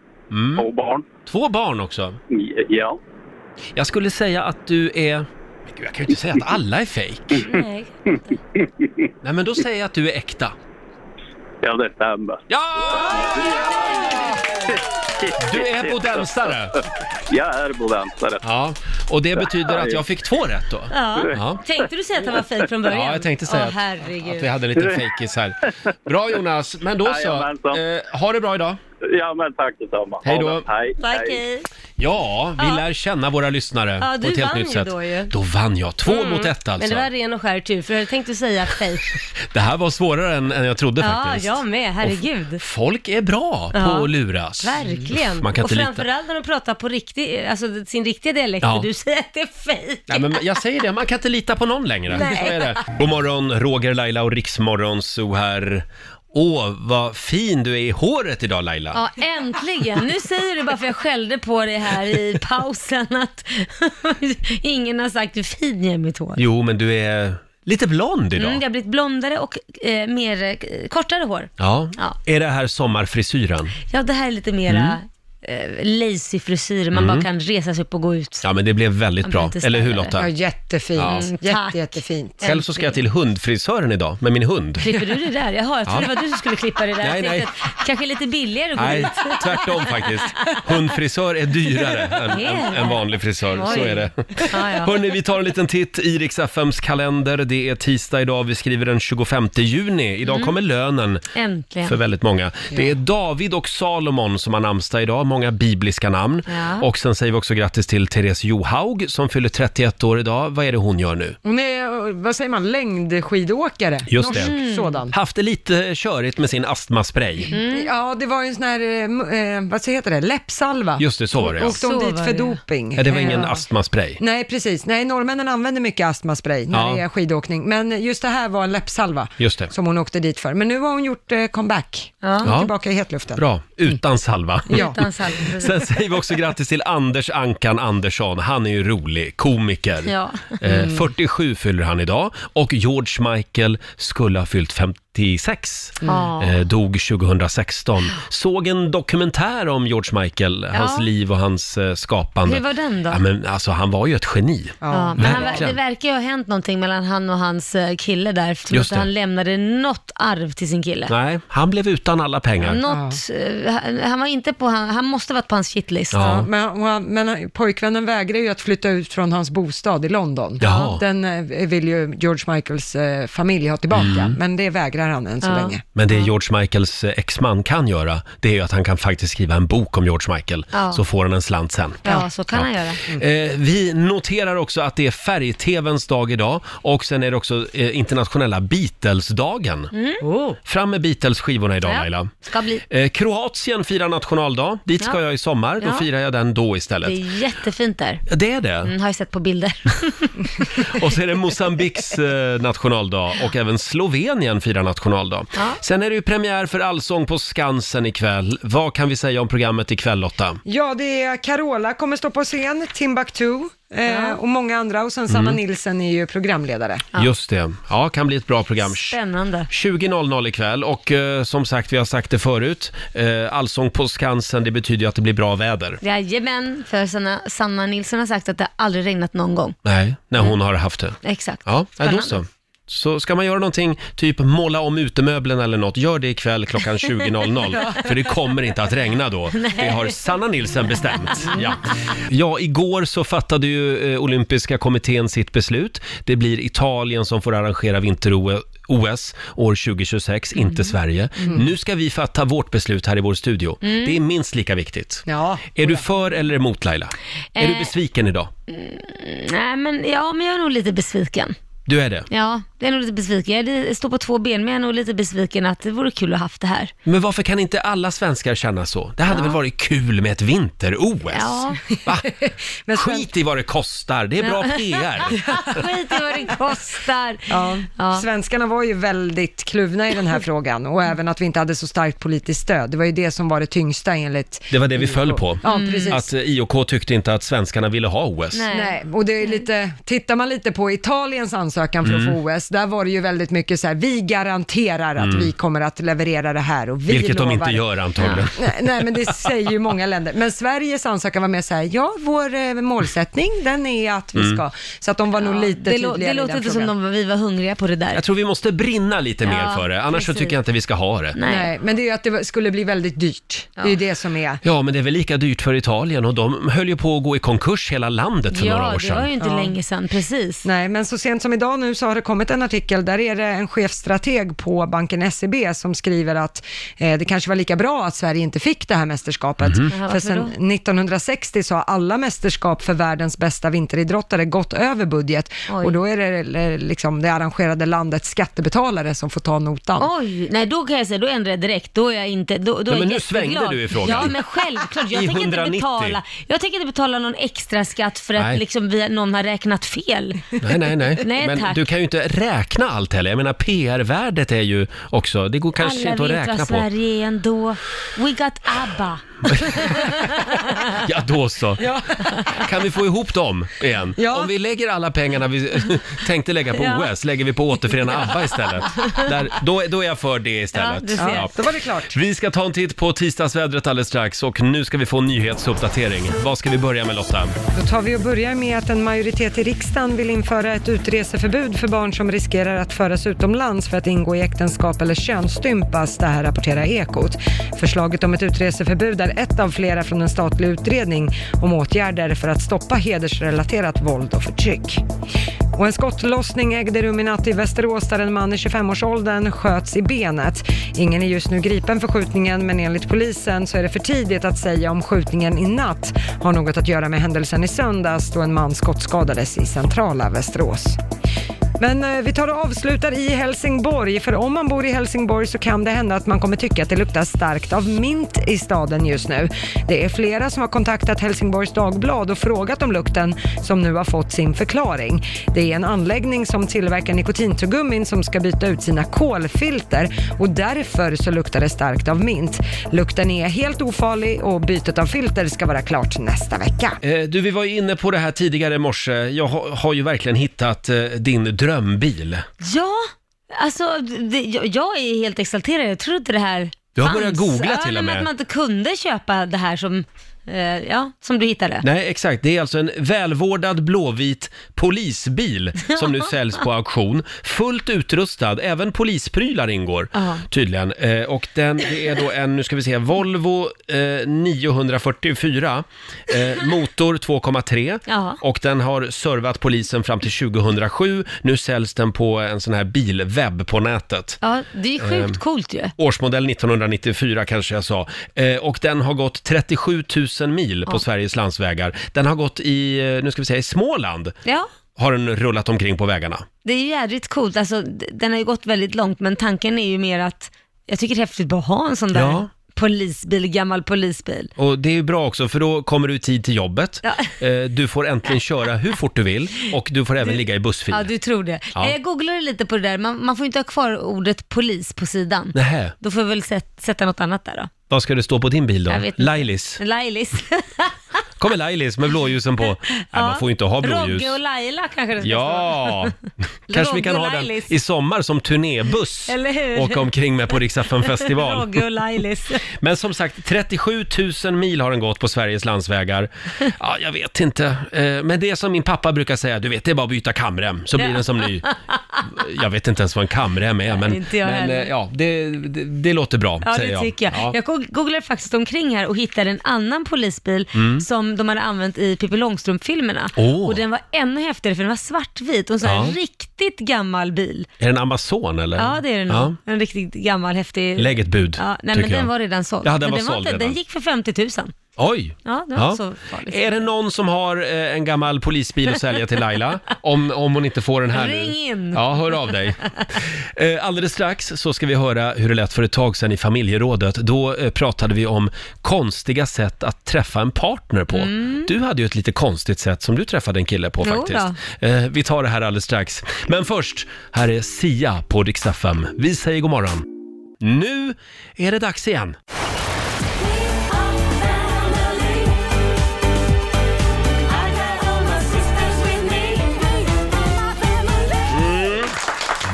Speaker 1: Två
Speaker 25: barn.
Speaker 1: Två barn också?
Speaker 25: Ja.
Speaker 1: Jag skulle säga att du är... Men gud, jag kan ju inte säga att alla är fejk.
Speaker 2: Nej.
Speaker 1: Nej, men då säger jag att du är äkta.
Speaker 25: Ja, det stämmer.
Speaker 1: Ja! Du är bodensare.
Speaker 25: Jag är bodensare.
Speaker 1: Ja, och det betyder att jag fick två rätt då.
Speaker 2: Ja. Tänkte du säga att han var fejk från början?
Speaker 1: Ja, jag tänkte säga
Speaker 2: Åh,
Speaker 1: att-
Speaker 2: herregud.
Speaker 1: Att vi hade lite fejkis här. Bra Jonas, men då så.
Speaker 25: Jajamensan.
Speaker 1: Eh, ha det bra idag.
Speaker 25: Ja, men tack detsamma. Ha
Speaker 1: Hej då.
Speaker 25: det. Hej.
Speaker 2: Tack, hej.
Speaker 1: Ja, vi
Speaker 2: Ja.
Speaker 1: lär känna våra lyssnare
Speaker 2: Ja,
Speaker 1: på
Speaker 2: du
Speaker 1: ett helt
Speaker 2: vann
Speaker 1: nytt
Speaker 2: ju
Speaker 1: sätt.
Speaker 2: då ju.
Speaker 1: Då vann jag. Två
Speaker 2: Mm.
Speaker 1: mot ett alltså.
Speaker 2: Men det var ren och skär tur, för jag tänkte säga fejk.
Speaker 1: här var svårare än, än jag trodde
Speaker 2: Ja,
Speaker 1: faktiskt.
Speaker 2: jag med. Herregud.
Speaker 1: Folk är bra
Speaker 2: Ja.
Speaker 1: på att luras.
Speaker 2: Verkligen.
Speaker 1: Man kan
Speaker 2: och
Speaker 1: inte lita.
Speaker 2: framförallt när de pratar på riktig, alltså sin riktiga dialekt
Speaker 1: Ja.
Speaker 2: och du säger att det är fejk.
Speaker 1: Nej, men jag säger det, man kan inte lita på någon längre.
Speaker 2: Nej.
Speaker 1: Så är det. God morgon, Roger, Laila och Riksmorgon så här. Åh, vad fin du är i håret idag Laila.
Speaker 2: Ja, äntligen. Nu säger du bara för jag skällde på dig här i pausen att ingen har sagt hur fin jag är i mitt hår.
Speaker 1: Jo, men du är lite blond idag.
Speaker 2: Mm, jag har blivit blondare och eh, mer, eh, kortare hår.
Speaker 1: Ja.
Speaker 2: Ja.
Speaker 1: Är det här sommarfrisyren?
Speaker 2: Ja, det här är lite mera eh, lazy frisyr. Man
Speaker 1: Mm.
Speaker 2: bara kan resa sig upp och gå ut.
Speaker 1: Ja, men det blev väldigt
Speaker 2: Man
Speaker 1: bra.
Speaker 2: kan inte Mm,
Speaker 1: Eller hur
Speaker 2: ställa det.
Speaker 1: Lotta?
Speaker 2: jättefint.
Speaker 1: Ja.
Speaker 2: Jätte, jättefint.
Speaker 1: Själv så ska jag till hundfrisören idag med min hund.
Speaker 2: Klipper du det där? Jaha, jag trodde
Speaker 1: Ja.
Speaker 2: det var du som skulle klippa det där.
Speaker 1: Nej,
Speaker 2: jag tänkte
Speaker 1: nej.
Speaker 2: Att, kanske lite billigare att gå
Speaker 1: Nej,
Speaker 2: dit.
Speaker 1: tvärtom faktiskt. Hundfrisör är dyrare än,
Speaker 2: Är
Speaker 1: än,
Speaker 2: det?
Speaker 1: än vanlig frisör, så
Speaker 2: Oj.
Speaker 1: är det.
Speaker 2: Ja, ja.
Speaker 1: Hörni, vi tar en liten titt i Rix FMs kalender. Det är tisdag idag, vi skriver den 25 juni. Idag
Speaker 2: Mm.
Speaker 1: kommer lönen
Speaker 2: Äntligen.
Speaker 1: för väldigt många. Det är David och Salomon som har namnsdag idag, många bibliska namn.
Speaker 3: Ja.
Speaker 1: Och sen säger vi också grattis till Therese Johaug som fyller 31 år idag. Vad är det hon gör nu?
Speaker 3: Hon är, eh, vad säger man, längdskidåkare.
Speaker 1: Just det. Mm.
Speaker 3: Norsk sådan.
Speaker 1: Haft det lite körigt med sin astmaspray.
Speaker 3: Ja, det var ju en sån här, eh, m- eh, vad heter det, läppsalva.
Speaker 1: Just det, så var det ja.
Speaker 3: Åkte hon dit för doping?
Speaker 1: Ja, det var ingen
Speaker 3: Eh,
Speaker 1: astmaspray.
Speaker 3: Nej, precis. Nej, norrmännen använder mycket astmaspray när
Speaker 1: Ja.
Speaker 3: det är skidåkning. Men just det här var en läppsalva
Speaker 1: Just det.
Speaker 3: som hon åkte dit för. Men nu har hon gjort eh, comeback. Hon är
Speaker 1: Ja.
Speaker 3: Tillbaka i hetluften.
Speaker 1: Bra, utan salva.
Speaker 3: Ja.
Speaker 1: Sen
Speaker 2: Mm.
Speaker 1: säger vi också grattis till Anders Ankan Andersson. Han är ju rolig, komiker.
Speaker 2: Ja. Mm.
Speaker 1: Eh, 47 fyller han idag och George Michael skulle ha fyllt 56.
Speaker 2: Ja.
Speaker 1: Eh, dog 2016. Såg en dokumentär om George Michael, hans
Speaker 2: Ja.
Speaker 1: liv och hans eh, skapande.
Speaker 2: Hur var den då?
Speaker 1: Ja, men, alltså, han var ju ett geni.
Speaker 2: Ja, men han,
Speaker 1: Verkligen.
Speaker 2: det verkar ju ha hänt någonting mellan han och hans eh, kille där, för
Speaker 1: Just
Speaker 2: att han
Speaker 1: det.
Speaker 2: lämnade något arv till sin kille.
Speaker 1: Nej, han blev utan alla pengar.
Speaker 2: Något, eh, han- han var inte på, han, han måste ha varit på hans shitlist.
Speaker 1: Ja. Ja,
Speaker 3: Men, hon- men pojkvännen vägrar ju att flytta ut från hans bostad i London.
Speaker 1: Jaha.
Speaker 3: Den eh, vill ju George Michaels eh, familj ha tillbaka,
Speaker 1: Mm.
Speaker 3: men det vägrar vägrar han än så
Speaker 1: Ja.
Speaker 3: länge.
Speaker 1: Men det George Michaels eh, exman kan göra, det är ju att han kan faktiskt skriva en bok om George Michael,
Speaker 2: Ja.
Speaker 1: så får han en slant sen.
Speaker 2: Ja, så kan han göra.
Speaker 1: Eh, vi noterar också att det är färg-tvns dag idag och sen är det också eh, internationella Beatles-dagen.
Speaker 2: Mm.
Speaker 1: Fram med Beatles-skivorna idag
Speaker 2: Ja.
Speaker 1: Laila.
Speaker 2: Ska bli.
Speaker 1: Eh, Kroatien firar nationaldag, dit ska
Speaker 2: Ja.
Speaker 1: jag i sommar, då
Speaker 2: Ja.
Speaker 1: firar jag den då
Speaker 2: Det
Speaker 1: istället.
Speaker 2: är jättefint där.
Speaker 1: Det är det.
Speaker 2: Mm, har jag sett på bilder.
Speaker 1: Och så är det Mosambiks eh, nationaldag och även Slovenien firar nationaldag.
Speaker 3: Ja.
Speaker 1: Sen är det ju premiär för Allsång på Skansen ikväll. Vad kan vi säga om programmet ikväll Lotta?
Speaker 3: Ja, det är Carola kommer stå på scen, Timbuktu eh, och många andra och sen
Speaker 1: Mm.
Speaker 3: Sanna Nilsson är ju programledare.
Speaker 1: Just det. Ja, kan bli ett bra program.
Speaker 2: Spännande.
Speaker 1: 20.00 ikväll och eh, som sagt, vi har sagt det förut, eh, Allsång på Skansen, det betyder ju att det blir bra väder.
Speaker 2: Jajamän, för Sanna, Sanna Nilsson har sagt att det aldrig regnat någon gång.
Speaker 1: Nej, när hon har haft det.
Speaker 2: Exakt.
Speaker 1: Ja, nej, då
Speaker 2: Spännande.
Speaker 1: så. Så ska man göra någonting, typ måla om utemöblen eller något, gör det ikväll klockan 20.00.
Speaker 2: Ja.
Speaker 1: För det kommer inte att regna då.
Speaker 2: Nej.
Speaker 1: Det har Sanna Nilsen bestämt. Ja. ja, igår så fattade ju eh, Olympiska kommittén sitt beslut. Det blir Italien som får arrangera vinter-OS år 2026, inte Sverige.
Speaker 3: Mm.
Speaker 1: Nu ska vi fatta vårt beslut här i vår studio.
Speaker 2: Mm.
Speaker 1: Det är minst lika viktigt.
Speaker 3: Ja.
Speaker 1: Är du för eller emot Laila? Är du
Speaker 2: Eh.
Speaker 1: besviken idag?
Speaker 3: Mm.
Speaker 2: Nej, men, ja, men jag är nog lite besviken.
Speaker 1: Du är det?
Speaker 2: Ja, jag är nog lite besviken. Jag är- står på två ben, men jag är nog lite besviken att det vore kul att haft det här.
Speaker 1: Men varför kan inte alla svenskar känna så? Det hade väl varit kul med ett vinter-OS?
Speaker 2: Ja.
Speaker 1: Skit i vad det kostar, det är bra
Speaker 2: Ja.
Speaker 1: PR.
Speaker 2: Skit i vad det kostar.
Speaker 3: Ja. Svenskarna var ju väldigt kluvna i den här frågan och även att vi inte hade så starkt politiskt stöd. Det var ju det som var det tyngsta enligt...
Speaker 1: Det var det vi föll på.
Speaker 3: Ja, precis.
Speaker 1: Att eh, IOK tyckte inte att svenskarna ville ha OS.
Speaker 3: Nej. och det är lite, tittar man lite på Italiens ansökan för att
Speaker 1: Mm.
Speaker 3: få OS, där var det ju väldigt mycket så här, vi garanterar att
Speaker 1: Mm.
Speaker 3: vi kommer att leverera det här och vi
Speaker 1: Vilket
Speaker 3: lovar.
Speaker 1: de inte gör antagligen.
Speaker 3: Nej, nej, men det säger ju många länder. Men Sveriges ansökan var mer så här, ja, vår eh, målsättning, den är att vi
Speaker 1: Mm.
Speaker 3: ska... Så att de var nog lite
Speaker 2: Det, lå-
Speaker 3: tydligare
Speaker 2: det
Speaker 3: i
Speaker 2: låter
Speaker 3: den
Speaker 2: inte
Speaker 3: frågan.
Speaker 2: som de, vi var hungriga på det där.
Speaker 1: Jag tror vi måste brinna lite mer
Speaker 2: Ja,
Speaker 1: för det, annars så
Speaker 2: precis.
Speaker 1: tycker jag inte vi ska ha det.
Speaker 3: Nej. men det är ju att det skulle bli väldigt dyrt. Det är ju det som är...
Speaker 1: Ja, men det är väl lika dyrt för Italien och de höll ju på att gå i konkurs hela landet för några år sedan.
Speaker 2: länge sedan, precis.
Speaker 3: Nej, men så sent som idag nu så har det kommit en artikel, där är det en chefstrateg på banken SEB som skriver att eh, det kanske var lika bra att Sverige inte fick det här mästerskapet.
Speaker 2: Mhm. Jaha,
Speaker 3: För
Speaker 2: varför
Speaker 3: sedan
Speaker 2: då?
Speaker 3: 1960 så har alla mästerskap för världens bästa vinteridrottare gått över budget
Speaker 2: Oj.
Speaker 3: och då är det eh, liksom det arrangerade landets skattebetalare som får ta notan.
Speaker 2: Oj, nej då kan jag säga, då ändrar jag direkt. Då är jag inte, då, då
Speaker 3: Nej,
Speaker 2: är
Speaker 3: men
Speaker 2: jag
Speaker 3: nu
Speaker 2: jätteglad.
Speaker 3: svängde du i frågan.
Speaker 2: Ja, men självklart. Jag,
Speaker 3: I
Speaker 2: tänker inte
Speaker 3: 190.
Speaker 2: betala, jag tänker inte betala någon extra skatt för att
Speaker 1: Nej.
Speaker 2: liksom vi, någon har räknat fel.
Speaker 1: Nej, nej, nej.
Speaker 2: nej
Speaker 1: men
Speaker 2: tack.
Speaker 1: du kan ju inte räkna allt heller. Jag menar, PR-värdet är ju också, det går kanske
Speaker 2: Alla
Speaker 1: inte att
Speaker 2: vet
Speaker 1: räkna
Speaker 2: vad
Speaker 1: på.
Speaker 2: Sverige är ändå. We got ABBA.
Speaker 1: Ja, då så. Kan vi få ihop dem igen?
Speaker 2: Ja.
Speaker 1: Om vi lägger alla pengarna vi tänkte lägga på
Speaker 2: Ja.
Speaker 1: OS, lägger vi på återförena ABBA istället. Där, då, då är jag för det
Speaker 3: Ja,
Speaker 1: istället.
Speaker 3: du ser. Då var det klart.
Speaker 1: Vi ska ta en titt på tisdagsvädret alldeles strax och nu ska vi få en nyhetsuppdatering. Vad ska vi börja med Lotta?
Speaker 3: Då tar vi och börjar med att en majoritet i riksdagen vill införa ett utreseförbud för barn som riskerar att föras utomlands för att ingå i äktenskap eller könsstympas. Det här rapporterar Ekot. Förslaget om ett utreseförbud är ett av flera från en statlig utredning om åtgärder för att stoppa hedersrelaterat våld och förtryck. Och en skottlossning ägde rum i natt i Västerås där en man i 25-årsåldern sköts i benet. Ingen är just nu gripen för skjutningen men enligt polisen så är det för tidigt att säga om skjutningen i natt har något att göra med händelsen i söndags då en man skottskadades i centrala Västerås. Men eh, vi tar och avslutar i Helsingborg, för om man bor i Helsingborg så kan det hända att man kommer tycka att det luktar starkt av mint i staden just nu. Det är flera som har kontaktat Helsingborgs Dagblad och frågat om lukten som nu har fått sin förklaring. Det är en anläggning som tillverkar nikotintuggummin som ska byta ut sina kolfilter och därför så luktar det starkt av mint. Lukten är helt ofarlig och bytet av filter ska vara klart nästa vecka.
Speaker 1: Eh, Du, vi var ju inne på det här tidigare i morse. Jag har, har ju verkligen hittat eh, din drömbil.
Speaker 2: Ja, alltså det, jag, jag är helt exalterad. Jag tror inte det här
Speaker 1: Du har börjat
Speaker 2: fanns.
Speaker 1: googla
Speaker 2: ja,
Speaker 1: till
Speaker 2: nej,
Speaker 1: och
Speaker 2: men
Speaker 1: med.
Speaker 2: Att man inte kunde köpa det här som eh, eh, ja, som du hittade.
Speaker 1: Nej, exakt. Det är alltså en välvårdad blåvit polisbil som nu säljs på auktion. Fullt utrustad, även polisprylar ingår
Speaker 2: Ja.
Speaker 1: tydligen. Eh, och den, det är då en, nu ska vi se, Volvo eh, 944, eh, motor 2,3
Speaker 2: Ja.
Speaker 1: och den har servat polisen fram till 2007. Nu säljs den på en sån här bilwebb på nätet.
Speaker 2: Ja, det är sjukt
Speaker 1: Ehm.
Speaker 2: coolt ju.
Speaker 1: Årsmodell 1994 kanske jag sa. Eh, och den har gått 37 000 mil på
Speaker 2: Ja.
Speaker 1: Sveriges landsvägar. Den har gått i, eh, nu ska vi säga i Småland,
Speaker 2: Ja,
Speaker 1: har den rullat omkring på vägarna.
Speaker 2: det är ju jädrigt coolt. Alltså, d- den har ju gått väldigt långt, men tanken är ju mer att jag tycker det är häftigt att ha en sån där
Speaker 1: Ja.
Speaker 2: polisbil, gammal polisbil.
Speaker 1: Och det är ju bra också för då kommer du i tid till jobbet.
Speaker 2: Ja.
Speaker 1: Eh, du får äntligen köra hur fort du vill och du får även ligga i bussfil.
Speaker 2: Ja, du tror det.
Speaker 1: Ja.
Speaker 2: Jag googlade lite på det där, man, man får ju inte ha kvar ordet polis på sidan.
Speaker 1: Nähä,
Speaker 2: Då får vi väl sätt, sätta något annat där då.
Speaker 1: vad ska det stå på din bil då?
Speaker 2: Jag vet inte.
Speaker 1: Lailis.
Speaker 2: Lailis.
Speaker 1: Kommer Lailis med blåljusen på. Nej, man får ju inte ha blåljus.
Speaker 2: Rogge och Laila kanske det ska
Speaker 1: Ja,
Speaker 2: stå.
Speaker 1: kanske vi kan
Speaker 2: Rogge
Speaker 1: ha
Speaker 2: och
Speaker 1: den
Speaker 2: Lailis.
Speaker 1: i sommar som turnébuss.
Speaker 2: Eller hur?
Speaker 1: Åka omkring med på Riksaffen festival.
Speaker 2: Rogge och Lailis.
Speaker 1: Men som sagt, 37 000 mil har den gått på Sveriges landsvägar. Ja, jag vet inte. Eh, Men det är som min pappa brukar säga, du vet, det är bara att byta kamrem så blir den som ny. Jag vet inte ens vad en kamrem är, men,
Speaker 2: inte jag
Speaker 1: men
Speaker 2: heller.
Speaker 1: eh, ja, det, det, det låter bra,
Speaker 2: Ja,
Speaker 1: säger
Speaker 2: det
Speaker 1: jag.
Speaker 2: tycker jag.
Speaker 1: Ja.
Speaker 2: Jag go- googlade faktiskt omkring här och hittade en annan polisbil
Speaker 1: Mm.
Speaker 2: som de hade använt i Pippi Långstrump-filmerna.
Speaker 1: Åh.
Speaker 2: Och den var ännu häftigare för den var svartvit och en sån här
Speaker 1: Ja.
Speaker 2: riktigt gammal bil.
Speaker 1: Är det en Amazon eller?
Speaker 2: Ja, det är den nog. En riktigt gammal häftig...
Speaker 1: Lägg ett bud,
Speaker 2: Ja, nej,
Speaker 1: tycker
Speaker 2: men
Speaker 1: jag.
Speaker 2: den var redan såld.
Speaker 1: Ja, den
Speaker 2: Men
Speaker 1: var
Speaker 2: den,
Speaker 1: såld
Speaker 2: inte, den
Speaker 1: redan.
Speaker 2: gick för 50 000.
Speaker 1: Oj!
Speaker 2: Ja, det var inte så farligt.
Speaker 1: Är det någon som har eh, en gammal polisbil att sälja till Laila? Om, om hon inte får den här
Speaker 2: Ring
Speaker 1: nu.
Speaker 2: in.
Speaker 1: Ja, hör av dig. Eh, alldeles strax så ska vi höra hur det lät för ett tag sedan i familjerådet. Då eh, pratade vi om konstiga sätt att träffa en partner på.
Speaker 10: Mm.
Speaker 1: Du hade ju ett lite konstigt sätt som du träffade en kille på
Speaker 10: Jo
Speaker 1: faktiskt. Eh, vi tar det här alldeles strax. Men först, här är Sia på Rix FM. Vi säger god morgon. Nu är det dags igen.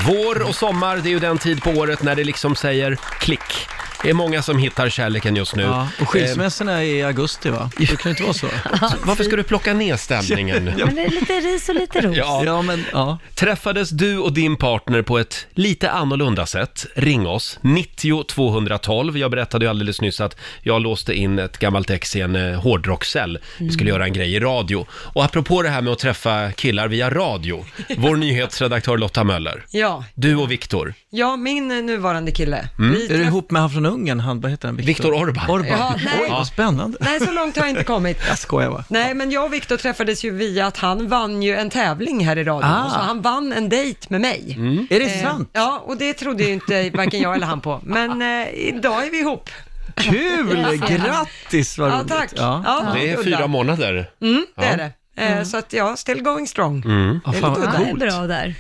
Speaker 1: Vår och sommar, det är ju den tid på året när det liksom säger klick. Det är många som hittar kärleken just nu.
Speaker 4: Ja, och skilsmässorna är i augusti va? Det kan ju inte vara så.
Speaker 1: Eh, varför ska du plocka ner stämningen?
Speaker 2: Men det är lite ris och lite ros.
Speaker 1: Ja. Träffades du och din partner på ett lite annorlunda sätt? Ring oss, 90 212. Jag berättade ju alldeles nyss att jag låste in ett gammalt ex i en eh, hårdrockscell. Vi skulle göra en grej i radio. Och apropå det här med att träffa killar via radio, vår nyhetsredaktör Lotta Möller.
Speaker 3: Ja,
Speaker 1: Du och Viktor.
Speaker 3: ja min eh, nuvarande kille. Vi
Speaker 4: Är du ihop med han från Ungern? Han, vad heter han?
Speaker 1: Viktor Orban.
Speaker 4: Orban.
Speaker 3: Ja, nej.
Speaker 4: Oj, vad spännande.
Speaker 3: Nej, så långt har jag inte kommit.
Speaker 4: Jag skojar bara.
Speaker 3: Nej, men jag och Viktor träffades ju via att han vann ju en tävling här i radion.
Speaker 4: Ah. Mm.
Speaker 3: Så han vann en dejt med mig.
Speaker 4: Är det
Speaker 3: Eh,
Speaker 4: sant?
Speaker 3: Ja, och det trodde ju inte varken jag eller han på. Men eh, idag är vi ihop.
Speaker 4: Kul! Grattis, vad
Speaker 3: Ja,
Speaker 4: roligt.
Speaker 3: tack. Ja,
Speaker 1: det är
Speaker 3: udda.
Speaker 1: fyra månader.
Speaker 3: Mm, det
Speaker 1: Ja.
Speaker 3: är det. Eh, Så att ja, still going strong.
Speaker 1: Mm.
Speaker 3: Det är lite udda.
Speaker 2: Det är bra där.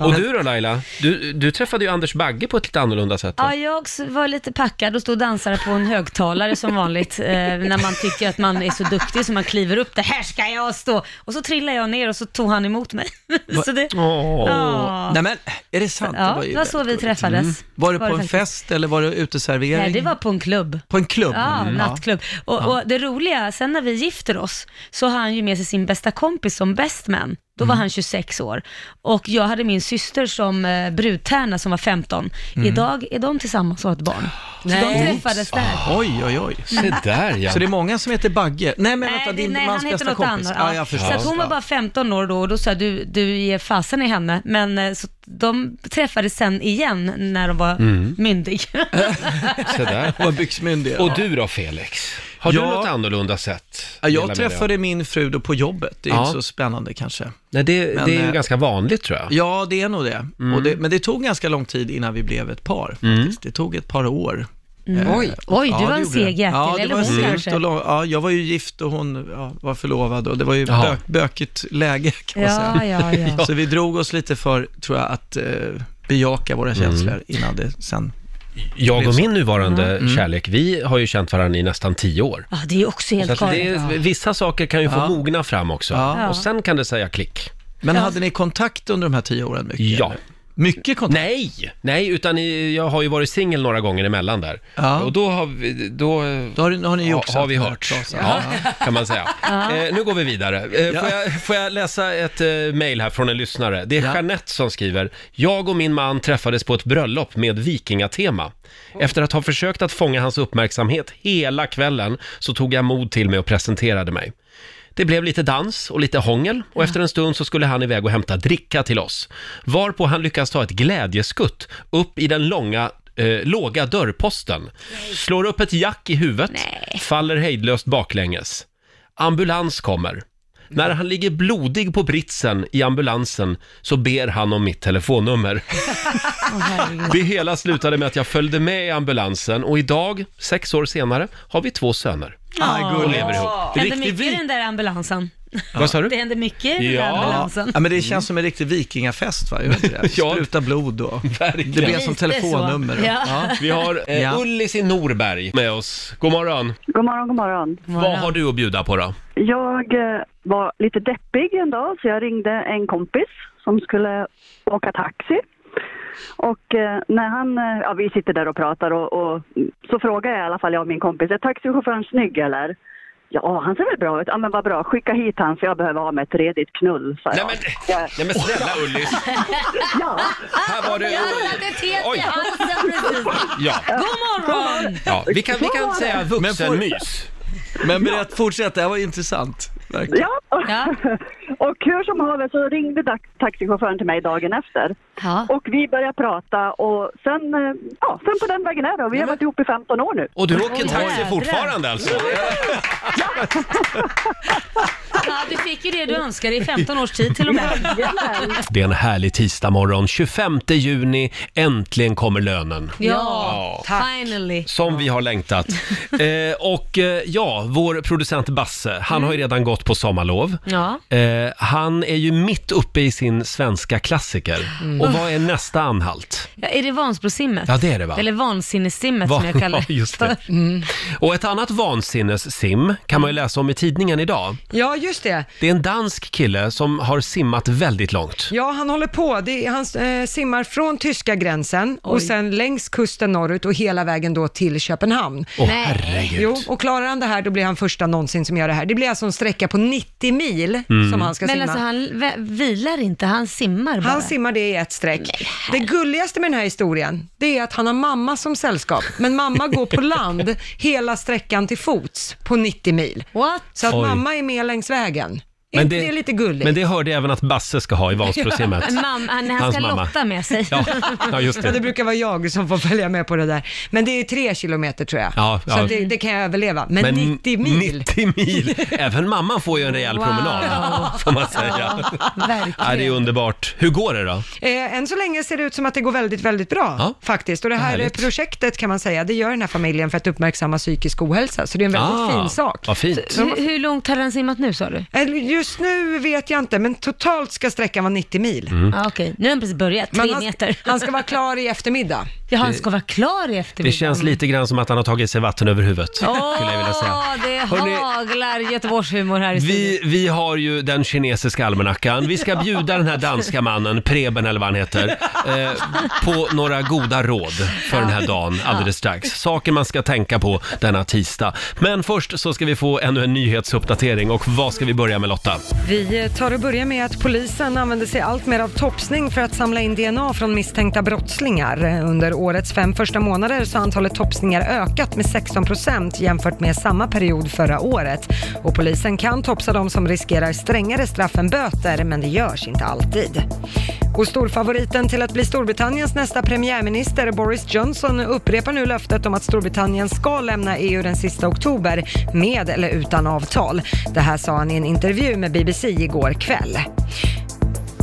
Speaker 1: Och du då Laila? Du, du träffade ju Anders Bagge på ett lite annorlunda sätt. va?
Speaker 2: Ja, jag också var lite packad och stod och dansade på en högtalare som vanligt. Eh, när man tycker att man är så duktig så man kliver upp det här ska jag stå. Och så trillade jag ner och så tog han emot mig. så det, Ja.
Speaker 4: Nej men, är det sant?
Speaker 2: Ja, det var
Speaker 4: ju
Speaker 2: så
Speaker 4: väldigt
Speaker 2: vi
Speaker 4: roligt. Mm.
Speaker 2: träffades.
Speaker 4: Var det
Speaker 2: Var
Speaker 4: på
Speaker 2: det
Speaker 4: en
Speaker 2: faktiskt.
Speaker 4: fest eller var det uteservering?
Speaker 2: Nej, det var på en klubb.
Speaker 4: På en klubb?
Speaker 2: Ja,
Speaker 4: Mm.
Speaker 2: nattklubb. Och,
Speaker 4: Ja.
Speaker 2: och det roliga, sen när vi gifter oss så har han ju med sig sin bästa kompis som best man. Då
Speaker 4: Mm.
Speaker 2: var han 26 år. Och jag hade min syster som eh, brudtärna som var 15.
Speaker 4: Mm.
Speaker 2: Idag är de tillsammans och har ett barn. Så de träffades där.
Speaker 4: Ah, Oj, oj, oj.
Speaker 1: Se där, ja.
Speaker 4: Så det är många som heter Bagge? Nej, men
Speaker 2: Nej,
Speaker 4: vänta,
Speaker 2: det-
Speaker 4: din
Speaker 2: nej,
Speaker 4: mans
Speaker 2: han heter
Speaker 4: bästa
Speaker 2: något
Speaker 4: kompis?
Speaker 2: annat.
Speaker 4: Ja, jag förstår.
Speaker 2: så att hon var
Speaker 4: Ja.
Speaker 2: bara 15 år då och då sa jag, du, du ger fasen i henne. Men eh, så de träffades sen igen när de var
Speaker 1: Mm.
Speaker 2: myndig.
Speaker 1: Se där.
Speaker 4: Hon var byxmyndig.
Speaker 1: Och du då Felix? Har du
Speaker 4: Ja.
Speaker 1: något annorlunda sätt?
Speaker 4: Ja,
Speaker 1: Dela
Speaker 4: jag
Speaker 1: med
Speaker 4: träffade
Speaker 1: dig
Speaker 4: min fru då på jobbet. Det är
Speaker 1: Ja.
Speaker 4: inte så spännande kanske.
Speaker 1: Nej, det,
Speaker 4: Men,
Speaker 1: det är ju
Speaker 4: eh,
Speaker 1: ganska vanligt tror jag.
Speaker 4: Ja, det är nog det.
Speaker 1: Mm.
Speaker 4: Och det. Men det tog ganska lång tid innan vi blev ett par. Faktiskt. Det tog ett par år.
Speaker 2: Mm.
Speaker 4: Eh,
Speaker 2: Oj. Oj, du
Speaker 4: det
Speaker 2: var en
Speaker 4: gjorde
Speaker 2: seg
Speaker 4: det.
Speaker 2: jäkel,
Speaker 4: ja, det
Speaker 2: eller
Speaker 4: var en
Speaker 2: hon
Speaker 4: segt
Speaker 2: kanske.
Speaker 4: och lång, ja, jag var ju gift och hon ja, var förlovad och det var ju
Speaker 1: Jaha.
Speaker 4: bök, bökigt läge kan man
Speaker 2: Ja,
Speaker 4: säga.
Speaker 2: ja, ja.
Speaker 4: Så vi drog oss lite för, tror jag, att eh, bejaka våra
Speaker 1: Mm.
Speaker 4: känslor innan det sen
Speaker 1: Jag
Speaker 4: blev
Speaker 1: och
Speaker 4: så.
Speaker 1: min nuvarande
Speaker 4: Mm.
Speaker 1: kärlek, vi har ju känt varandra i nästan tio år.
Speaker 2: Ja, det är också
Speaker 1: Så
Speaker 2: helt
Speaker 1: att det,
Speaker 2: galet.
Speaker 1: är- vissa saker kan ju få
Speaker 4: Ja.
Speaker 1: mogna fram också.
Speaker 4: Ja.
Speaker 1: Och sen kan det säga klick.
Speaker 4: Men
Speaker 2: Ja.
Speaker 4: hade ni kontakt under de här tio åren mycket?
Speaker 1: Ja.
Speaker 4: eller?
Speaker 1: Mycket kontakt? Nej, nej, utan i, jag har ju varit singel några gånger emellan där. Och då har vi, då, då har,
Speaker 4: ni ju också
Speaker 1: har vi
Speaker 4: hört
Speaker 1: hört,
Speaker 4: oss.
Speaker 1: ja, kan man säga.
Speaker 4: Ja.
Speaker 1: Eh, nu går vi vidare. Eh, får, jag, får jag läsa ett eh, mejl här från en lyssnare? Det är Jeanette som skriver. Jag och min man träffades på ett bröllop med vikingatema. Efter att ha försökt att fånga hans uppmärksamhet hela kvällen så tog jag mod till mig och presenterade mig. Det blev lite dans och lite hångel och efter en stund så skulle han iväg och hämta dricka till oss. Varpå han lyckas ta ett glädjeskutt upp i den långa Eh, låga dörrposten. Slår upp ett jack i huvudet, faller hejdlöst baklänges. Ambulans kommer. När han ligger blodig på britsen i ambulansen så ber han om mitt telefonnummer. Det hela slutade med att jag följde med i ambulansen och idag, sex år senare, har vi två söner. och lever ihop.
Speaker 2: Det händer mycket i den där ambulansen.
Speaker 1: Vad sa du?
Speaker 2: Det händer mycket i den där ambulansen.
Speaker 4: ja, men det känns som en riktig vikingafest va? Gör det inte det? Spruta blod och... Det blir som
Speaker 2: Lite
Speaker 4: telefonnummer.
Speaker 2: så. Ja.
Speaker 1: Vi har eh,
Speaker 4: Ja.
Speaker 1: Ullis i Norberg med oss. God morgon.
Speaker 26: God morgon, god morgon.
Speaker 1: Vad har du att bjuda på då?
Speaker 26: Jag eh, var lite deppig en dag så jag ringde en kompis som skulle åka taxi. Och eh, när han, eh, ja vi sitter där och pratar och, och så frågar jag i alla fall jag och min kompis, är taxichauffören snygg eller? Ja, han ser väl bra ut. Ja, men vad bra. Skicka hit han för jag behöver ha mig ett redigt knull, sa jag.
Speaker 1: Nej men snälla Ullis.
Speaker 26: Ja.
Speaker 1: Här var det...
Speaker 21: Jag hade ett helt
Speaker 1: Oj.
Speaker 21: i halsen precis.
Speaker 1: Ja.
Speaker 21: God morgon!
Speaker 1: Ja, vi kan, vi kan säga vuxenmys.
Speaker 4: Men berätt, fortsätt, det här var intressant. Verkligen.
Speaker 26: Ja. och hur som haver så ringde dax- taxichauffören till mig dagen efter. Och vi började prata och sen, eh, ja, sen på den vägen är det. Och Vi har varit ihop i 15 år nu.
Speaker 1: Och du åker taxi fortfarande alltså?
Speaker 2: Ja, du fick ju det du önskade i 15 års tid till och med.
Speaker 1: Det är en härlig tisdagmorgon. 25 juni, äntligen kommer lönen.
Speaker 2: Ja, finally.
Speaker 1: Som vi har längtat. Eh, och eh, ja, vår producent Basse, han har ju
Speaker 3: Mm.
Speaker 1: redan gått på sommarlov.
Speaker 2: Ja.
Speaker 1: Eh, han är ju mitt uppe i sin svenska klassiker.
Speaker 2: Mm.
Speaker 1: Och vad är nästa anhalt?
Speaker 2: Ja, är det Vansbrosimmet?
Speaker 1: Ja, det är det, va?
Speaker 2: Eller vansinnessimmet
Speaker 1: Va-
Speaker 2: som jag kallar
Speaker 1: ja, just det. Mm. Och ett annat vansinnessim kan man ju läsa om i tidningen idag.
Speaker 3: Ja, just det.
Speaker 1: Det är en dansk kille som har simmat väldigt långt.
Speaker 3: Ja, han håller på. Det är, han eh, simmar från tyska gränsen
Speaker 1: Oj.
Speaker 3: och sen längs kusten norrut och hela vägen då till Köpenhamn.
Speaker 1: Åh, Nej. herregud.
Speaker 3: Jo, och klarar han det här då blir han första någonsin som gör det här. Det blir alltså en sträcka på 90 mil
Speaker 2: Mm.
Speaker 3: som han ska
Speaker 2: Men
Speaker 3: simma.
Speaker 2: alltså, han vä- vilar inte, han simmar bara.
Speaker 3: Han simmar det i ett streck. Det gulligaste med den här historien, det är att han har mamma som sällskap, men mamma går på land hela sträckan till fots på 90 mil.
Speaker 2: What?
Speaker 3: Så att
Speaker 1: Oj.
Speaker 3: mamma är med längs vägen. Är inte det, lite gulligt?
Speaker 1: Men det hörde jag även att Basse ska ha i Vansbrosimmet.
Speaker 2: Mam, han, han
Speaker 1: Hans
Speaker 2: ska
Speaker 1: mamma.
Speaker 2: lotta med sig.
Speaker 1: Ja, ja, just det.
Speaker 3: Ja, det brukar vara jag som får följa med på det där. Men det är tre kilometer tror jag.
Speaker 1: Ja, ja.
Speaker 3: Så att det, det kan jag överleva. Men, 90 mil.
Speaker 1: 90 mil! Även mamman får ju en rejäl
Speaker 3: Wow.
Speaker 1: promenad, får man säga.
Speaker 3: Verkligen.
Speaker 1: Ja, det är underbart. Hur går det då?
Speaker 3: Eh, än så länge ser det ut som att det går väldigt, väldigt bra
Speaker 1: Ja.
Speaker 3: faktiskt. Och det här
Speaker 1: Härligt.
Speaker 3: projektet kan man säga, det gör den här familjen för att uppmärksamma psykisk ohälsa. Så det är en väldigt
Speaker 1: Ah,
Speaker 3: fin sak.
Speaker 1: Vad fint.
Speaker 2: Hur, hur långt hade han simmat nu sa du?
Speaker 3: Eh, Just nu vet jag inte, men totalt ska sträckan vara 90 mil.
Speaker 1: Mm.
Speaker 2: Ah, Okej, nu har han precis börjat,
Speaker 3: Men
Speaker 2: tre
Speaker 3: han-
Speaker 2: meter.
Speaker 3: han ska vara klar i eftermiddag.
Speaker 2: Ja, han ska vara klar i eftermiddag.
Speaker 1: Det känns lite grann som att han har tagit sig vatten över huvudet,
Speaker 2: Åh,
Speaker 1: skulle jag vilja säga.
Speaker 2: det
Speaker 1: Hörrni-
Speaker 2: haglar Göteborgshumor här i studion.
Speaker 1: Vi, vi har ju den kinesiska almanackan. Vi ska bjuda den här danska mannen, Preben eller vad han heter, eh, på några goda råd för den här dagen alldeles strax. Saker man ska tänka på denna tisdag. Men först så ska vi få ännu en nyhetsuppdatering och vad ska vi börja med Lotta?
Speaker 3: Vi eh, tar och börjar med att polisen använder sig allt mer av topsning för att samla in DNA från misstänkta brottslingar. Eh, Under årets fem första månader så har antalet topsningar ökat med 16 procent jämfört med samma period förra året. Och polisen kan topsa de som riskerar strängare straff än böter, men det görs inte alltid. Och storfavoriten till att bli Storbritanniens nästa premiärminister, Boris Johnson, upprepar nu löftet om att Storbritannien ska lämna EU den sista oktober, med eller utan avtal. Det här sa han i en intervju med BBC igår kväll.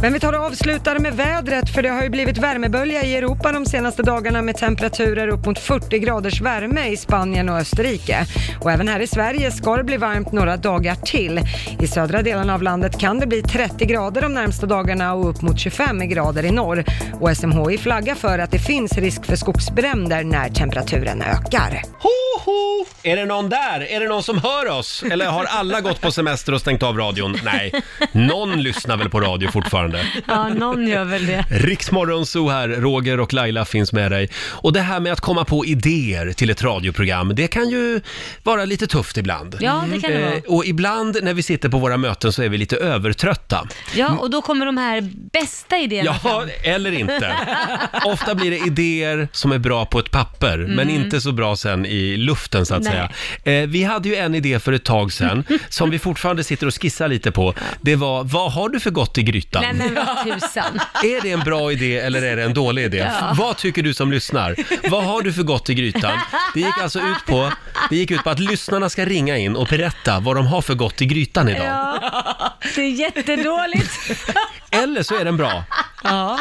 Speaker 3: Men vi tar och avslutar med vädret för det har ju blivit värmebölja i Europa de senaste dagarna med temperaturer upp mot 40 graders värme i Spanien och Österrike. Och även här i Sverige ska det bli varmt några dagar till. I södra delarna av landet kan det bli 30 grader de närmsta dagarna och upp mot 25 grader i norr. Och SMHI flaggar för att det finns risk för skogsbränder när temperaturen ökar.
Speaker 4: Ho,
Speaker 1: Woho! Är det någon där? Är det någon som hör oss? Eller har alla gått på semester och stängt av radion? Nej, någon lyssnar väl på radio fortfarande.
Speaker 2: Ja, någon gör väl det.
Speaker 1: Riksmorgon Zoo här, Roger och Laila finns med dig. Och det här med att komma på idéer till ett radioprogram, det kan ju vara lite tufft ibland.
Speaker 2: Ja, det kan det
Speaker 1: Eh,
Speaker 2: vara.
Speaker 1: Och ibland när vi sitter på våra möten så är vi lite övertrötta.
Speaker 2: Ja, och då kommer de här bästa idéerna
Speaker 1: Ja, eller inte. Ofta blir det idéer som är bra på ett papper, men
Speaker 2: Mm.
Speaker 1: inte så bra sen i luften så att
Speaker 2: Nej.
Speaker 1: säga. Eh, vi hade ju en idé för ett tag sedan, som vi fortfarande sitter och skissar lite på. Det var, vad har du för gott i grytan?
Speaker 2: Nej men vad tusan.
Speaker 1: Är det en bra idé eller är det en dålig idé?
Speaker 2: Ja.
Speaker 1: Vad tycker du som lyssnar? Vad har du för gott i grytan? Det gick alltså ut på, det gick ut på att lyssnarna ska ringa in och berätta vad de har för gott i grytan idag.
Speaker 2: Ja, det är jättedåligt.
Speaker 1: Eller så är den bra.
Speaker 2: Ja.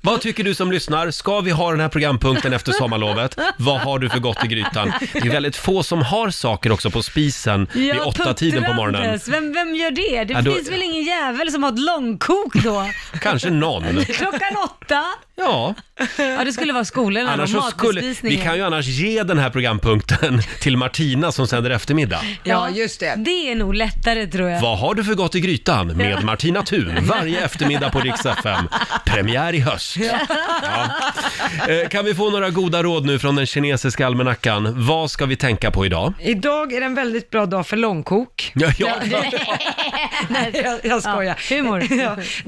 Speaker 1: Vad tycker du som lyssnar? Ska vi ha den här programpunkten efter sommarlovet? Vad har du för gott i grytan? Det är väldigt få som har saker också på spisen vid
Speaker 2: Ja,
Speaker 1: åtta tiden på morgonen.
Speaker 2: puttrandes. Vem, vem gör det? Det
Speaker 1: Ja, då-
Speaker 2: finns väl ingen jävel som har ett långkok då?
Speaker 1: Kanske någon.
Speaker 2: Klockan åtta?
Speaker 1: Ja,
Speaker 2: Ja, det skulle vara skolan
Speaker 1: annars så
Speaker 2: eller
Speaker 1: skulle, vi
Speaker 2: matbespisningen.
Speaker 1: kan ju annars ge den här programpunkten till Martina som sänder eftermiddag.
Speaker 2: Ja, just det. Det är nog lättare tror jag.
Speaker 1: Vad har du för gott i grytan med Martina Thun varje eftermiddag på Rix FM. Premiär i höst. Eh, Kan vi få några goda råd nu från den kinesiska almanackan? Vad ska vi tänka på idag?
Speaker 3: Idag är det en väldigt bra dag för långkok.
Speaker 1: Ja, ja. Eh,
Speaker 3: Nej, jag, jag skojar. Ja, humor.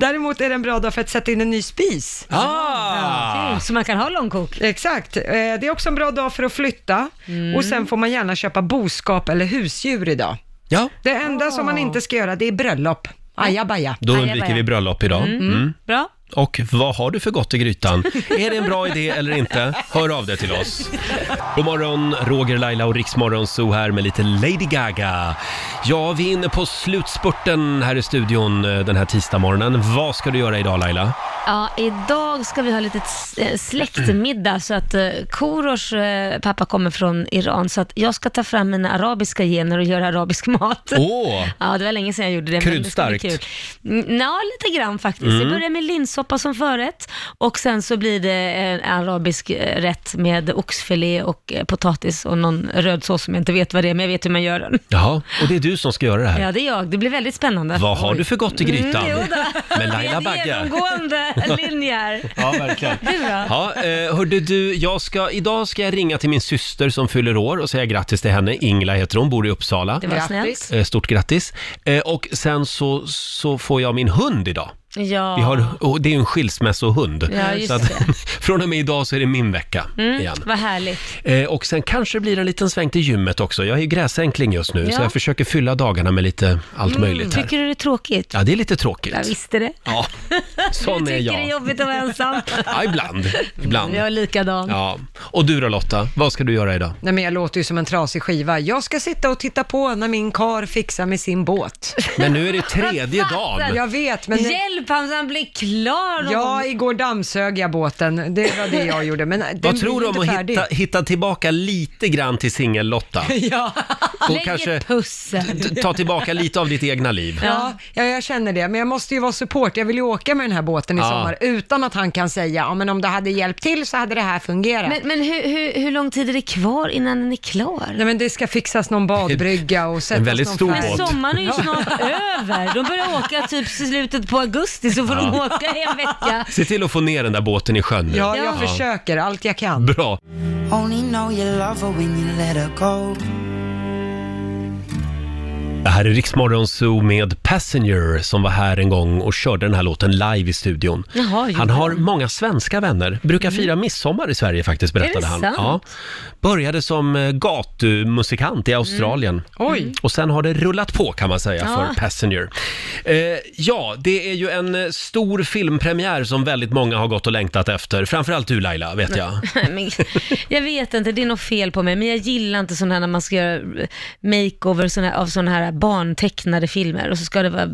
Speaker 3: Däremot är det en bra dag för att sätta in en ny spis.
Speaker 1: Ah!
Speaker 2: Så man kan ha långkok?
Speaker 3: Exakt. Eh, Det är också en bra dag för att flytta.
Speaker 2: Mm.
Speaker 3: Och sen får man gärna köpa boskap eller husdjur idag.
Speaker 1: Ja.
Speaker 3: Det enda som
Speaker 2: Ah.
Speaker 3: man inte ska göra, det är bröllop. Ajabaja.
Speaker 1: Då undviker vi bröllop idag.
Speaker 3: Mm.
Speaker 1: Mm.
Speaker 2: Bra.
Speaker 1: Och vad har du för gott i grytan? Är det en bra idé eller inte? Hör av dig till oss. God morgon, Roger, Laila och Riksmorgon Zoo här med lite Lady Gaga. Ja, vi är inne på slutspurten här i studion eh, den här tisdagmorgonen. Vad ska du göra idag Laila?
Speaker 2: Ja, idag ska vi ha lite s- eh, släktmiddag så att eh, Korosh eh, pappa kommer från Iran så att jag ska ta fram mina arabiska gener och göra arabisk mat.
Speaker 1: Åh!
Speaker 2: Ja, det var länge sedan jag gjorde det. men det ska bli
Speaker 1: Kryddstarkt.
Speaker 2: kul. Mm, Ja, lite grann faktiskt.
Speaker 1: Mm.
Speaker 2: Det börjar med linssoppa som förrätt och sen så blir det en arabisk eh, rätt med oxfilé och eh, potatis och någon röd sås som jag inte vet vad det är, men jag vet hur man gör den.
Speaker 1: Jaha, och det är du som ska göra det här.
Speaker 2: Ja, det är jag. Det blir väldigt spännande.
Speaker 1: Vad har du för gott i grytan?
Speaker 2: Mm, jo då.
Speaker 1: Med Laila
Speaker 2: Det är en
Speaker 1: Bagge.
Speaker 2: Genomgående linjer.
Speaker 1: Ja, verkligen.
Speaker 2: Du då?
Speaker 1: Ja, eh, hörde du, jag ska, idag ska jag ringa till min syster som fyller år och säga grattis till henne. Ingla heter hon, bor i Uppsala.
Speaker 2: Det var Grattis. snällt.
Speaker 1: Eh, Stort grattis. Eh, och sen så, så får jag min hund idag.
Speaker 2: Ja.
Speaker 1: Vi har, och det är ju en skilsmässohund.
Speaker 2: Ja, just
Speaker 1: så
Speaker 2: det.
Speaker 1: från och med idag så är det min vecka
Speaker 2: Mm,
Speaker 1: igen.
Speaker 2: Vad härligt.
Speaker 1: Eh, och sen kanske det blir en liten sväng till gymmet också. Jag är ju gräsänkling just nu,
Speaker 2: Ja. Mm,
Speaker 1: så jag försöker fylla dagarna med lite allt möjligt här.
Speaker 2: Tycker du det är tråkigt?
Speaker 1: Ja, det är lite tråkigt.
Speaker 2: Jag visste det.
Speaker 1: Ja, sån
Speaker 2: du
Speaker 1: är
Speaker 2: tycker
Speaker 1: jag.
Speaker 2: det är jobbigt att vara ensam.
Speaker 1: Ja, ibland. ibland.
Speaker 2: Jag är likadan.
Speaker 1: Ja. Och du då Lotta, vad ska du göra idag?
Speaker 3: Nej men jag låter ju som en trasig skiva. Jag ska sitta och titta på när min kar fixar med sin båt.
Speaker 1: Men nu är det tredje dagen.
Speaker 3: Alltså, Jag vet, men...
Speaker 2: Hjälp honom så han blir klar någon
Speaker 3: Ja,
Speaker 2: gång.
Speaker 3: igår dammsög jag båten. Det var det jag gjorde. Men den
Speaker 1: Vad
Speaker 3: blir
Speaker 1: tror du
Speaker 3: inte
Speaker 1: om att
Speaker 3: färdig.
Speaker 1: hitta, hitta tillbaka lite grann till singel-Lotta?
Speaker 3: Ja.
Speaker 1: Och kanske
Speaker 2: pussel.
Speaker 1: ta tillbaka lite av ditt egna liv.
Speaker 3: Ja, ja, jag känner det. Men jag måste ju vara support. Jag vill ju åka med den här båten i
Speaker 1: Ja.
Speaker 3: sommar utan att han kan säga, ja men om det hade hjälpt till så hade det här fungerat.
Speaker 2: Men, men hur, hur, hur lång tid är det kvar innan den är klar?
Speaker 3: Nej men det ska fixas någon badbrygga och sättas
Speaker 1: väldigt
Speaker 3: någon
Speaker 1: stor
Speaker 3: färg.
Speaker 1: båt.
Speaker 2: Men sommaren är ju
Speaker 3: Ja.
Speaker 2: snart över. De börjar åka typ i slutet på augusti så får de
Speaker 1: Ja.
Speaker 2: åka i en vecka.
Speaker 1: Se till att få ner den där båten i sjön nu.
Speaker 3: Ja, jag försöker allt jag kan.
Speaker 1: Bra.
Speaker 11: Only know you love her when you let her go.
Speaker 1: Det här är Riksmorgon Zoo med Passenger som var här en gång och körde den här låten live i studion.
Speaker 2: Jaha,
Speaker 1: Han har många svenska vänner, brukar fira midsommar i Sverige faktiskt,
Speaker 2: Mm. Är det
Speaker 1: berättade han.
Speaker 2: sant?
Speaker 1: Började som eh, gatumusikant i
Speaker 2: Mm.
Speaker 1: Australien.
Speaker 3: Oj.
Speaker 1: Och sen har det rullat på kan man säga
Speaker 2: Ja.
Speaker 1: för Passenger. Eh, ja, det är ju en eh, stor filmpremiär som väldigt många har gått och längtat efter. Framförallt du Laila, vet jag.
Speaker 2: Men, jag vet inte, det är något fel på mig, men jag gillar inte sådana här när man ska göra makeover såna här, av sådana här här barntecknade filmer och så ska det vara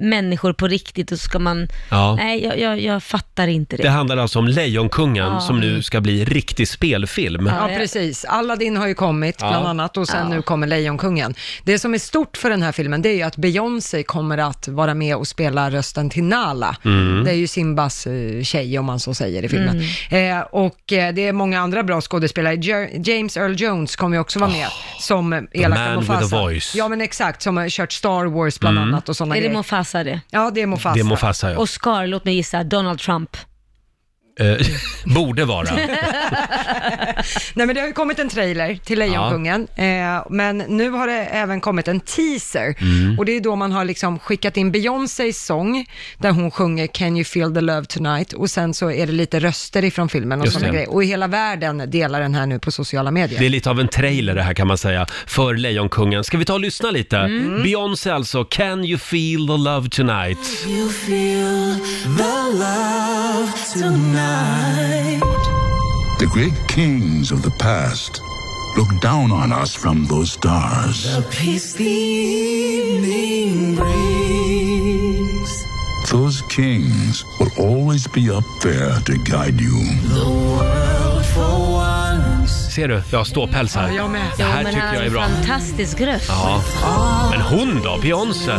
Speaker 2: människor på riktigt och så ska man...
Speaker 1: Ja.
Speaker 2: Nej, jag, jag, jag fattar inte det.
Speaker 1: Det handlar alltså om Lejonkungen
Speaker 2: Ja.
Speaker 1: som nu ska bli riktig spelfilm.
Speaker 3: Ja, precis. Aladdin har ju kommit
Speaker 1: Ja.
Speaker 3: bland annat och sen
Speaker 1: Ja.
Speaker 3: nu kommer Lejonkungen. Det som är stort för den här filmen det är ju att Beyoncé kommer att vara med och spela rösten till Nala.
Speaker 13: Mm.
Speaker 3: Det är ju Simbas eh, tjej om man så säger i filmen.
Speaker 1: Mm.
Speaker 3: Eh, och eh, det är många andra bra skådespelare. Jo- James Earl Jones kommer ju också vara med som eh,
Speaker 1: Ah. The
Speaker 3: elaka
Speaker 1: man with a voice.
Speaker 3: Ja men exakt, som har kört Star Wars bland
Speaker 1: Mm.
Speaker 3: annat och sådana
Speaker 2: Är det
Speaker 3: grejer.
Speaker 2: Mofasa det?
Speaker 3: Ja, det är Mofasa.
Speaker 1: Det är Mofasa, ja.
Speaker 2: Och Scar, låt mig gissa, Donald Trump.
Speaker 1: Eh, borde vara.
Speaker 3: Nej men det har ju kommit en trailer till Lejonkungen, eh, men nu har det även kommit en teaser.
Speaker 13: Mm.
Speaker 3: Och det är då man har liksom skickat in Beyoncés sång, där hon sjunger “Can you feel the love tonight?” och sen så är det lite röster ifrån filmen och
Speaker 1: Just
Speaker 3: sådana
Speaker 1: det.
Speaker 3: grejer. Och i hela världen delar den här nu på sociala medier.
Speaker 1: Det är lite av en trailer det här kan man säga, för Lejonkungen. Ska vi ta och lyssna lite?
Speaker 3: Mm.
Speaker 1: Beyoncé alltså, Can you feel the love tonight?
Speaker 13: You feel the love tonight.
Speaker 6: The great kings of the past look down on us from those stars.
Speaker 13: The peace the evening brings.
Speaker 6: Those kings will always be up there to guide you.
Speaker 13: The world for once.
Speaker 1: Ser du? Jag har ståpäls här.
Speaker 13: Ja, jag med.
Speaker 1: Det här
Speaker 2: men
Speaker 1: tycker
Speaker 2: han
Speaker 1: jag
Speaker 3: alltså,
Speaker 2: har
Speaker 1: är
Speaker 2: en
Speaker 1: bra.
Speaker 2: fantastisk röst. Mm.
Speaker 1: Ja. Men hon då? Beyoncé?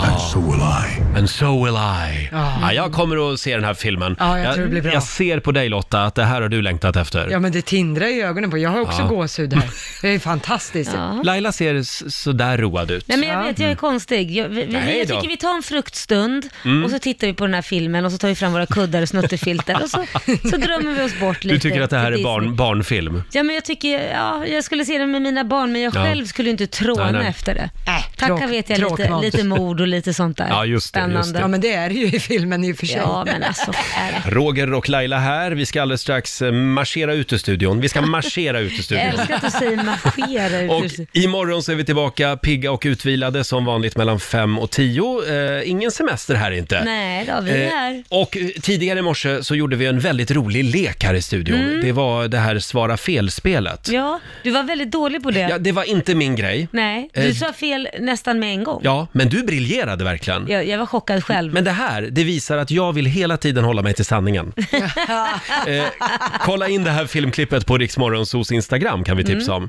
Speaker 1: And so will I. And so will I.
Speaker 3: Ja.
Speaker 1: Ja, jag kommer att se den här filmen.
Speaker 3: Ja, jag tror det blir bra.
Speaker 1: jag ser på dig Lotta att det här har du längtat efter.
Speaker 3: Ja men det tindrar i ögonen på, jag har också
Speaker 1: Ja.
Speaker 3: gåshud här. Det är fantastiskt.
Speaker 1: Laila ser s- sådär road ut.
Speaker 2: Nej men jag vet, jag är konstig. Jag, vi,
Speaker 1: Mm. Nej
Speaker 2: vi, jag
Speaker 1: då.
Speaker 2: tycker vi tar en fruktstund
Speaker 1: Mm.
Speaker 2: och så tittar vi på den här filmen och så tar vi fram våra kuddar och snuttefilter och så, så drömmer vi oss bort lite.
Speaker 1: Du tycker att det här
Speaker 2: till
Speaker 1: är barn,
Speaker 2: Disney.
Speaker 1: barnfilm?
Speaker 2: Ja men jag tycker, ja, jag skulle se den med mina barn men jag
Speaker 1: Ja.
Speaker 2: själv skulle inte tråna
Speaker 1: Nej, nej.
Speaker 2: efter det. Tacka
Speaker 3: Äh, tråk-
Speaker 2: vet jag lite,
Speaker 3: tråkmat.
Speaker 2: lite mord och lite sånt där.
Speaker 1: Ja, just det, just
Speaker 2: Spännande.
Speaker 1: det. Ja, men
Speaker 3: det är det ju i filmen i och för sig.
Speaker 2: Ja men alltså, är det.
Speaker 1: Roger och Laila här. Vi ska alldeles strax eh, marschera ut ur studion. Vi ska marschera ut ur
Speaker 2: Jag
Speaker 1: studion.
Speaker 2: älskar att du säger marschera ut.
Speaker 1: Och
Speaker 2: ur-
Speaker 1: imorgon så är vi tillbaka pigga och utvilade som vanligt mellan 5 och 10. Eh, ingen semester här inte.
Speaker 2: Nej då, vi är här.
Speaker 1: och eh, tidigare i morse så gjorde vi en väldigt rolig lek här i studion.
Speaker 2: Mm.
Speaker 1: Det var det här svara fel-spelet.
Speaker 2: Ja, du var väldigt dålig på det.
Speaker 1: Ja, det var inte min grej.
Speaker 2: Nej,
Speaker 1: Eh,
Speaker 2: du sa fel nästan med en gång.
Speaker 1: Ja, men du briljerade verkligen.
Speaker 2: Jag, jag var chockad själv.
Speaker 1: Men det här, det visar att jag vill hela tiden hålla mig till sanningen.
Speaker 2: Mm.
Speaker 1: eh, kolla in det här filmklippet på Riksmorgonsos Instagram kan vi tipsa om.